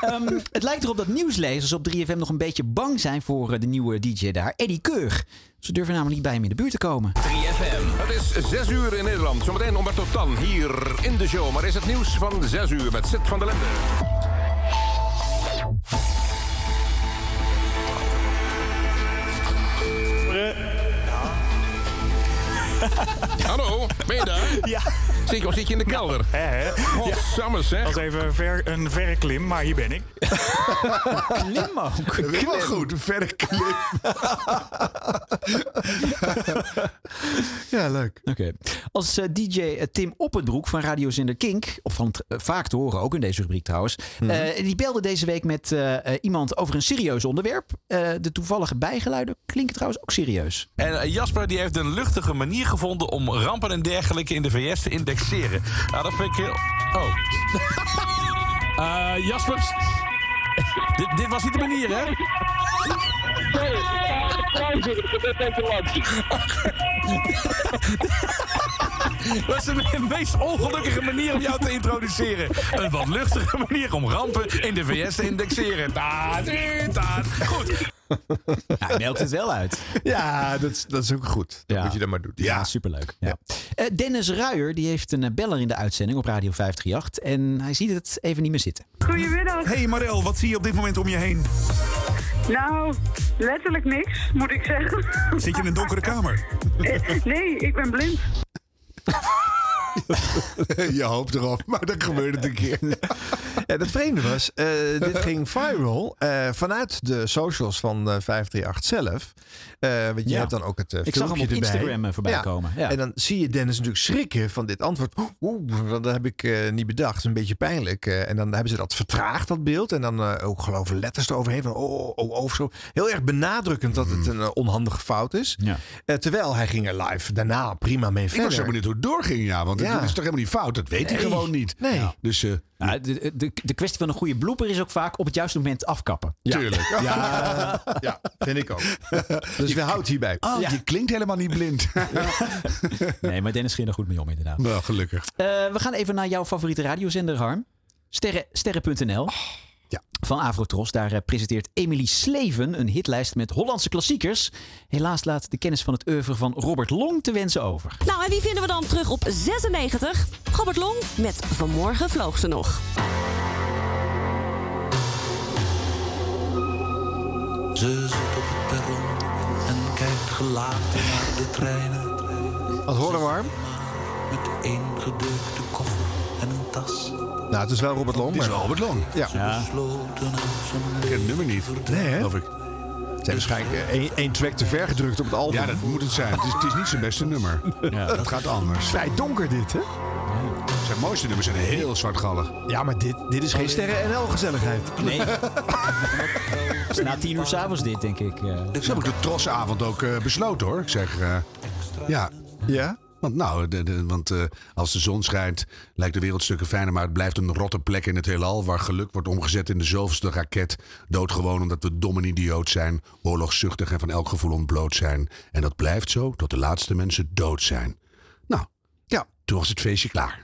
[SPEAKER 1] Ehm, het lijkt erop dat nieuwslezers op 3FM nog een beetje bang zijn voor eh, de nieuwe DJ daar, Eddie Keur. Ze durven namelijk niet bij hem in de buurt te komen.
[SPEAKER 25] 3FM. Het is 6 uur in Nederland. Zometeen Omberto Tan hier in de show. Maar is het nieuws van 6 uur met Sid van der Lende. Hallo. Ben je daar? Ja. Zit je, of zit je in de kelder? Nou, hè, hè. Godsamme zeg.
[SPEAKER 7] Dat was even een ver, een verre klim, maar hier ben ik.
[SPEAKER 1] klim ook.
[SPEAKER 3] Dat is wel goed, een verre klim.
[SPEAKER 1] Ja, leuk. Oké. Als eh, DJ Tim Oppenbroek van radiozender Kink, of van eh, vaak te horen ook in deze rubriek trouwens, eh, die belde deze week met eh, eh, iemand over een serieus onderwerp. Eh, de toevallige bijgeluiden klinken trouwens ook serieus.
[SPEAKER 10] En eh, Jasper die heeft een luchtige manier gevonden om rampen en dergelijke in de VS te indexeren. Nou, dat vind ik heel... Oh. Eh, Jasper... dit, dit was niet de manier, hè? Nee, ik heb net even Dat is de meest ongelukkige manier om jou te introduceren. Een wat luchtige manier om rampen in de VS te indexeren. Nou, Taat, taat. Goed.
[SPEAKER 1] Nou, Hij meldt het wel uit.
[SPEAKER 2] Ja, dat, is- dat is ook goed. Dat moet je dan maar doen. Ja,
[SPEAKER 1] superleuk. Ja. Eh, Dennis Ruijer die heeft een eh, beller in de uitzending op Radio 538 en hij ziet het even niet meer zitten.
[SPEAKER 29] Goedemiddag.
[SPEAKER 1] Hey Marel, wat zie je op dit moment om je heen?
[SPEAKER 29] Nou, letterlijk niks, moet ik zeggen.
[SPEAKER 30] Zit je in een donkere kamer?
[SPEAKER 29] Eh, nee, ik ben blind.
[SPEAKER 3] Je hoopt erop, maar dat gebeurde het een keer.
[SPEAKER 2] Ja, het vreemde was, eh, dit ging viral eh, vanuit de socials van eh, 538 zelf. Eh, want je
[SPEAKER 1] Ja.
[SPEAKER 2] hebt dan ook het eh,
[SPEAKER 1] Ik zag hem
[SPEAKER 2] filmpje
[SPEAKER 1] op
[SPEAKER 2] erbij.
[SPEAKER 1] Instagram, eh, voorbij komen. Ja.
[SPEAKER 2] En dan zie je Dennis natuurlijk schrikken van dit antwoord. Oeh, dat heb ik eh, niet bedacht. Een beetje pijnlijk. Eh, en dan hebben ze dat vertraagd, dat beeld. En dan eh, ook geloof ik letters eroverheen. Van, oh, oh, oh, oh, zo. Heel erg benadrukkend dat
[SPEAKER 3] Hmm.
[SPEAKER 2] het een eh, onhandige fout is. Eh, terwijl hij ging er live daarna prima mee
[SPEAKER 3] Ik
[SPEAKER 2] verder.
[SPEAKER 3] was zo benieuwd hoe het doorging, ja. Want
[SPEAKER 2] Ja.
[SPEAKER 3] dat is toch helemaal niet fout? Dat weet hij
[SPEAKER 2] Nee.
[SPEAKER 3] gewoon niet.
[SPEAKER 2] Nee.
[SPEAKER 3] Ja. Dus eh,
[SPEAKER 1] Nou, de, de, de kwestie van een goede blooper is ook vaak op het juiste moment afkappen.
[SPEAKER 3] tuurlijk.
[SPEAKER 1] Ja.
[SPEAKER 2] ja, vind ik ook. Dus we houden hierbij.
[SPEAKER 3] Oh,
[SPEAKER 1] Ja.
[SPEAKER 3] je klinkt helemaal niet blind.
[SPEAKER 1] Nee, maar Dennis ging er goed mee om inderdaad.
[SPEAKER 3] Nou, gelukkig.
[SPEAKER 1] Eh, we gaan even naar jouw favoriete radiozender, Harm. Sterren- Sterren.nl.
[SPEAKER 2] Oh.
[SPEAKER 1] Van Avrotros. Daar eh, presenteert Emily Sleven een hitlijst met Hollandse klassiekers. Helaas laat de kennis van het oeuvre van Robert Long te wensen over.
[SPEAKER 17] Nou, en wie vinden we dan terug op 96? Robert Long met Vanmorgen vloog ze nog.
[SPEAKER 8] Ze zit op het perron en kijkt gelaten naar de treinen.
[SPEAKER 2] Wat horen we warm?
[SPEAKER 8] Met één gedrukte koffer en een tas.
[SPEAKER 2] Nou, het is wel Robert Long.
[SPEAKER 8] Het is wel
[SPEAKER 2] Robert Long. Ja.
[SPEAKER 8] Ik
[SPEAKER 3] ken het nummer niet.
[SPEAKER 2] Nee, hè?
[SPEAKER 3] Geloof ik.
[SPEAKER 2] Ze hebben waarschijnlijk eh, één, één track te ver gedrukt op het album.
[SPEAKER 3] Ja, dat moet het zijn. Het is, het is niet zijn beste nummer. Dat gaat anders.
[SPEAKER 2] Vrij donker dit, hè?
[SPEAKER 3] Zijn mooiste nummers zijn heel zwartgallig.
[SPEAKER 2] Ja, maar dit, dit is geen sterren NL-gezelligheid.
[SPEAKER 1] Nee. Het is na tien uur s'avonds dit, denk ik. eh.
[SPEAKER 3] Zo heb ik de trosavond ook eh, besloten hoor. Ik zeg, eh, ja.
[SPEAKER 2] Ja?
[SPEAKER 3] Want, nou, de- de- want eh, als de zon schijnt, lijkt de wereld stukken fijner. Maar het blijft een rotte plek in het heelal. Waar geluk wordt omgezet in de zoveelste raket. Doodgewoon omdat we dom en idioot zijn. Oorlogszuchtig en van elk gevoel ontbloot zijn. En dat blijft zo tot de laatste mensen dood zijn. Nou,
[SPEAKER 2] ja.
[SPEAKER 3] toen was het feestje klaar.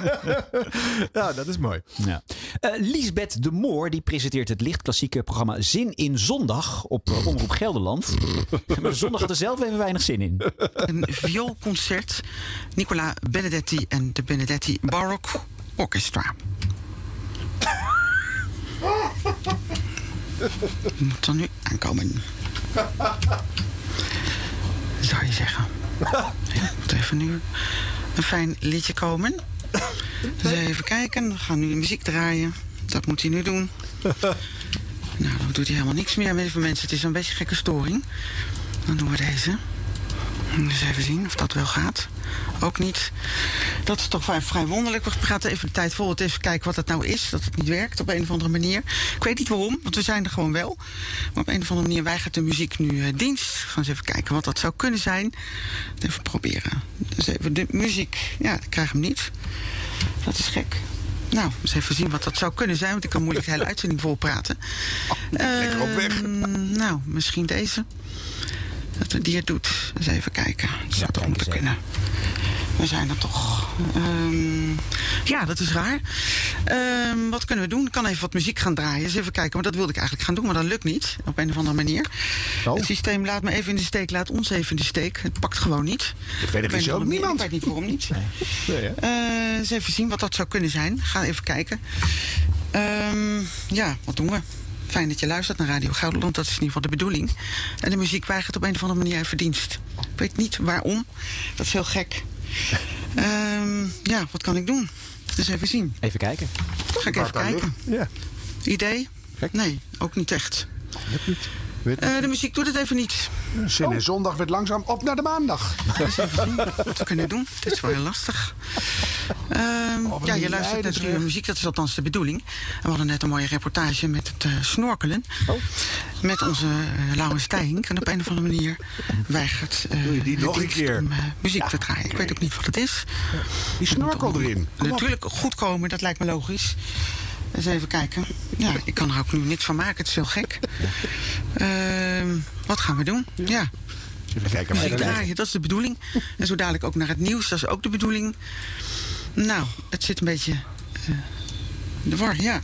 [SPEAKER 2] ja, dat is mooi.
[SPEAKER 1] Ja. Eh, Liesbeth de Moor die presenteert het lichtklassieke programma Zin in Zondag op eh, Omroep Gelderland. maar zondag had er zelf even weinig zin in.
[SPEAKER 31] Een vioolconcert. Nicola Benedetti en de Benedetti Baroque Orchestra. Moet dan nu aankomen, zou je zeggen. Ja, moet even nu een fijn liedje komen. Dus even kijken. We gaan nu de muziek draaien. Dat moet hij nu doen. Nou, dan doet hij helemaal niks meer. Lieve mensen, het is een beetje een gekke storing. Dan doen we deze. Dus even zien of dat wel gaat. Ook niet. Dat is toch vrij, vrij wonderlijk. We praten even de tijd vol. Even kijken wat het nou is. Dat het niet werkt op een of andere manier. Ik weet niet waarom, want we zijn er gewoon wel. Maar op een of andere manier weigert de muziek nu eh, dienst. We gaan eens even kijken wat dat zou kunnen zijn. Even proberen. Dus even de muziek. Ja, ik krijg hem niet. Dat is gek. Nou, eens even zien wat dat zou kunnen zijn. Want ik kan moeilijk de hele uitzending vol praten. lekker op weg. Nou, misschien deze. Dat die het doet. Eens even kijken. Dat zou toch moeten kunnen. We zijn er toch. Ehm, ja, dat is raar. Ehm, wat kunnen we doen? Ik kan even wat muziek gaan draaien. Eens even kijken. Maar dat wilde ik eigenlijk gaan doen, maar dat lukt niet. Op een of andere manier. Het systeem laat me even in de steek. Laat ons even in de steek. Het pakt gewoon niet.
[SPEAKER 3] verder
[SPEAKER 31] Op een
[SPEAKER 3] is
[SPEAKER 31] of andere
[SPEAKER 3] ook
[SPEAKER 31] manier.
[SPEAKER 3] niemand.
[SPEAKER 31] Ik weet niet waarom niet. Eh, eens even zien wat dat zou kunnen zijn. Ga even kijken. Ehm, ja, wat doen we? Fijn dat je luistert naar Radio Gelderland. Dat is in ieder geval de bedoeling. En de muziek weigert op een of andere manier even dienst. Ik weet niet waarom. Dat is heel gek. Ehm, ja, wat kan ik doen? Dus even zien.
[SPEAKER 1] Even kijken.
[SPEAKER 31] Ga ik even kijken. Idee? Nee, ook niet echt. Eh, de muziek doet het even niet. Oh.
[SPEAKER 3] Zin in zondag werd langzaam op naar de maandag.
[SPEAKER 31] Wat we kunnen doen. Het is wel heel lastig. Ehm,
[SPEAKER 3] Oh, wat
[SPEAKER 31] ja,
[SPEAKER 3] een
[SPEAKER 31] je luistert naar
[SPEAKER 3] lijden,
[SPEAKER 31] drie uur
[SPEAKER 3] zeg.
[SPEAKER 31] eh, muziek. Dat is althans de bedoeling. En we hadden net een mooie reportage met het eh, snorkelen. Met onze eh, Laurens Stijn. En op een of andere manier weigert eh,
[SPEAKER 3] die
[SPEAKER 31] de
[SPEAKER 3] nog een
[SPEAKER 31] dienst
[SPEAKER 3] keer?
[SPEAKER 31] om, eh, muziek te draaien. Ik weet ook niet wat het is.
[SPEAKER 3] Die snorkel erin.
[SPEAKER 31] Natuurlijk goed komen, dat lijkt me logisch. Eens even kijken. Ja, ik kan er ook nu niks van maken. Het is heel gek. Ehm, wat gaan we doen? Ja.
[SPEAKER 3] Even kijken.
[SPEAKER 31] Muziek
[SPEAKER 3] maar-
[SPEAKER 31] draaien, dat is de bedoeling. En zo dadelijk ook naar het nieuws, dat is ook de bedoeling. Nou, het zit een beetje. eh, de war, ja.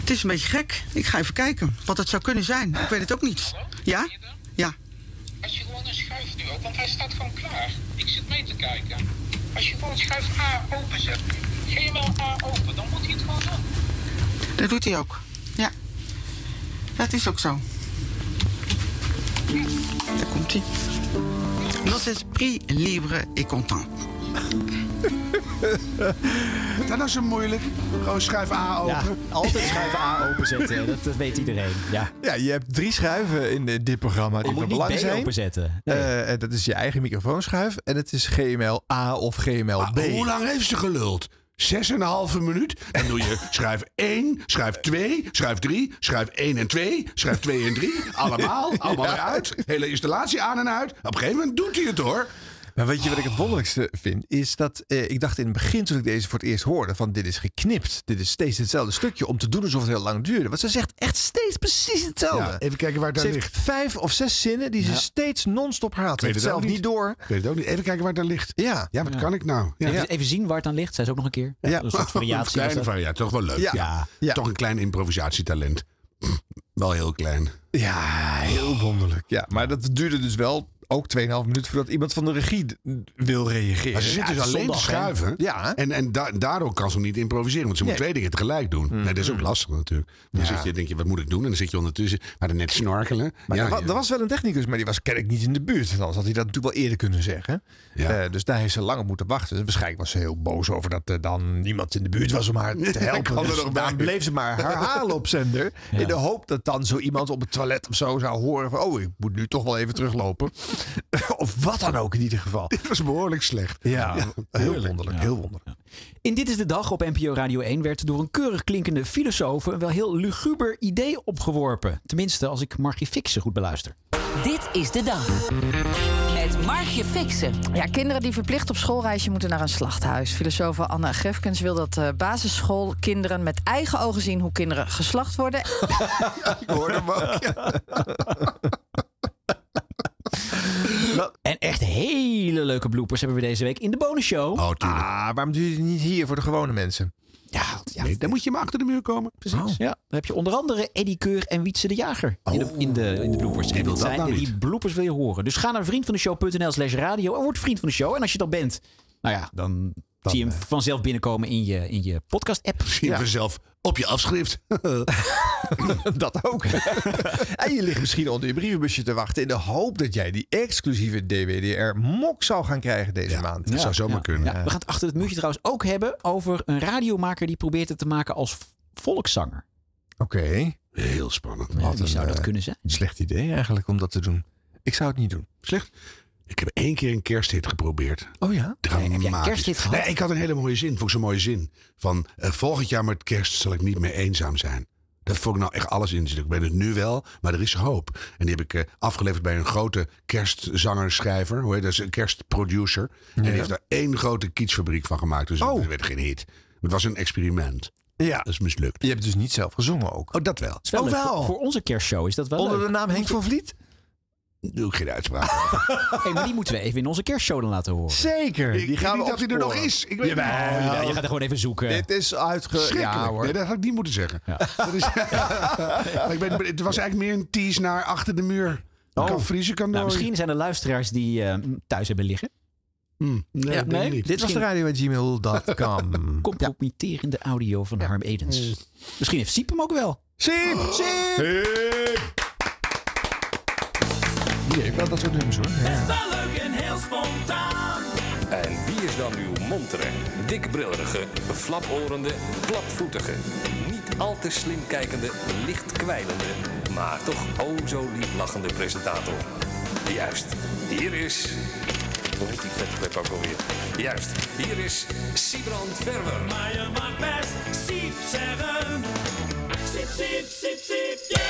[SPEAKER 31] Het is een beetje gek. Ik ga even kijken wat het zou kunnen zijn. Ik weet het ook niet. Ja? Ja.
[SPEAKER 4] Als je gewoon een schuif nu ook, want hij staat gewoon klaar. Ik zit mee te kijken. Als je gewoon schuif A openzet, helemaal A open, dan moet hij het gewoon doen.
[SPEAKER 31] Dat doet hij ook. Ja. Dat is ook zo. Daar komt hij. Dat is prix libre et content.
[SPEAKER 3] Dat is nou zo moeilijk. Gewoon schuif A open.
[SPEAKER 1] Ja, altijd schuiven A openzetten. Dat, dat weet iedereen. Ja.
[SPEAKER 2] Ja, je hebt drie schuiven in eh, dit programma die
[SPEAKER 1] Oh, moet
[SPEAKER 2] van
[SPEAKER 1] niet
[SPEAKER 2] belang
[SPEAKER 1] B
[SPEAKER 2] zijn.
[SPEAKER 1] openzetten.
[SPEAKER 2] Eh, en dat is je eigen microfoonschuif en het is GML A of GML B.
[SPEAKER 3] Hoe lang heeft ze geluld? Zes en een halve minuut. Dan doe je schuif 1, schuif 2, schuif 3, schuif 1 en 2, schuif 2 en 3. Allemaal, allemaal
[SPEAKER 2] Ja.
[SPEAKER 3] weer uit. Hele installatie aan en uit. Op een gegeven moment doet hij het hoor.
[SPEAKER 2] Maar weet je wat ik het wonderlijkste vind? Is dat eh, ik dacht in het begin toen ik deze voor het eerst hoorde: van dit is geknipt. Dit is steeds hetzelfde stukje om te doen alsof het heel lang duurde. Want ze zegt echt steeds precies hetzelfde.
[SPEAKER 3] Ja, even kijken waar het
[SPEAKER 2] Ze
[SPEAKER 3] aan
[SPEAKER 2] heeft
[SPEAKER 3] ligt.
[SPEAKER 2] Vijf of zes zinnen die ze
[SPEAKER 3] Ja.
[SPEAKER 2] steeds non-stop haalt.
[SPEAKER 3] Ik weet
[SPEAKER 2] Heeft
[SPEAKER 3] het
[SPEAKER 2] zelf
[SPEAKER 3] ook
[SPEAKER 2] niet
[SPEAKER 3] niet.
[SPEAKER 2] door.
[SPEAKER 3] Ik weet het ook niet. Even kijken waar het aan ligt.
[SPEAKER 2] Ja.
[SPEAKER 3] Ja, wat kan ik nou? Ja.
[SPEAKER 1] Even, even zien waar het aan ligt. Zij is ook nog een keer.
[SPEAKER 2] Ja.
[SPEAKER 1] Een soort
[SPEAKER 3] Een
[SPEAKER 1] variatie. was
[SPEAKER 3] kleine
[SPEAKER 1] dat.
[SPEAKER 3] variatie. Toch wel leuk.
[SPEAKER 1] Ja.
[SPEAKER 3] Toch een klein improvisatietalent. Wel heel klein.
[SPEAKER 2] Ja, heel wonderlijk. Ja, maar dat duurde dus wel ook 2,5 minuten voordat iemand van de regie d- wil reageren.
[SPEAKER 3] Maar ze zit
[SPEAKER 2] Ja,
[SPEAKER 3] dus
[SPEAKER 2] het is
[SPEAKER 3] alleen te
[SPEAKER 2] zondag, hè?
[SPEAKER 3] schuiven.
[SPEAKER 2] Ja.
[SPEAKER 3] En, en da- daardoor kan ze niet improviseren. Want ze moet
[SPEAKER 2] Nee. Mm.
[SPEAKER 3] twee dingen tegelijk doen. Nee, dat is ook lastig natuurlijk. Dan
[SPEAKER 2] Ja.
[SPEAKER 3] zit je, denk je, wat moet ik doen? En dan zit je ondertussen maar dan net snorkelen.
[SPEAKER 2] Maar
[SPEAKER 3] ja,
[SPEAKER 2] er, wa-
[SPEAKER 3] ja.
[SPEAKER 2] er was wel een technicus, maar die was kennelijk niet in de buurt. Anders had hij dat natuurlijk wel eerder kunnen zeggen. Eh, dus daar heeft ze lang op moeten wachten. En waarschijnlijk was ze heel boos over dat er dan niemand in de buurt was om haar te helpen.
[SPEAKER 3] kan er
[SPEAKER 2] Dus
[SPEAKER 3] nog
[SPEAKER 2] daarom
[SPEAKER 3] bij.
[SPEAKER 2] bleef ze maar herhalen op zender. In de hoop dat dan zo iemand op het toilet of zo zou horen van... oh, ik moet nu toch wel even teruglopen. of wat dan ook in ieder geval. Dit
[SPEAKER 3] was behoorlijk slecht.
[SPEAKER 2] Ja, heel wonderlijk. Heel wonderlijk.
[SPEAKER 1] In Dit is de Dag op NPO Radio 1 werd door een keurig klinkende filosoof een wel heel luguber idee opgeworpen. Tenminste, als ik Margie Fixen goed beluister.
[SPEAKER 28] Dit is de dag. Met Margje Fixen.
[SPEAKER 30] Ja, kinderen die verplicht op schoolreisje moeten naar een slachthuis. Filosoof Anna Grefkens wil dat eh, basisschoolkinderen met eigen ogen zien hoe kinderen geslacht worden.
[SPEAKER 2] Ik hoorde hem ook.
[SPEAKER 1] En echt hele leuke bloepers hebben we deze week in de bonusshow.
[SPEAKER 3] Oh, tuurlijk.
[SPEAKER 2] Ah, waarom doe je het niet hier voor de gewone mensen?
[SPEAKER 1] Ja, ja.
[SPEAKER 3] Nee, dan moet je maar achter de muur komen. Oh. Precies.
[SPEAKER 1] Ja, dan heb je onder andere Eddie Keur en Wietse de Jager in de, in de, in de bloepers. En
[SPEAKER 3] Oh, wil
[SPEAKER 1] dat
[SPEAKER 3] dat
[SPEAKER 1] zijn,
[SPEAKER 3] nou
[SPEAKER 1] die
[SPEAKER 3] niet.
[SPEAKER 1] bloepers wil je horen. Dus ga naar vriendvandeshow.nl slash radio en word vriend van de show. En als je dat bent, nou ja, dan, zie je hem vanzelf binnenkomen in je, in je podcast-app.
[SPEAKER 3] eh, Zie je vanzelf op je afschrift.
[SPEAKER 2] Dat ook. en je ligt misschien onder je brievenbusje te wachten in de hoop dat jij die exclusieve DWDR mok zou gaan krijgen deze maand.
[SPEAKER 3] dat zou zomaar kunnen.
[SPEAKER 1] Ja, we gaan het achter het muurtje trouwens ook hebben over een radiomaker die probeert het te maken als v- volkszanger.
[SPEAKER 2] Oké.
[SPEAKER 3] Heel spannend.
[SPEAKER 1] Wat Wie zou dat kunnen zijn?
[SPEAKER 2] eh, Slecht idee eigenlijk om dat te doen. Ik zou het niet doen.
[SPEAKER 3] Slecht. Ik heb één keer een kersthit geprobeerd.
[SPEAKER 2] Oh ja?
[SPEAKER 3] Dramatisch.
[SPEAKER 1] heb jij een kersthit gehad?
[SPEAKER 3] Nee, ik had een hele mooie zin. Vond ik zo'n mooie zin. Van eh, volgend jaar met kerst zal ik niet meer eenzaam zijn. Daar vond ik nou echt alles in zitten. Ik ben het nu wel, maar er is hoop. En die heb ik eh, afgeleverd bij een grote kerstzanger-schrijver. Hoe heet dat? Een kerstproducer. En die heeft daar één grote kietsfabriek van gemaakt. Dus het werd geen hit. Het was een experiment.
[SPEAKER 2] Oh. Ja.
[SPEAKER 3] Dat is mislukt.
[SPEAKER 2] Je hebt dus niet zelf gezongen ook.
[SPEAKER 3] Oh, dat wel.
[SPEAKER 1] Is wel
[SPEAKER 2] Oh,
[SPEAKER 1] leuk.
[SPEAKER 2] wel.
[SPEAKER 1] Voor, voor onze kerstshow is dat wel
[SPEAKER 2] Onder
[SPEAKER 1] leuk.
[SPEAKER 2] de naam Henk van Vliet?
[SPEAKER 3] Doe ik geen uitspraak.
[SPEAKER 1] Hey, maar die moeten we even in onze kerstshow dan laten horen.
[SPEAKER 2] Zeker.
[SPEAKER 3] Ik
[SPEAKER 2] Die
[SPEAKER 3] weet
[SPEAKER 2] gaan we
[SPEAKER 3] niet dat hij er nog
[SPEAKER 2] opsporen.
[SPEAKER 3] is. Ik weet
[SPEAKER 2] Jawel.
[SPEAKER 3] het
[SPEAKER 1] Oh, ja, je gaat er gewoon even zoeken.
[SPEAKER 2] Dit is uitge...
[SPEAKER 3] Schrikkelijk.
[SPEAKER 2] Ja hoor.
[SPEAKER 3] Nee, dat had ik niet moeten zeggen. Dat is, Maar ik ben, het was eigenlijk meer een tease naar achter de muur.
[SPEAKER 1] Oh.
[SPEAKER 3] Kan vriezen, kan
[SPEAKER 1] nou,
[SPEAKER 3] nooit.
[SPEAKER 1] misschien zijn er luisteraars die eh, thuis hebben liggen.
[SPEAKER 3] Hmm,
[SPEAKER 1] Ja,
[SPEAKER 3] nee, dat denk ik
[SPEAKER 1] nee.
[SPEAKER 3] niet.
[SPEAKER 2] Dit was de radio.gmail.com.
[SPEAKER 3] Hmm.
[SPEAKER 1] Compromitterende audio van Harm Edens. Misschien heeft Siep hem ook wel. Siep! Siep! Die heeft wel dat soort nummers hoor. Ja.
[SPEAKER 10] leuk en heel spontaan.
[SPEAKER 25] En wie is dan uw montere, dikbrillerige, flaporende, klapvoetige, niet al te slim kijkende, licht kwijlende, maar toch o zo lief lachende presentator? Juist, hier is. Hoe heet die vette web ook alweer? Juist, hier is Sibrand Verwer.
[SPEAKER 10] Maar je mag best siep zeggen. Siep, siep, siep, siep,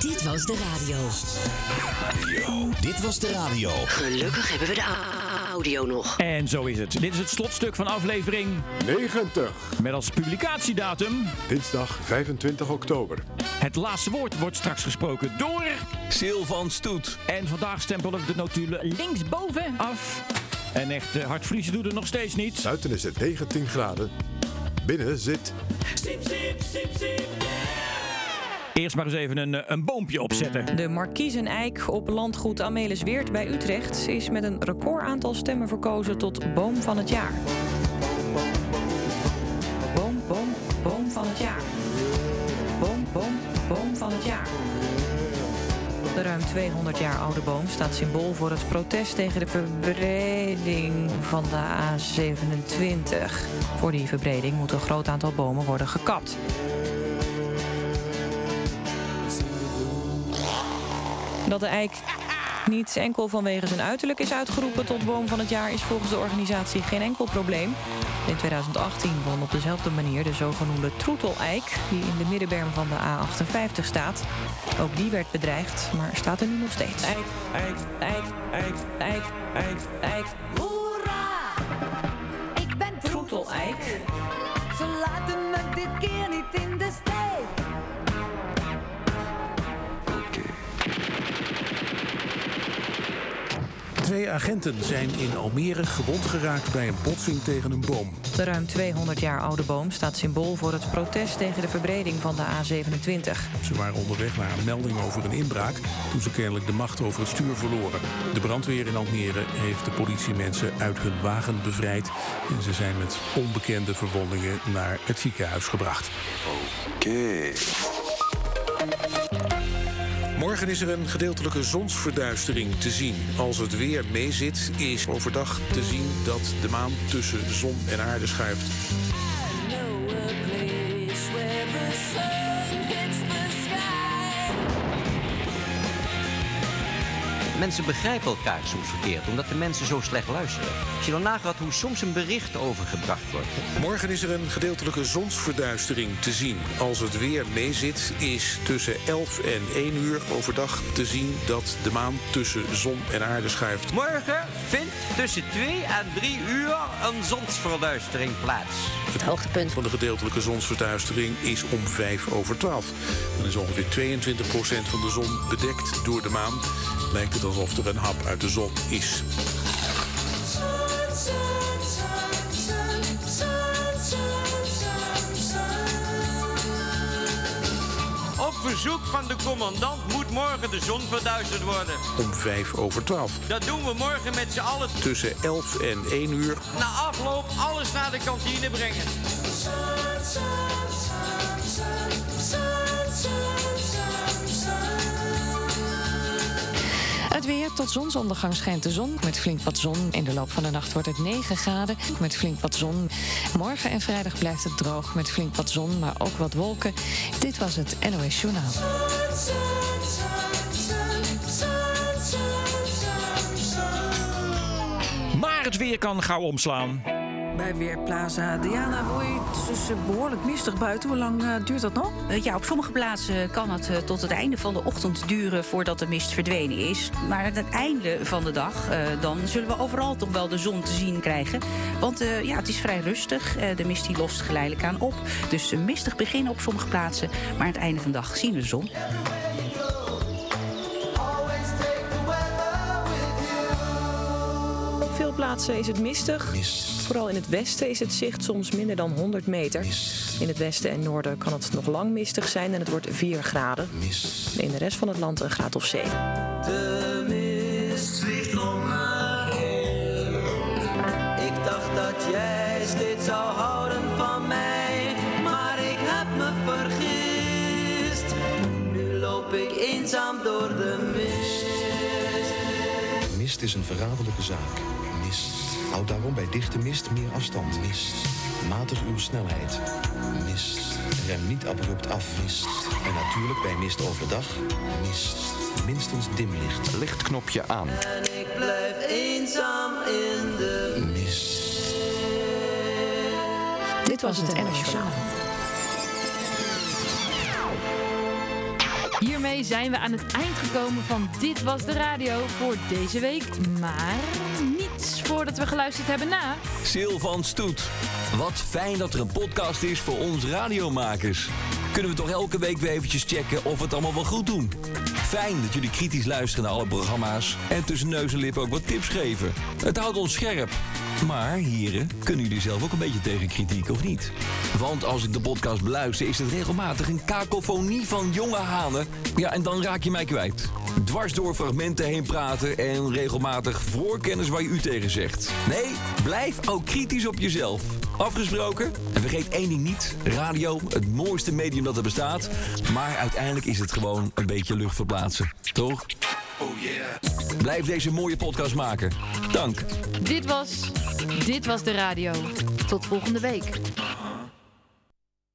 [SPEAKER 32] Dit was de radio.
[SPEAKER 9] Dit was de radio.
[SPEAKER 32] Gelukkig hebben we de a- audio nog.
[SPEAKER 9] En zo is het. Dit is het slotstuk van aflevering 90. Met als publicatiedatum. Dinsdag 25 oktober. Het laatste woord wordt straks gesproken door. Silvan Stoet. En vandaag stempelen we de notulen linksboven af. En echt eh, hard vriezen doet er nog steeds niet. Buiten is het 19 graden. Binnen zit.
[SPEAKER 10] Siep, siep, siep, siep,
[SPEAKER 9] Eerst maar eens even een, eh, een boompje opzetten.
[SPEAKER 33] De markiezeneik op landgoed Amelisweert bij Utrecht is met een recordaantal stemmen verkozen tot boom van het jaar. Boom, boom, boom van het jaar. Boom, boom, boom van het jaar. De ruim 200 jaar oude boom staat symbool voor het protest tegen de verbreding van de A27. Voor die verbreding moet een groot aantal bomen worden gekapt. Dat de eik niet enkel vanwege zijn uiterlijk is uitgeroepen tot boom van het jaar is volgens de organisatie geen enkel probleem. In 2018 won op dezelfde manier de zogenoemde troeteleik, die in de middenberm van de A58 staat. Ook die werd bedreigd, maar staat er nu nog steeds. Eik, eik, eik, eik, eik, eik, eik.
[SPEAKER 21] Hoera! Ik ben Troeteleik. Ze laten me dit keer niet in de steek.
[SPEAKER 25] Twee agenten zijn in Almere gewond geraakt bij een botsing tegen een boom.
[SPEAKER 33] De ruim 200 jaar oude boom staat symbool voor het protest tegen de verbreding van de A27.
[SPEAKER 25] Ze waren onderweg naar een melding over een inbraak toen ze kennelijk de macht over het stuur verloren. De brandweer in Almere heeft de politiemensen uit hun wagen bevrijd en ze zijn met onbekende verwondingen naar het ziekenhuis gebracht. Oké. Morgen is er een gedeeltelijke zonsverduistering te zien. Als het weer meezit, is overdag te zien dat de maan tussen zon en aarde schuift.
[SPEAKER 34] Mensen begrijpen elkaar soms verkeerd, omdat de mensen zo slecht luisteren. Als je dan nagaat hoe soms een bericht overgebracht wordt.
[SPEAKER 25] Morgen is er een gedeeltelijke zonsverduistering te zien. Als het weer meezit, is tussen 11 en 1 uur overdag te zien dat de maan tussen zon en aarde schuift.
[SPEAKER 34] Morgen vindt tussen 2 en 3 uur een zonsverduistering plaats.
[SPEAKER 25] Het hoogtepunt van de gedeeltelijke zonsverduistering is om 5 over 12. Dan is ongeveer 22% van de zon bedekt door de maan. Lijkt het alsof er een hap uit de zon is.
[SPEAKER 35] Op verzoek van de commandant moet morgen de zon verduisterd worden.
[SPEAKER 25] Om 5 over 12.
[SPEAKER 35] Dat doen we morgen met z'n allen.
[SPEAKER 25] Tussen 11 en 1 uur
[SPEAKER 35] Na afloop alles naar de kantine brengen.
[SPEAKER 29] Het weer tot zonsondergang schijnt de zon met flink wat zon. In de loop van de nacht wordt het 9 graden met flink wat zon. Morgen en vrijdag blijft het droog met flink wat zon, maar ook wat wolken. Dit was het NOS Journaal.
[SPEAKER 9] Maar het weer kan gauw omslaan.
[SPEAKER 22] Bij Weerplaza Diana Roy. Dus eh, behoorlijk mistig buiten. Hoe lang eh, duurt dat nog?
[SPEAKER 36] Eh, Ja, op sommige plaatsen kan het eh, tot het einde van de ochtend duren voordat de mist verdwenen is. Maar aan het einde van de dag, eh, dan zullen we overal toch wel de zon te zien krijgen. Want eh, ja, het is vrij rustig. Eh, de mist die lost geleidelijk aan op. Dus een mistig begin op sommige plaatsen. Maar aan het einde van de dag zien we de zon.
[SPEAKER 37] Op veel plaatsen is het mistig. Vooral in het westen is het zicht soms minder dan 100 meter. In het westen en noorden kan het nog lang mistig zijn en het wordt 4 graden. In de rest van het land een graad of 7.
[SPEAKER 10] De mist vliegt om haar heen. Ik dacht dat jij steeds zou houden van mij, maar ik heb me vergist. eenzaam door de mist.
[SPEAKER 31] Mist is een verraderlijke zaak. Mist. Houd daarom bij dichte mist meer afstand. Mist. Matig uw snelheid. Mist. Rem niet abrupt af. Mist. En natuurlijk bij mist overdag. Mist. Minstens dimlicht. Lichtknopje aan.
[SPEAKER 10] En ik blijf eenzaam in de mist.
[SPEAKER 29] Dit was het NOS Journaal.
[SPEAKER 33] Hiermee zijn we aan het eind gekomen van Dit Was De Radio voor deze week. Maar niets voordat we geluisterd hebben na.
[SPEAKER 8] Sil van Stoet. Wat fijn dat er een podcast is voor ons radiomakers. Kunnen we toch elke week weer eventjes checken of we het allemaal wel goed doen? Fijn dat jullie kritisch luisteren naar alle programma's en tussen neus en lippen ook wat tips geven. Het houdt ons scherp. Maar heren, kunnen jullie zelf ook een beetje tegen kritiek of niet? Want als ik de podcast beluister, is het regelmatig een kakofonie van jonge hanen. Ja, en dan raak je mij kwijt. Dwars door fragmenten heen praten en regelmatig voorkennis waar je u tegen zegt. Nee, blijf ook kritisch op jezelf. Afgesproken? En vergeet één ding niet: radio, het mooiste medium dat er bestaat. Maar uiteindelijk is het gewoon een beetje lucht verplaatsen. Toch?
[SPEAKER 10] Oh yeah.
[SPEAKER 8] Blijf deze mooie podcast maken. Dank.
[SPEAKER 33] Dit was Dit Was De Radio. Tot volgende week.